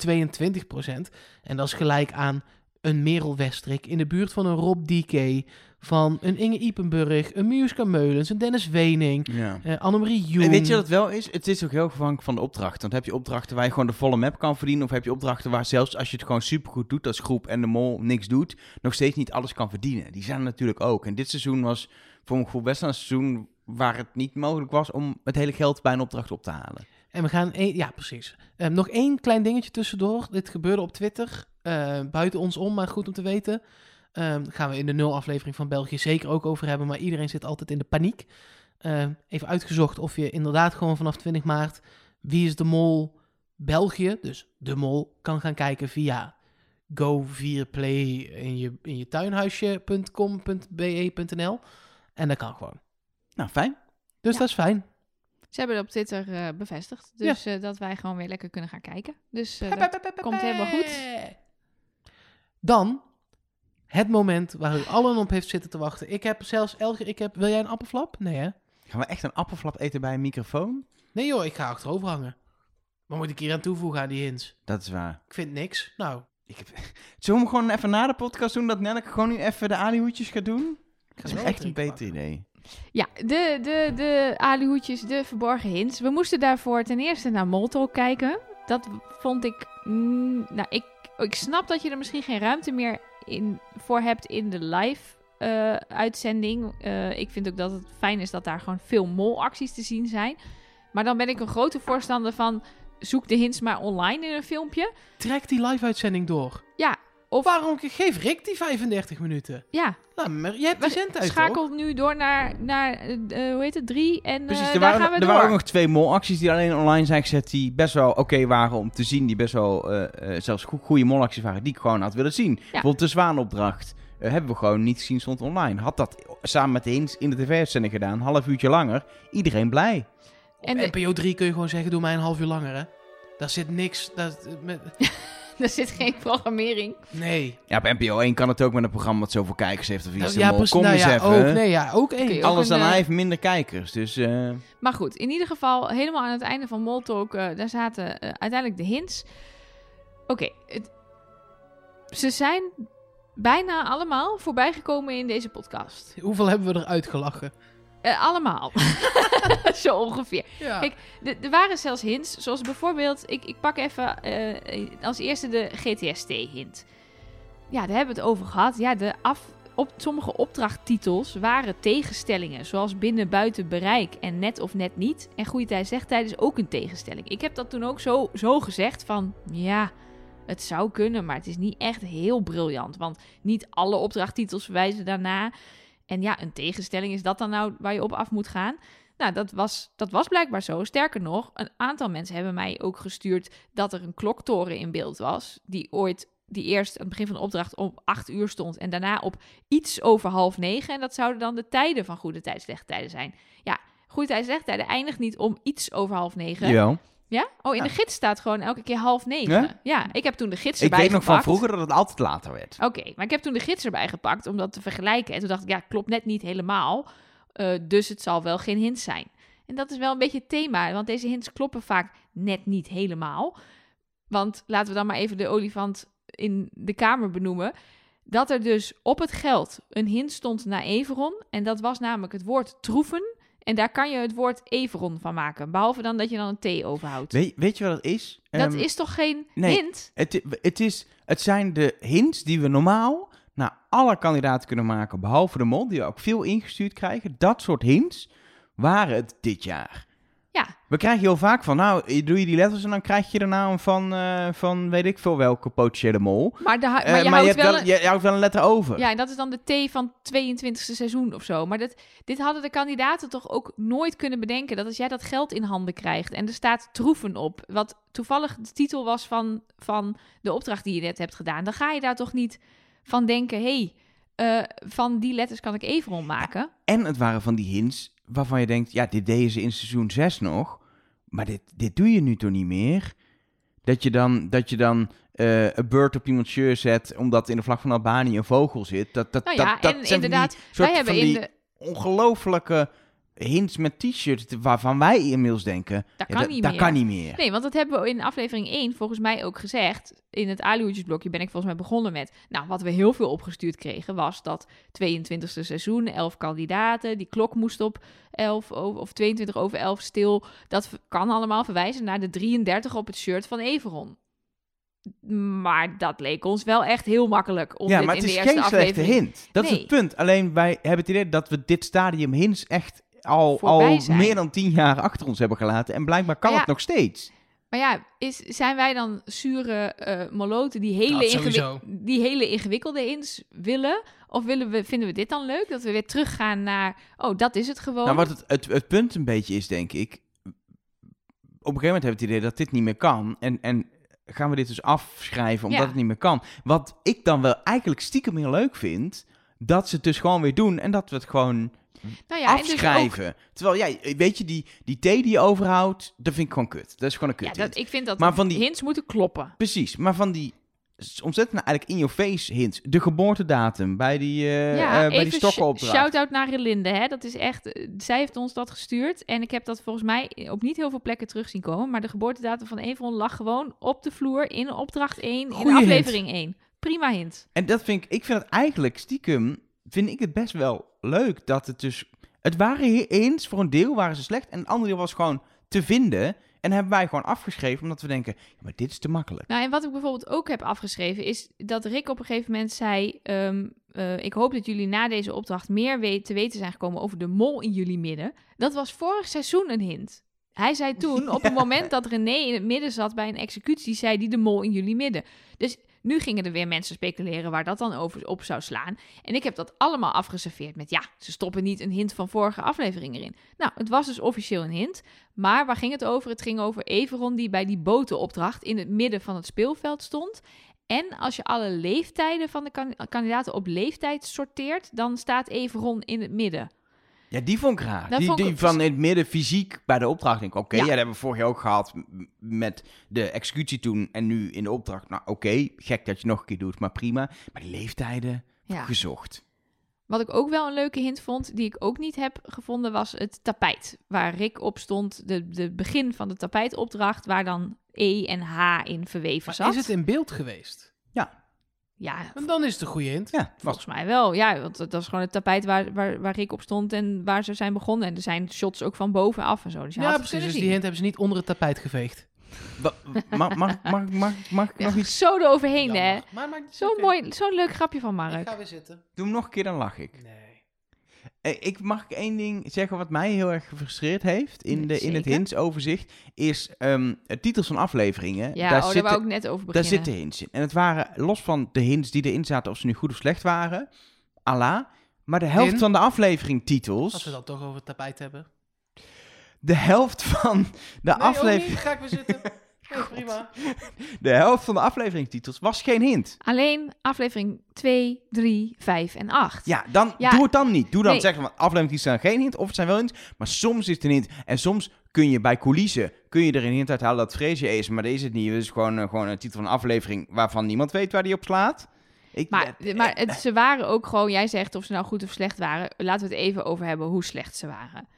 Speaker 2: 22%. En dat is gelijk aan een Merel Westrik in de buurt van een Rob DK, van een Inge Ipenburg, een Miuska Meulens, een Dennis Wening,
Speaker 3: Ja.
Speaker 2: eh Annemarie Jong.
Speaker 3: En weet je wat het wel is? Het is ook heel afhankelijk van de opdracht. Want heb je opdrachten waar je gewoon de volle map kan verdienen... of heb je opdrachten waar zelfs als je het gewoon supergoed doet als groep... en de mol niks doet, nog steeds niet alles kan verdienen. Die zijn er natuurlijk ook. En dit seizoen was voor mijn gevoel best wel een seizoen... waar het niet mogelijk was om het hele geld bij een opdracht op te halen.
Speaker 2: En we gaan... Een, ja, precies. Ehm, nog één klein dingetje tussendoor. Dit gebeurde op Twitter. eh, buiten ons om, maar goed om te weten. Ehm gaan we in de nul aflevering van België zeker ook over hebben. Maar iedereen zit altijd in de paniek. Ehm, even uitgezocht of je inderdaad gewoon vanaf 20 maart... Wie is de mol België? Dus de mol kan gaan kijken via go4play in je, in je tuinhuisje.com.be.nl. En dat kan gewoon.
Speaker 3: Nou, fijn.
Speaker 2: Dus
Speaker 1: Ja.
Speaker 2: dat is fijn.
Speaker 1: Ze hebben het op Twitter eh, bevestigd.
Speaker 2: Ja.
Speaker 1: Dus eh, dat wij gewoon weer lekker kunnen gaan kijken. Dus eh, dat komt helemaal goed.
Speaker 2: Dan het moment waar u allen op heeft zitten te wachten. Ik heb zelfs Elger, ik heb, wil jij een appelflap? Nee hè?
Speaker 3: Gaan we echt een appelflap eten bij een microfoon?
Speaker 2: Nee joh, ik ga achterover hangen. Wat moet ik hier aan toevoegen aan die hints?
Speaker 3: Dat is waar.
Speaker 2: Ik vind niks. Nou,
Speaker 3: Ik heb... Zullen we hem gewoon even na de podcast doen... dat Nelleke gewoon nu even de alihoedjes gaat doen?
Speaker 2: ik
Speaker 3: Dat
Speaker 2: ga
Speaker 3: is
Speaker 2: wel
Speaker 3: echt een
Speaker 2: drinken
Speaker 3: beter
Speaker 2: pakken.
Speaker 3: idee.
Speaker 1: Ja, de, de, de alihoedjes, de verborgen hints. We moesten daarvoor ten eerste naar Molto kijken. Dat vond ik... mm, nou, ik, ik snap dat je er misschien geen ruimte meer in, voor hebt in de live eh, uitzending. Eh, ik vind ook dat het fijn is dat daar gewoon veel molacties te zien zijn. Maar dan ben ik een grote voorstander van... zoek de hints maar online in een filmpje.
Speaker 2: Trek die live-uitzending door.
Speaker 1: Ja,
Speaker 2: Of waarom geef Rick die 35 minuten?
Speaker 1: ja.
Speaker 2: Nou, maar jij hebt de zendtijd toch?
Speaker 1: Schakelt nu door naar, naar eh, eh, hoe heet het, drie. En eh,
Speaker 3: Precies, er,
Speaker 1: daar
Speaker 3: waren,
Speaker 1: gaan we
Speaker 3: er
Speaker 1: door.
Speaker 3: waren ook nog twee molacties die alleen online zijn gezet. Die best wel oké waren om te zien. Die best wel eh, eh, zelfs go- goede molacties waren. Die ik gewoon had willen zien. Bijvoorbeeld de zwaanopdracht. eh, hebben we gewoon niet gezien, stond online. Had dat samen met de hints in de tv-uitzending gedaan. Half uurtje langer. Iedereen blij.
Speaker 1: En
Speaker 2: Op
Speaker 1: de-
Speaker 2: NPO 3 kun je gewoon zeggen, doe mij een half uur langer hè. Daar zit niks, daar, met,
Speaker 1: er zit geen programmering.
Speaker 2: nee.
Speaker 3: Ja, op NPO 1 kan het ook met een programma wat zoveel kijkers heeft. Of iets.
Speaker 2: ja,
Speaker 3: De mol.
Speaker 2: precies.
Speaker 3: Kom
Speaker 2: Nou
Speaker 3: eens
Speaker 2: ja,
Speaker 3: even.
Speaker 2: ook, nee, ja, ook één.
Speaker 1: Kun je ook een,
Speaker 3: Alles dan
Speaker 1: eh,
Speaker 3: hij heeft minder kijkers. Dus eh,
Speaker 1: Maar goed, in ieder geval, helemaal aan het einde van Moltalk, eh daar zaten eh, uiteindelijk de hints. Oké, het- ze zijn bijna allemaal voorbijgekomen in deze podcast.
Speaker 2: Hoeveel hebben we eruit gelachen?
Speaker 1: Eh, allemaal. Zo ongeveer.
Speaker 2: Ja.
Speaker 1: Kijk, de- Er waren zelfs hints, zoals bijvoorbeeld, ik, ik pak even eh, als eerste de GTST-hint. Ja, daar hebben we het over gehad. Ja, de af, op, sommige opdrachttitels waren tegenstellingen, zoals binnen, buiten, bereik en net of net niet. En goede tijd, zegt tijd is ook een tegenstelling. Ik heb dat toen ook zo, zo gezegd van, ja, het zou kunnen, maar het is niet echt heel briljant. Want niet alle opdrachttitels verwijzen daarna. En ja, een tegenstelling is dat dan nou waar je op af moet gaan. Nou, dat was, dat was blijkbaar zo. Sterker nog, een aantal mensen hebben mij ook gestuurd dat er een kloktoren in beeld was. Die ooit, die eerst aan het begin van de opdracht om acht uur stond. En daarna op iets over half negen. En dat zouden dan de tijden van goede tijd, slechte tijden zijn. Ja, goede tijd, slechte tijden eindigt niet om iets over half negen. Ja?
Speaker 3: Jawel.
Speaker 1: Oh, in de gids staat gewoon elke keer half negen.
Speaker 3: Ja?
Speaker 1: Ja, ik heb toen de gids
Speaker 3: Ik
Speaker 1: erbij
Speaker 3: weet nog van
Speaker 1: gepakt.
Speaker 3: vroeger dat het altijd later werd.
Speaker 1: Oké, maar ik heb toen de gids erbij gepakt om dat te vergelijken. En toen dacht ik, ja, klopt net niet helemaal. Eh, dus het zal wel geen hint zijn. En dat is wel een beetje het thema, want deze hints kloppen vaak net niet helemaal. Want laten we dan maar even de olifant in de kamer benoemen. Dat er dus op het geld een hint stond naar Everon. En dat was namelijk het woord troeven. En daar kan je het woord Everon van maken. Behalve dan dat je dan een T overhoudt.
Speaker 3: Weet, weet je wat het is?
Speaker 1: dat
Speaker 3: Ehm,
Speaker 1: is toch geen
Speaker 3: nee.
Speaker 1: hint?
Speaker 3: Het, het, is, het zijn de hints die we normaal naar alle kandidaten kunnen maken, behalve de mol, die we ook veel ingestuurd krijgen. Dat soort hints waren het dit jaar.
Speaker 1: Ja.
Speaker 3: We krijgen heel vaak van, nou, doe je die letters en dan krijg je de naam van, eh, van weet ik veel welke potentiële mol.
Speaker 1: Maar, de, hu- maar
Speaker 3: Eh,
Speaker 1: je houdt
Speaker 3: hebt
Speaker 1: wel een-
Speaker 3: je houdt wel een letter over.
Speaker 1: Ja, en dat is dan de T van 22e seizoen of zo. Maar dat, dit hadden de kandidaten toch ook nooit kunnen bedenken. Dat als jij dat geld in handen krijgt en er staat troeven op. Wat toevallig de titel was van, van de opdracht die je net hebt gedaan. Dan ga je daar toch niet van denken. Hé, hey, eh, van die letters kan ik even maken.
Speaker 3: En het waren van die hints waarvan je denkt, ja, dit deden ze in seizoen 6 nog, maar dit, dit doe je nu toch niet meer? Dat je dan, dat je dan eh, een bird op iemands shirt zet omdat in de vlag van Albanië een vogel zit. Dat, dat,
Speaker 1: Nou
Speaker 3: dat,
Speaker 1: ja,
Speaker 3: dat
Speaker 1: en
Speaker 3: zijn van die
Speaker 1: inderdaad,
Speaker 3: soort
Speaker 1: wij hebben
Speaker 3: van
Speaker 1: in
Speaker 3: die
Speaker 1: de.
Speaker 3: ongelofelijke hints met t-shirts waarvan wij inmiddels denken,
Speaker 1: Dat
Speaker 3: ja,
Speaker 1: kan niet
Speaker 3: dat
Speaker 1: meer.
Speaker 3: kan niet meer.
Speaker 1: Nee, want dat hebben we in aflevering 1 volgens mij ook gezegd. In het aluhoedjesblokje ben ik volgens mij begonnen met... Nou, wat we heel veel opgestuurd kregen was dat 22e seizoen, 11 kandidaten. Die klok moest op 11 o- of 22 over 11 stil. Dat v- kan allemaal verwijzen naar de 33 op het shirt van Everon. Maar dat leek ons wel echt heel makkelijk om
Speaker 3: Ja,
Speaker 1: dit
Speaker 3: maar
Speaker 1: in
Speaker 3: het
Speaker 1: de
Speaker 3: is
Speaker 1: eerste
Speaker 3: geen slechte
Speaker 1: aflevering
Speaker 3: hint. Dat is
Speaker 1: Nee.
Speaker 3: het punt. Alleen wij hebben het idee dat we dit stadium hints echt al, al
Speaker 1: Voorbij zijn.
Speaker 3: meer dan tien jaar achter ons hebben gelaten. En blijkbaar kan
Speaker 1: Ja.
Speaker 3: het nog steeds.
Speaker 1: Maar ja, is, zijn wij dan zure eh moloten die
Speaker 2: Nou, Dat
Speaker 1: hele, ingewi-
Speaker 2: sowieso.
Speaker 1: die hele ingewikkelde ins willen? Of willen we, vinden we dit dan leuk? Dat we weer teruggaan naar, oh, dat is het gewoon.
Speaker 3: Nou, wat het, het, het punt een beetje is, denk ik. Op een gegeven moment hebben we het idee dat dit niet meer kan. En, en gaan we dit dus afschrijven omdat
Speaker 1: Ja.
Speaker 3: het niet meer kan. Wat ik dan wel eigenlijk stiekem heel leuk vind. Dat ze het dus gewoon weer doen en dat we het gewoon
Speaker 1: nou en dus ook-
Speaker 3: afschrijven. Terwijl, ja, weet je, die, die thee die je overhoudt, dat vind ik gewoon kut. Dat is gewoon een kut.
Speaker 1: ja, dat, ik vind dat
Speaker 3: Maar van die-
Speaker 1: hints moeten kloppen.
Speaker 3: Precies, maar van die s- ontzettend nou, eigenlijk in your face hints. De geboortedatum bij die, eh
Speaker 1: ja,
Speaker 3: eh, bij die
Speaker 1: even
Speaker 3: stokkenopdracht.
Speaker 1: shout-out naar Relinde. Hè? Dat is echt, eh, zij heeft ons dat gestuurd. En ik heb dat volgens mij op niet heel veel plekken terug zien komen. Maar de geboortedatum van Evron lag gewoon op de vloer in opdracht 1,
Speaker 3: Goeie
Speaker 1: in
Speaker 3: hint.
Speaker 1: aflevering 1. Prima hint.
Speaker 3: En dat vind ik, ik vind het eigenlijk stiekem, vind ik het best wel leuk dat het dus, het waren he- eens, voor een deel waren ze slecht en een ander deel was gewoon te vinden. En hebben wij gewoon afgeschreven omdat we denken, ja, maar dit is te makkelijk.
Speaker 1: Nou, en wat ik bijvoorbeeld ook heb afgeschreven is dat Rick op een gegeven moment zei: ehm, eh, Ik hoop dat jullie na deze opdracht meer we- te weten zijn gekomen over de mol in jullie midden. Dat was vorig seizoen een hint. Hij zei toen, op het moment dat René in het midden zat bij een executie, zei die de mol in jullie midden. Dus nu gingen er weer mensen speculeren waar dat dan over op zou slaan. En ik heb dat allemaal afgeserveerd met ja, ze stoppen niet een hint van vorige aflevering erin. Nou, het was dus officieel een hint. Maar waar ging het over? Het ging over Everon die bij die botenopdracht in het midden van het speelveld stond. En als je alle leeftijden van de kan- kandidaten op leeftijd sorteert, dan staat Everon in het midden.
Speaker 3: Ja, die vond ik raar.
Speaker 1: Dat
Speaker 3: Die,
Speaker 1: vond ik
Speaker 3: die
Speaker 1: ook-
Speaker 3: van in het midden fysiek bij de opdracht. Denk ik, oké,
Speaker 1: Ja.
Speaker 3: ja. dat hebben we vorig jaar ook gehad m- met de executie toen en nu in de opdracht. Nou, oké, gek dat je het nog een keer doet, maar prima. Maar die leeftijden,
Speaker 1: Ja.
Speaker 3: gezocht.
Speaker 1: Wat ik ook wel een leuke hint vond, die ik ook niet heb gevonden, was het tapijt. Waar Rick op stond, de, de begin van de tapijtopdracht, waar dan E en H in verweven
Speaker 2: Maar
Speaker 1: zat.
Speaker 2: is het in beeld geweest?
Speaker 1: Ja,
Speaker 2: En dan is het een goede hint.
Speaker 3: Ja, was.
Speaker 1: Volgens mij wel, ja. Want dat dat is gewoon het tapijt waar, waar, waar Rick op stond en waar ze zijn begonnen. En er zijn shots ook van bovenaf en zo. Dus je
Speaker 2: Ja,
Speaker 1: had het
Speaker 2: precies.
Speaker 1: kunnen
Speaker 2: Dus die
Speaker 1: zien.
Speaker 2: hint hebben ze niet onder het tapijt geveegd.
Speaker 3: Wa- Mag, mag, mag, mag, mag ik
Speaker 1: Ja,
Speaker 3: nog iets?
Speaker 1: Zo eroverheen, hè.
Speaker 2: Jammer. Maar, maar, het is
Speaker 1: Zo'n
Speaker 2: oké.
Speaker 1: mooi, zo'n leuk grapje van
Speaker 2: Ik
Speaker 1: Mark.
Speaker 2: ga weer zitten.
Speaker 3: Doe hem nog een keer, dan lach ik.
Speaker 2: Nee.
Speaker 3: Eh, Ik mag ik één ding zeggen wat mij heel erg gefrustreerd heeft in,
Speaker 1: Nee,
Speaker 3: de, in het
Speaker 1: zeker.
Speaker 3: hintsoverzicht. Is ehm, de titels van afleveringen.
Speaker 1: Ja,
Speaker 3: daar
Speaker 1: oh, daar
Speaker 3: zitten,
Speaker 1: wou ik net over
Speaker 3: daar
Speaker 1: beginnen.
Speaker 3: zitten hints in. En het waren, los van de hints die erin zaten, of ze nu goed of slecht waren, ala. Maar de helft
Speaker 2: In?
Speaker 3: van de aflevering titels.
Speaker 2: Als we dat toch over het tapijt hebben.
Speaker 3: de helft van de
Speaker 2: Nee, ook
Speaker 3: aflevering.
Speaker 2: niet. Ga ik weer zitten. Nee, prima.
Speaker 3: De helft van de afleveringtitels was geen hint.
Speaker 1: Alleen aflevering 2, 3, 5 en 8.
Speaker 3: Ja, dan
Speaker 1: Ja.
Speaker 3: doe het dan niet. Doe dan
Speaker 1: Nee.
Speaker 3: zeggen van afleveringtitels zijn geen hint of het zijn wel hints. Maar soms is het een hint. En soms kun je bij coulissen kun je er een hint uithalen dat Freesje is. Maar dat is het niet. Het is gewoon, eh, gewoon een titel van een aflevering waarvan niemand weet waar die op slaat. Ik, eh,
Speaker 1: Maar, maar het, ze waren ook gewoon, jij zegt of ze nou goed of slecht waren. Laten we het even over hebben hoe slecht ze waren.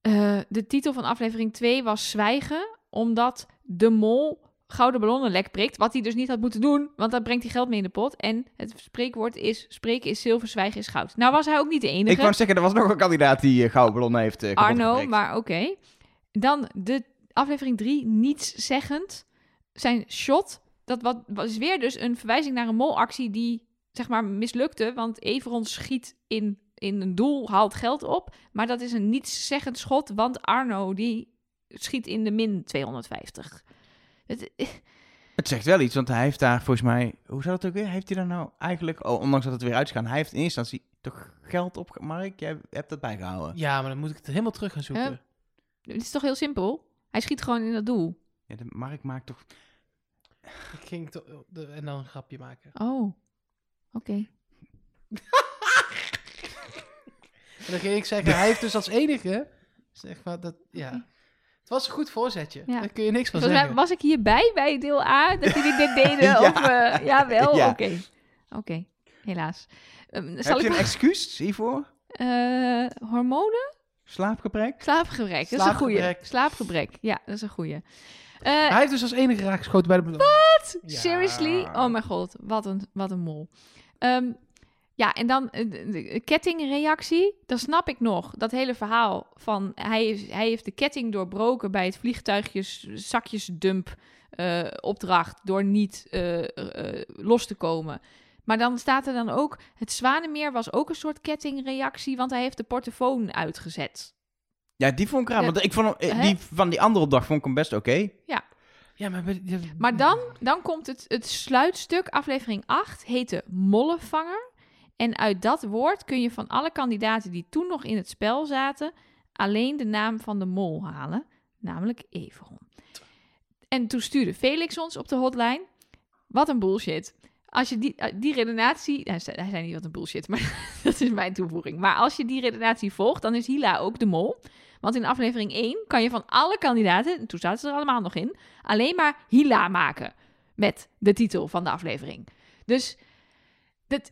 Speaker 1: Eh, de titel van aflevering 2 was Zwijgen, omdat de mol gouden ballonnen lek prikt. Wat hij dus niet had moeten doen, want dat brengt hij geld mee in de pot. En het spreekwoord is: spreken is zilver, zwijgen is goud. Nou was hij ook niet de enige.
Speaker 3: ik wou zeggen, er was nog een kandidaat die eh, gouden ballon heeft eh, kapot
Speaker 1: Arno,
Speaker 3: geprikt.
Speaker 1: maar oké. Dan de aflevering 3, niets zeggend. Zijn shot, dat wat, was weer dus een verwijzing naar een molactie die zeg maar mislukte. Want Everon schiet in, in een doel, haalt geld op. Maar dat is een niets zeggend schot, want Arno die schiet in de min 250. Het,
Speaker 3: Het zegt wel iets, want hij heeft daar volgens mij... Hoe zou dat ook weer? Heeft hij daar nou eigenlijk... Oh, ondanks dat het weer uitgaan. Hij heeft in eerste instantie toch geld op... Mark, jij hebt dat bijgehouden.
Speaker 2: Ja, maar dan moet ik het helemaal terug gaan zoeken.
Speaker 1: Huh? het is toch heel simpel? Hij schiet gewoon in dat doel.
Speaker 3: Ja, de Mark maakt toch...
Speaker 2: Ik ging to- oh, de- en dan een grapje maken.
Speaker 1: Oh, oké.
Speaker 2: En dan ging ik zeggen, hij heeft dus als enige... Zeg maar, dat, ja.
Speaker 1: Oké.
Speaker 2: Het was een goed voorzetje.
Speaker 1: Ja.
Speaker 2: Daar kun je niks van
Speaker 1: Volgens mij
Speaker 2: zeggen.
Speaker 1: was ik hierbij bij deel A dat jullie dit deden.
Speaker 3: Ja.
Speaker 1: Of, eh, jawel,
Speaker 3: Ja.
Speaker 1: oké. Oké, helaas. Ehm,
Speaker 3: Heb
Speaker 1: zal
Speaker 3: je
Speaker 1: ik
Speaker 3: een excuus hiervoor?
Speaker 1: Eh, hormonen?
Speaker 3: Slaapgebrek?
Speaker 1: Slaapgebrek, dat is een goeie.
Speaker 2: Slaapgebrek.
Speaker 1: Slaapgebrek, ja, dat is een goeie. Eh,
Speaker 2: Hij heeft dus als enige raakgeschoten bij de bedoeling. Ja.
Speaker 1: Seriously? Oh mijn god, wat een, wat een mol. Ehm, ja, en dan eh, de, de kettingreactie. Dan snap ik nog dat hele verhaal van... Hij, is, hij heeft de ketting doorbroken bij het vliegtuigjes zakjesdump eh, opdracht... door niet eh, eh, los te komen. Maar dan staat er dan ook... Het Zwanenmeer was ook een soort kettingreactie... want hij heeft de portofoon uitgezet.
Speaker 3: Ja, die vond ik
Speaker 1: Ja.
Speaker 3: raar. Want ik vond hem- eh,
Speaker 1: Hè?
Speaker 3: die van die andere opdracht vond ik hem best oké.
Speaker 2: Ja, maar... bij- ja,
Speaker 1: Maar dan, dan komt het, het sluitstuk, aflevering 8, heette Mollenvanger. En uit dat woord kun je van alle kandidaten die toen nog in het spel zaten, alleen de naam van de mol halen, namelijk Everon. En toen stuurde Felix ons op de hotline. Wat een bullshit. Als je die, eh, die redenatie. Hij zei, hij zei niet wat een bullshit, maar dat is mijn toevoeging. Maar als je die redenatie volgt, dan is Hila ook de mol. Want in aflevering 1 kan je van alle kandidaten, en toen zaten ze er allemaal nog in, alleen maar Hila maken. Met de titel van de aflevering. Dus dat,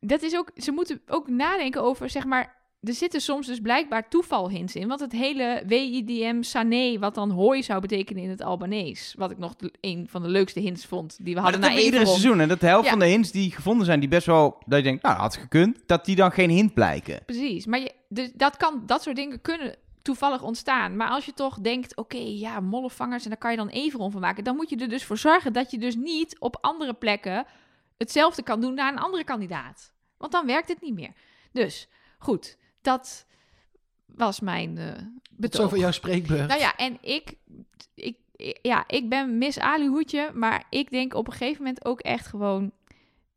Speaker 1: dat is ook. Ze moeten ook nadenken over, zeg maar. Er zitten soms dus blijkbaar toevalhints in. Want het hele WIDM Sané, wat dan hooi zou betekenen in het Albanees. Wat ik nog een van de leukste hints vond die we
Speaker 3: Maar
Speaker 1: hadden
Speaker 3: dat
Speaker 1: na
Speaker 3: hebben we iedere
Speaker 1: Everon.
Speaker 3: seizoen. En dat de helft
Speaker 1: Ja.
Speaker 3: van de hints die gevonden zijn, die best wel... Dat je denkt, nou, had gekund. Dat die dan geen hint blijken.
Speaker 1: Precies, maar je, dus dat, kan, dat soort dingen kunnen toevallig ontstaan. Maar als je toch denkt, oké, ja, mollenvangers... en daar kan je dan Everon van maken... dan moet je er dus voor zorgen dat je dus niet op andere plekken... hetzelfde kan doen naar een andere kandidaat. Want dan werkt het niet meer. Dus, goed, dat was mijn eh
Speaker 2: Tot
Speaker 1: betoog.
Speaker 2: zover jouw spreekbeurt.
Speaker 1: Nou ja, en ik, ik, ik- ja, ik ben Miss Alihoedje, maar ik denk op een gegeven moment ook echt gewoon...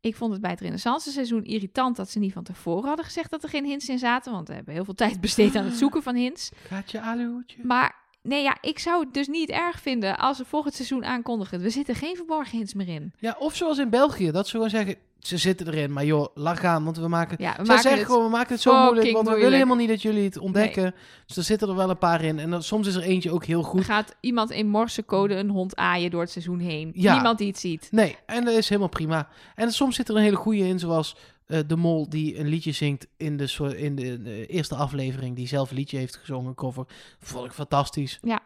Speaker 1: Ik vond het bij het renaissance seizoen irritant dat ze niet van tevoren hadden gezegd dat er geen hints in zaten. Want we hebben heel veel tijd besteed aan het zoeken van hints.
Speaker 2: Gaat je aluhoedje?
Speaker 1: Maar nee, ja, ik zou het dus niet erg vinden als ze volgend seizoen aankondigen. We zitten geen verborgen hints meer in.
Speaker 2: Ja, of zoals in België. Dat ze gewoon zeggen, ze zitten erin. Maar joh, lach aan, want we maken...
Speaker 1: Ja, we
Speaker 2: Zij
Speaker 1: maken
Speaker 2: zeggen
Speaker 1: het...
Speaker 2: gewoon, we maken het zo
Speaker 1: fucking
Speaker 2: moeilijk, want we willen
Speaker 1: moeilijk.
Speaker 2: helemaal niet dat jullie het ontdekken. Dus er zitten er wel een paar in. En dan, soms is er eentje ook heel goed.
Speaker 1: Gaat iemand in morsecode een hond aaien door het seizoen heen?
Speaker 2: Ja.
Speaker 1: Niemand die het ziet.
Speaker 2: Nee, en dat is helemaal prima. En soms zit er een hele goeie in, zoals eh, de mol die een liedje zingt in de, soort- in de, eh, eerste aflevering, die zelf een liedje heeft gezongen, cover. Vond ik fantastisch.
Speaker 1: Ja.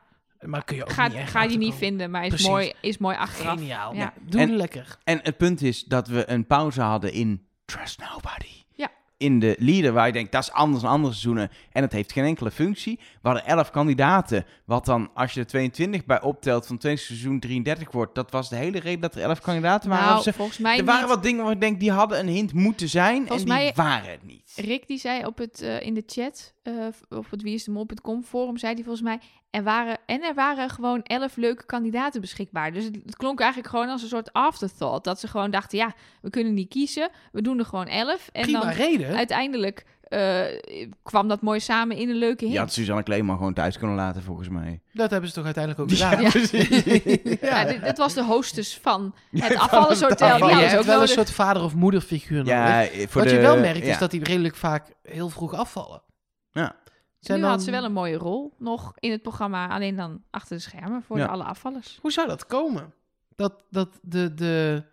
Speaker 2: Maar kun je ook
Speaker 1: Ga,
Speaker 2: niet echt
Speaker 1: ga je niet
Speaker 2: achterkomen.
Speaker 1: vinden, maar is
Speaker 2: Precies.
Speaker 1: mooi, is mooi achteraf.
Speaker 2: Geniaal.
Speaker 1: Ja.
Speaker 2: Nee, doe
Speaker 3: En-
Speaker 2: lekker.
Speaker 3: En het punt is dat we een pauze hadden in Trust Nobody.
Speaker 1: Ja.
Speaker 3: In de leader, waar je denkt, dat is anders dan andere seizoenen. En het heeft geen enkele functie. We hadden 11 kandidaten. Wat dan, als je er 22 bij optelt van tweede seizoen 33 wordt. Dat was de hele reden dat er 11 kandidaten waren.
Speaker 1: Nou,
Speaker 3: Of ze-
Speaker 1: volgens mij
Speaker 3: er waren
Speaker 1: niet.
Speaker 3: wat dingen waar ik denk, die hadden een hint moeten zijn.
Speaker 1: Volgens
Speaker 3: en die
Speaker 1: mij-
Speaker 3: waren het niet.
Speaker 1: Rick die zei op het, eh, in de chat, eh, op het wieisdemol.com forum, zei hij volgens mij, er waren, en er waren gewoon elf leuke kandidaten beschikbaar. Dus het, het klonk eigenlijk gewoon als een soort afterthought. Dat ze gewoon dachten, ja, we kunnen niet kiezen, we doen er gewoon elf. En
Speaker 2: Prima
Speaker 1: dan
Speaker 2: reden.
Speaker 1: uiteindelijk eh, kwam dat mooi samen in een leuke hit.
Speaker 3: Je had Suzanne Kleeman gewoon thuis kunnen laten, volgens mij.
Speaker 2: Dat hebben ze toch uiteindelijk ook gedaan.
Speaker 1: Ja.
Speaker 3: precies.
Speaker 1: Ja,
Speaker 3: ja.
Speaker 1: dit, dit was de hostess van het
Speaker 3: het
Speaker 1: afvallershotel.
Speaker 3: afval-
Speaker 1: Ja,
Speaker 2: je
Speaker 1: dat is
Speaker 2: hebt
Speaker 1: ook
Speaker 2: wel een
Speaker 1: nodig.
Speaker 2: soort vader- of moederfiguur nodig.
Speaker 3: Ja, voor
Speaker 2: Wat
Speaker 3: de-
Speaker 2: je wel merkt
Speaker 3: ja.
Speaker 2: is dat die redelijk vaak heel vroeg afvallen.
Speaker 3: Ja.
Speaker 1: Nu
Speaker 2: Zijn dan-
Speaker 1: had ze wel een mooie rol nog in het programma. Alleen dan achter de schermen voor
Speaker 3: Ja.
Speaker 1: de alle afvallers.
Speaker 2: Hoe zou dat komen? Dat, dat de, de,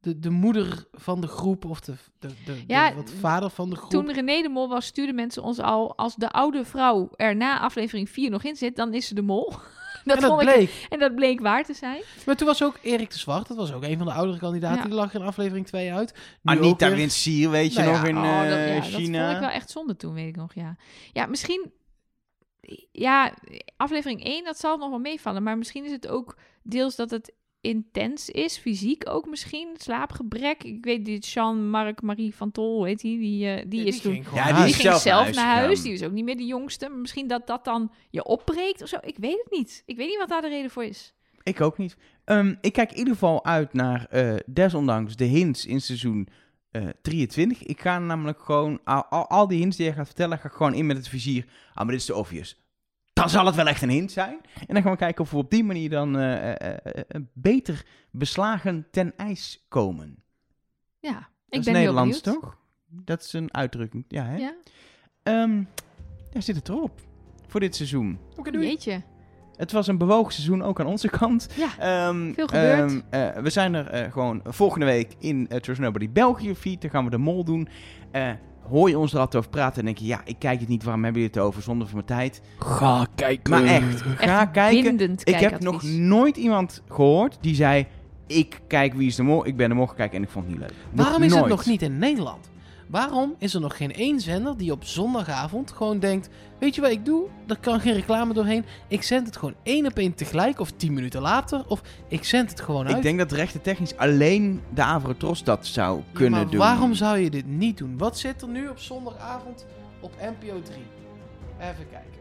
Speaker 2: de, de moeder van de groep of de, de, de, de-
Speaker 1: Ja,
Speaker 2: wat vader van de groep...
Speaker 1: Toen René de Mol was, stuurden mensen ons al... als de oude vrouw er na aflevering 4 nog in zit, dan is ze de mol. Dat
Speaker 2: en dat
Speaker 1: vond ik,
Speaker 2: bleek.
Speaker 1: en dat bleek waar te zijn.
Speaker 2: Maar toen was ook Erik de Zwart, dat was ook een van de oudere kandidaten.
Speaker 1: Ja.
Speaker 2: Die lag in aflevering 2 uit. Nu ook
Speaker 3: Anita
Speaker 2: weer.
Speaker 3: Winsier, weet je
Speaker 2: Nou ja,
Speaker 3: nog, in
Speaker 1: oh, dat,
Speaker 3: eh,
Speaker 1: ja, dat
Speaker 3: China.
Speaker 1: vond ik wel echt zonde toen, weet ik nog, ja. Ja, misschien... Ja, aflevering 1, dat zal nog wel meevallen. Maar misschien is het ook deels dat het intens is. Fysiek ook misschien. Slaapgebrek. Ik weet dit Jean-Marc Marie van Tol, heet die? Die, eh, die is toen...
Speaker 2: ging gewoon
Speaker 3: Ja,
Speaker 2: naar
Speaker 3: Ah, die
Speaker 1: Die
Speaker 2: huis.
Speaker 3: is
Speaker 1: ging zelf,
Speaker 3: zelf naar
Speaker 1: naar
Speaker 3: huis
Speaker 1: huis.
Speaker 3: gegaan.
Speaker 1: Die was ook niet meer de jongste. Maar Misschien dat dat dan je opbreekt of zo. Ik weet het niet. Ik weet niet wat daar de reden voor is.
Speaker 3: Ik ook niet. Ehm, ik kijk in ieder geval uit naar, eh, desondanks, de hints in seizoen eh 23. Ik ga namelijk gewoon, al, al, al die hints die jij gaat vertellen, ga ik gewoon in met het vizier. Ah, maar dit is te obvious. Dan zal het wel echt een hint zijn. En dan gaan we kijken of we op die manier dan eh, eh, eh, eh, beter beslagen ten ijs komen.
Speaker 1: Ja, ik
Speaker 3: Dat is
Speaker 1: ben
Speaker 3: Nederlands,
Speaker 1: heel benieuwd.
Speaker 3: toch? Dat is een uitdrukking, ja hè?
Speaker 1: Ja,
Speaker 3: Ehm, daar zit het erop voor dit seizoen.
Speaker 2: Oké, doei.
Speaker 1: jeetje.
Speaker 3: Het was een bewogen seizoen, ook aan onze kant.
Speaker 1: Ja,
Speaker 3: Ehm,
Speaker 1: veel gebeurd.
Speaker 3: ehm, eh, we zijn er eh, gewoon volgende week in eh Trust Nobody België feed. Dan gaan we de mol doen. Eh, hoor je ons er altijd over praten en denk je... ja, ik kijk het niet, waarom hebben jullie het over? Zonder van mijn tijd.
Speaker 2: Ga kijken.
Speaker 3: Maar echt, ga
Speaker 1: Echt
Speaker 3: kijken.
Speaker 1: bindend
Speaker 3: Ik heb nog
Speaker 1: kijkadvies.
Speaker 3: nooit iemand gehoord die zei... ik kijk Wie is de Mol, ik ben de Mol gekeken en ik vond het niet leuk. Nog
Speaker 2: Waarom is het
Speaker 3: nooit.
Speaker 2: nog niet in Nederland? Waarom is er nog geen één zender die op zondagavond gewoon denkt... Weet je wat ik doe? Er kan geen reclame doorheen. Ik zend het gewoon één op één tegelijk of tien minuten later. Of ik zend het gewoon uit.
Speaker 3: Ik denk dat rechten technisch alleen de Avrotros dat zou
Speaker 2: Ja,
Speaker 3: kunnen
Speaker 2: maar
Speaker 3: doen.
Speaker 2: waarom zou je dit niet doen? Wat zit er nu op zondagavond op NPO 3? Even kijken.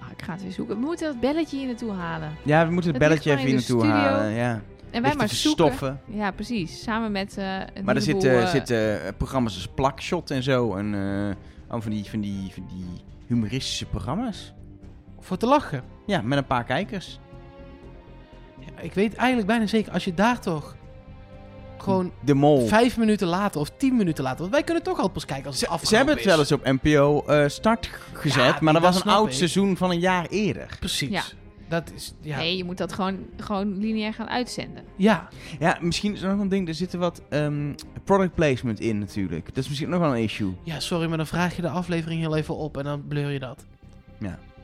Speaker 1: Ah, ik ga het weer zoeken. We moeten dat belletje hier naartoe halen.
Speaker 3: Ja, we moeten het
Speaker 1: Dat
Speaker 3: belletje
Speaker 1: ligt
Speaker 3: even
Speaker 1: gewoon
Speaker 3: hier
Speaker 1: in
Speaker 3: naartoe
Speaker 1: de studio.
Speaker 3: halen. Ja.
Speaker 1: En wij
Speaker 3: Ligt
Speaker 1: maar
Speaker 3: te
Speaker 1: zoeken.
Speaker 3: stoffen.
Speaker 1: Ja, precies. Samen met. eh, een
Speaker 3: Maar er
Speaker 1: heleboel,
Speaker 3: zitten,
Speaker 1: eh,
Speaker 3: zitten eh, programma's als Plakshot en zo. En eh, allemaal van die, van, die, van die humoristische programma's.
Speaker 2: Voor te lachen.
Speaker 3: Ja, met een paar kijkers.
Speaker 2: Ja, ik weet eigenlijk bijna zeker, als je daar toch gewoon
Speaker 3: De Mol.
Speaker 2: vijf minuten later of tien minuten later... Want wij kunnen toch al pas kijken als het
Speaker 3: Ze,
Speaker 2: afgelopen
Speaker 3: ze hebben het
Speaker 2: is.
Speaker 3: wel eens op NPO eh, start g- gezet.
Speaker 2: Ja,
Speaker 3: maar
Speaker 2: dat
Speaker 3: dat was een
Speaker 2: snap
Speaker 3: oud
Speaker 2: ik.
Speaker 3: seizoen van een jaar eerder.
Speaker 2: Precies.
Speaker 1: Ja.
Speaker 2: Dat is... Ja.
Speaker 1: Nee, je moet dat gewoon, gewoon lineair gaan uitzenden.
Speaker 2: ja.
Speaker 3: Ja, misschien is er nog een ding. Er zitten wat ehm, product placement in natuurlijk. Dat is misschien nog wel een issue.
Speaker 2: Ja, sorry, maar dan vraag je de aflevering heel even op en dan blur je dat.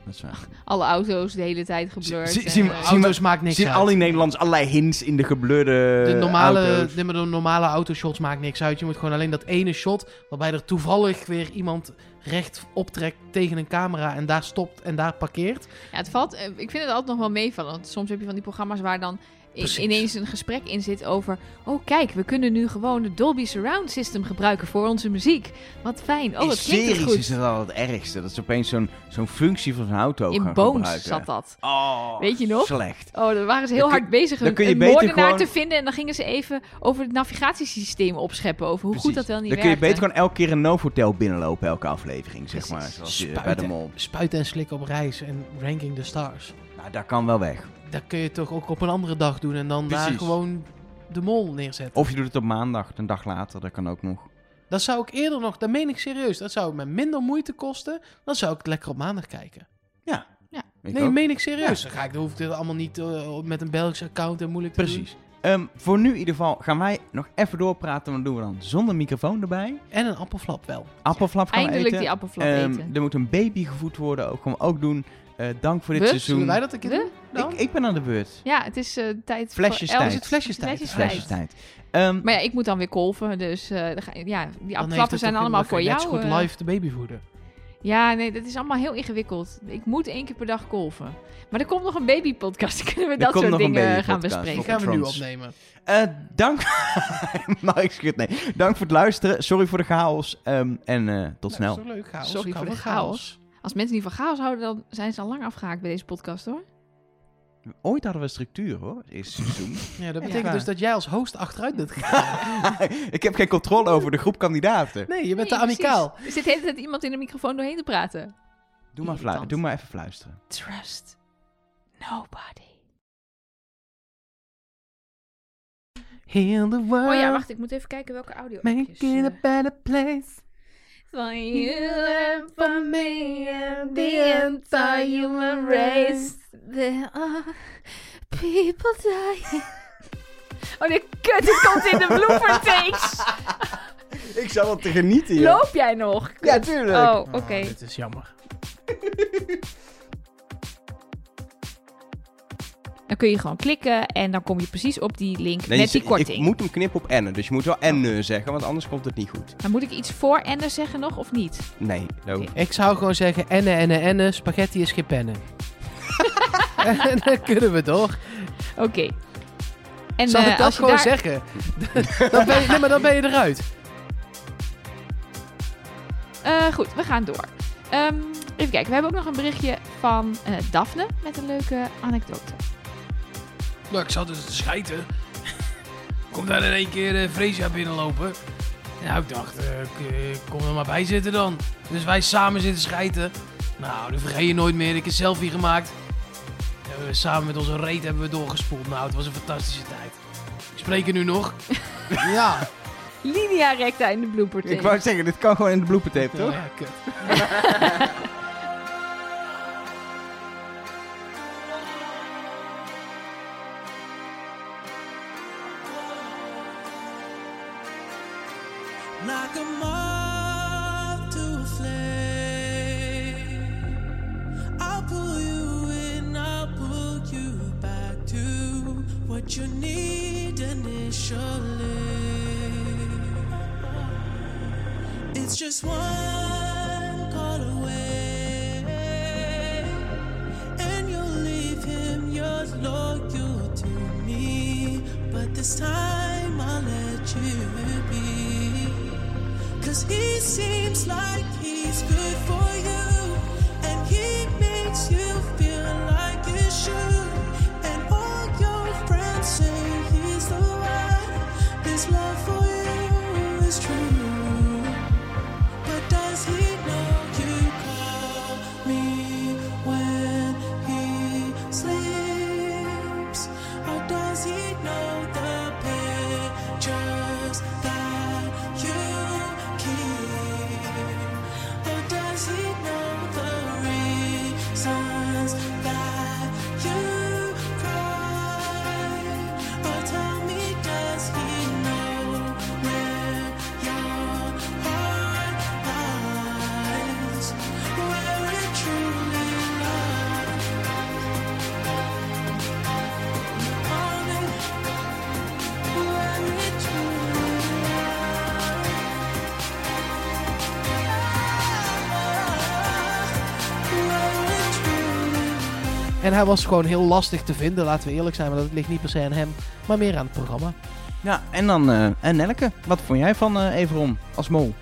Speaker 3: Dat is waar.
Speaker 1: Alle auto's de hele tijd geblurred.
Speaker 3: Zie-
Speaker 1: en,
Speaker 3: zien we-
Speaker 1: eh,
Speaker 3: Zie
Speaker 2: Auto's maakt niks
Speaker 3: Zitten
Speaker 2: uit.
Speaker 3: al die Nederlands allerlei hints in de geblurde
Speaker 2: de normale,
Speaker 3: auto's.
Speaker 2: nee, maar de normale autoshots maakt niks uit. Je moet gewoon alleen dat ene shot waarbij er toevallig weer iemand recht optrekt tegen een camera en daar stopt en daar parkeert.
Speaker 1: ja, het valt, eh, ik vind het altijd nog wel meevallen. Want soms heb je van die programma's waar dan i-
Speaker 2: Precies.
Speaker 1: ineens een gesprek in zit over... Oh, kijk, we kunnen nu gewoon de Dolby Surround System gebruiken voor onze muziek. Wat fijn. Oh,
Speaker 3: In
Speaker 1: dat klinkt er
Speaker 3: series is
Speaker 1: goed.
Speaker 3: dat al het ergste. Dat ze opeens zo'n zo'n functie van zo'n auto
Speaker 1: In
Speaker 3: gaan
Speaker 1: Bones
Speaker 3: gebruiken.
Speaker 1: zat dat.
Speaker 3: Oh,
Speaker 1: Weet je nog?
Speaker 3: Slecht.
Speaker 1: Oh, daar waren ze heel
Speaker 3: Dan kun-
Speaker 1: hard bezig
Speaker 3: dan
Speaker 1: een,
Speaker 3: kun je
Speaker 1: een
Speaker 3: beter
Speaker 1: moordenaar
Speaker 3: gewoon-
Speaker 1: te vinden. En dan gingen ze even over het navigatiesysteem opscheppen. Over hoe goed dat wel niet
Speaker 3: Dan kun je
Speaker 1: werkte.
Speaker 3: beter gewoon elke keer een Novotel binnenlopen, elke aflevering, zeg
Speaker 1: Precies.
Speaker 3: maar. Zoals je bij de
Speaker 2: Spuiten,
Speaker 3: mol.
Speaker 2: spuiten en slikken op reis en ranking the stars.
Speaker 3: Nou, dat kan wel weg.
Speaker 2: Dat kun je toch ook op een andere dag doen en dan daar
Speaker 3: Precies.
Speaker 2: gewoon de mol neerzetten.
Speaker 3: Of je doet het op maandag, een dag later, dat kan ook nog.
Speaker 2: Dat zou ik eerder nog, dat meen ik serieus, dat zou me minder moeite kosten. Dan zou ik het lekker op maandag kijken.
Speaker 3: Ik
Speaker 2: nee,
Speaker 3: ook.
Speaker 2: meen ik serieus. Dan, ga ik, dan hoef ik dit allemaal niet eh, met een Belgisch account en moeilijk te
Speaker 3: Precies. Ehm, voor nu in ieder geval gaan wij nog even doorpraten, maar dat doen we dan zonder microfoon erbij.
Speaker 2: doen. En een appelflap wel.
Speaker 3: Appelflap gaan we
Speaker 1: Eindelijk
Speaker 3: eten.
Speaker 1: die appelflap
Speaker 3: Ehm,
Speaker 1: eten.
Speaker 3: Er moet een baby gevoed worden, ook, gaan we ook doen. Eh, dank voor dit
Speaker 1: We?
Speaker 3: seizoen.
Speaker 2: Zullen wij dat een keer
Speaker 1: We?
Speaker 2: doen? dan?
Speaker 3: ik, ik ben aan de beurt.
Speaker 1: Ja, het is eh, tijd
Speaker 3: Flesjestijd.
Speaker 1: voor...
Speaker 2: is het flesjestijd?
Speaker 1: Flesjes
Speaker 3: Flesjes tijd. Ehm,
Speaker 1: Maar ja, ik moet dan weer kolven, dus eh, dan ga- ja, die
Speaker 2: Dan heeft
Speaker 1: appelklappen
Speaker 2: het
Speaker 1: zijn
Speaker 2: toch
Speaker 1: allemaal voor
Speaker 2: helemaal
Speaker 1: jou.
Speaker 2: geen- Net zo
Speaker 1: eh.
Speaker 2: goed live de baby voeden.
Speaker 1: Ja, nee, dat is allemaal heel ingewikkeld. Ik moet één keer per dag kolven. Maar er komt nog een babypodcast, dan kunnen we
Speaker 3: Er
Speaker 1: dat
Speaker 3: komt
Speaker 1: soort
Speaker 3: nog een
Speaker 1: dingen eh, gaan
Speaker 3: babypodcast.
Speaker 2: Die
Speaker 1: bespreken.
Speaker 2: gaan we nu
Speaker 3: Trons.
Speaker 2: opnemen.
Speaker 3: Eh, dank. Mike Schut, nee. Dank voor het luisteren. Sorry voor de chaos. Ehm, en eh, tot
Speaker 2: Nou,
Speaker 3: snel.
Speaker 2: dat is toch leuk, chaos.
Speaker 1: Sorry
Speaker 2: Kan
Speaker 1: voor de
Speaker 2: wel
Speaker 1: chaos. Als mensen niet van chaos houden, dan zijn ze al lang afgehaakt bij deze podcast, hoor.
Speaker 3: Ooit hadden we structuur hoor, het eerste seizoen.
Speaker 2: Ja, dat
Speaker 1: Ja.
Speaker 2: betekent dus dat jij als host achteruit bent gegaan.
Speaker 3: ik heb geen controle over de groep kandidaten.
Speaker 2: Nee, je bent
Speaker 1: Nee,
Speaker 2: te amicaal.
Speaker 1: precies. Er zit de hele tijd iemand in de microfoon doorheen te praten.
Speaker 3: Doe maar, flu-
Speaker 1: Irritant.
Speaker 3: doe maar even fluisteren.
Speaker 1: Trust nobody.
Speaker 2: Heal the world.
Speaker 1: Oh ja, wacht, ik moet even kijken welke audio eh.
Speaker 2: Make it a better place.
Speaker 1: Van you and for me and the entire human race. There are people dying. Oh nee, kut, dit komt in de blooper takes.
Speaker 3: Ik zal het te genieten,
Speaker 1: Loop jij nog?
Speaker 3: Ja, tuurlijk. Ah.
Speaker 1: Oh, oké.
Speaker 2: Ah, dit is jammer.
Speaker 1: Dan kun je gewoon klikken en dan kom je precies op die link
Speaker 3: Nee,
Speaker 1: met
Speaker 3: je-
Speaker 1: die korting. Oh.
Speaker 3: Ik moet hem knippen op enne, dus je moet wel enne zeggen, want anders komt het niet goed.
Speaker 1: Maar moet ik iets voor en er zeggen nog of niet?
Speaker 3: Nee, no.
Speaker 1: Oké.
Speaker 2: Ik zou gewoon zeggen, enne, enne, enne, spaghetti is geen pennen. en dan kunnen we door.
Speaker 1: Oké. En
Speaker 2: Zal
Speaker 1: eh,
Speaker 2: ik dat
Speaker 1: als je
Speaker 2: gewoon
Speaker 1: daar-
Speaker 2: zeggen? dan ben je, nee, maar dan ben je eruit.
Speaker 1: Eh, goed, we gaan door. Ehm, even kijken, we hebben ook nog een berichtje van eh Daphne met een leuke anekdote.
Speaker 7: Nou, ik zat dus te schijten. Komt daar in één keer eh Fresia binnenlopen. Nou, ik dacht, eh, k- eh, kom er maar bij zitten dan. Dus wij samen zitten schijten. Nou, dat vergeet je nooit meer. Ik heb een selfie gemaakt. En we samen met onze reet hebben we doorgespoeld. Nou, het was een fantastische tijd. Ik spreek er nu nog.
Speaker 2: Ja.
Speaker 1: Linea recta in de blooper
Speaker 3: Ik wou zeggen, dit kan gewoon in de blooper tape,
Speaker 7: Oh,
Speaker 3: toch?
Speaker 7: ja, kut.
Speaker 8: like a moth to a flame. I'll pull you in, I'll pull you back to what you need initially. It's just one call away, and you'll leave him. You're loyal to me, but this time I'll let you be. Cause he seems like he's good for you, and he makes you feel like you should. And all your friends say he's the one. His love for you is true. But does he know you call me when he sleeps? Or does he know the pictures that you keep? Or does he know the reasons that you cry? Or tell me, does he know where your heart lies? Where it truly lies? Darling, Where it truly lies? Where it truly lies?
Speaker 2: En hij was gewoon heel lastig te vinden, laten we eerlijk zijn. Maar dat ligt niet per se aan hem, maar meer aan het programma.
Speaker 3: Ja, en dan eh en Nelke. Wat vond jij van eh Everon als mol?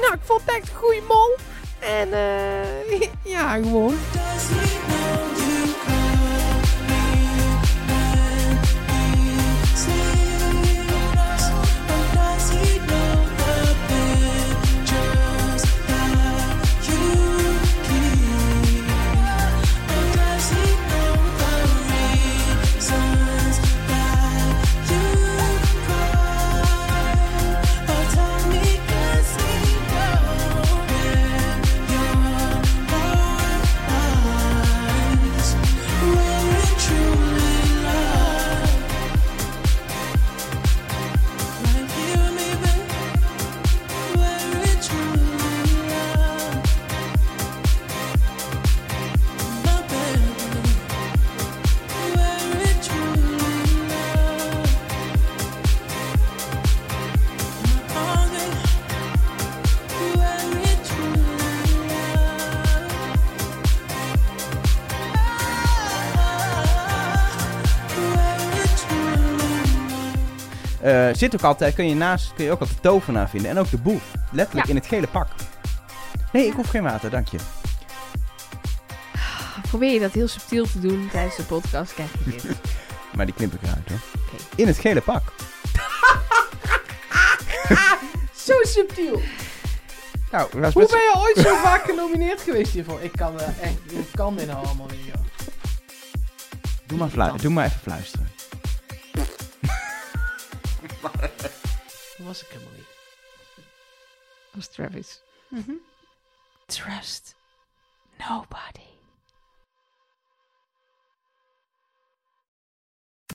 Speaker 2: Nou, ik vond het echt een goede mol. En ja, gewoon.
Speaker 8: Does he know you call me when he sleeps? Or does he know the pictures that you keep? Or does he know the reasons that you cry? Or tell me, does he know where your heart lies? Where it truly lies? Like, hear me, baby. Where it truly lies? My baby. Where it truly lies?
Speaker 3: Eh, zit ook altijd, kun je naast, kun je ook altijd tovenaar vinden. En ook de boef. Letterlijk
Speaker 1: Ja.
Speaker 3: in het gele pak. Nee, ik hoef geen water, dank je.
Speaker 1: Probeer je dat heel subtiel te doen tijdens de podcast, krijg je dit.
Speaker 3: Maar die knip ik eruit hoor.
Speaker 1: Oké.
Speaker 3: In het gele pak.
Speaker 1: Zo subtiel!
Speaker 3: Nou, dat was
Speaker 2: Hoe
Speaker 3: best...
Speaker 2: ben je ooit zo vaak genomineerd geweest hiervoor? Ik kan eh, echt, ik kan dit nou allemaal niet, joh.
Speaker 3: Doe, maar flu- Doe maar even fluisteren.
Speaker 2: Dat was ik helemaal niet.
Speaker 1: Mhm. Als Travis. Trust nobody.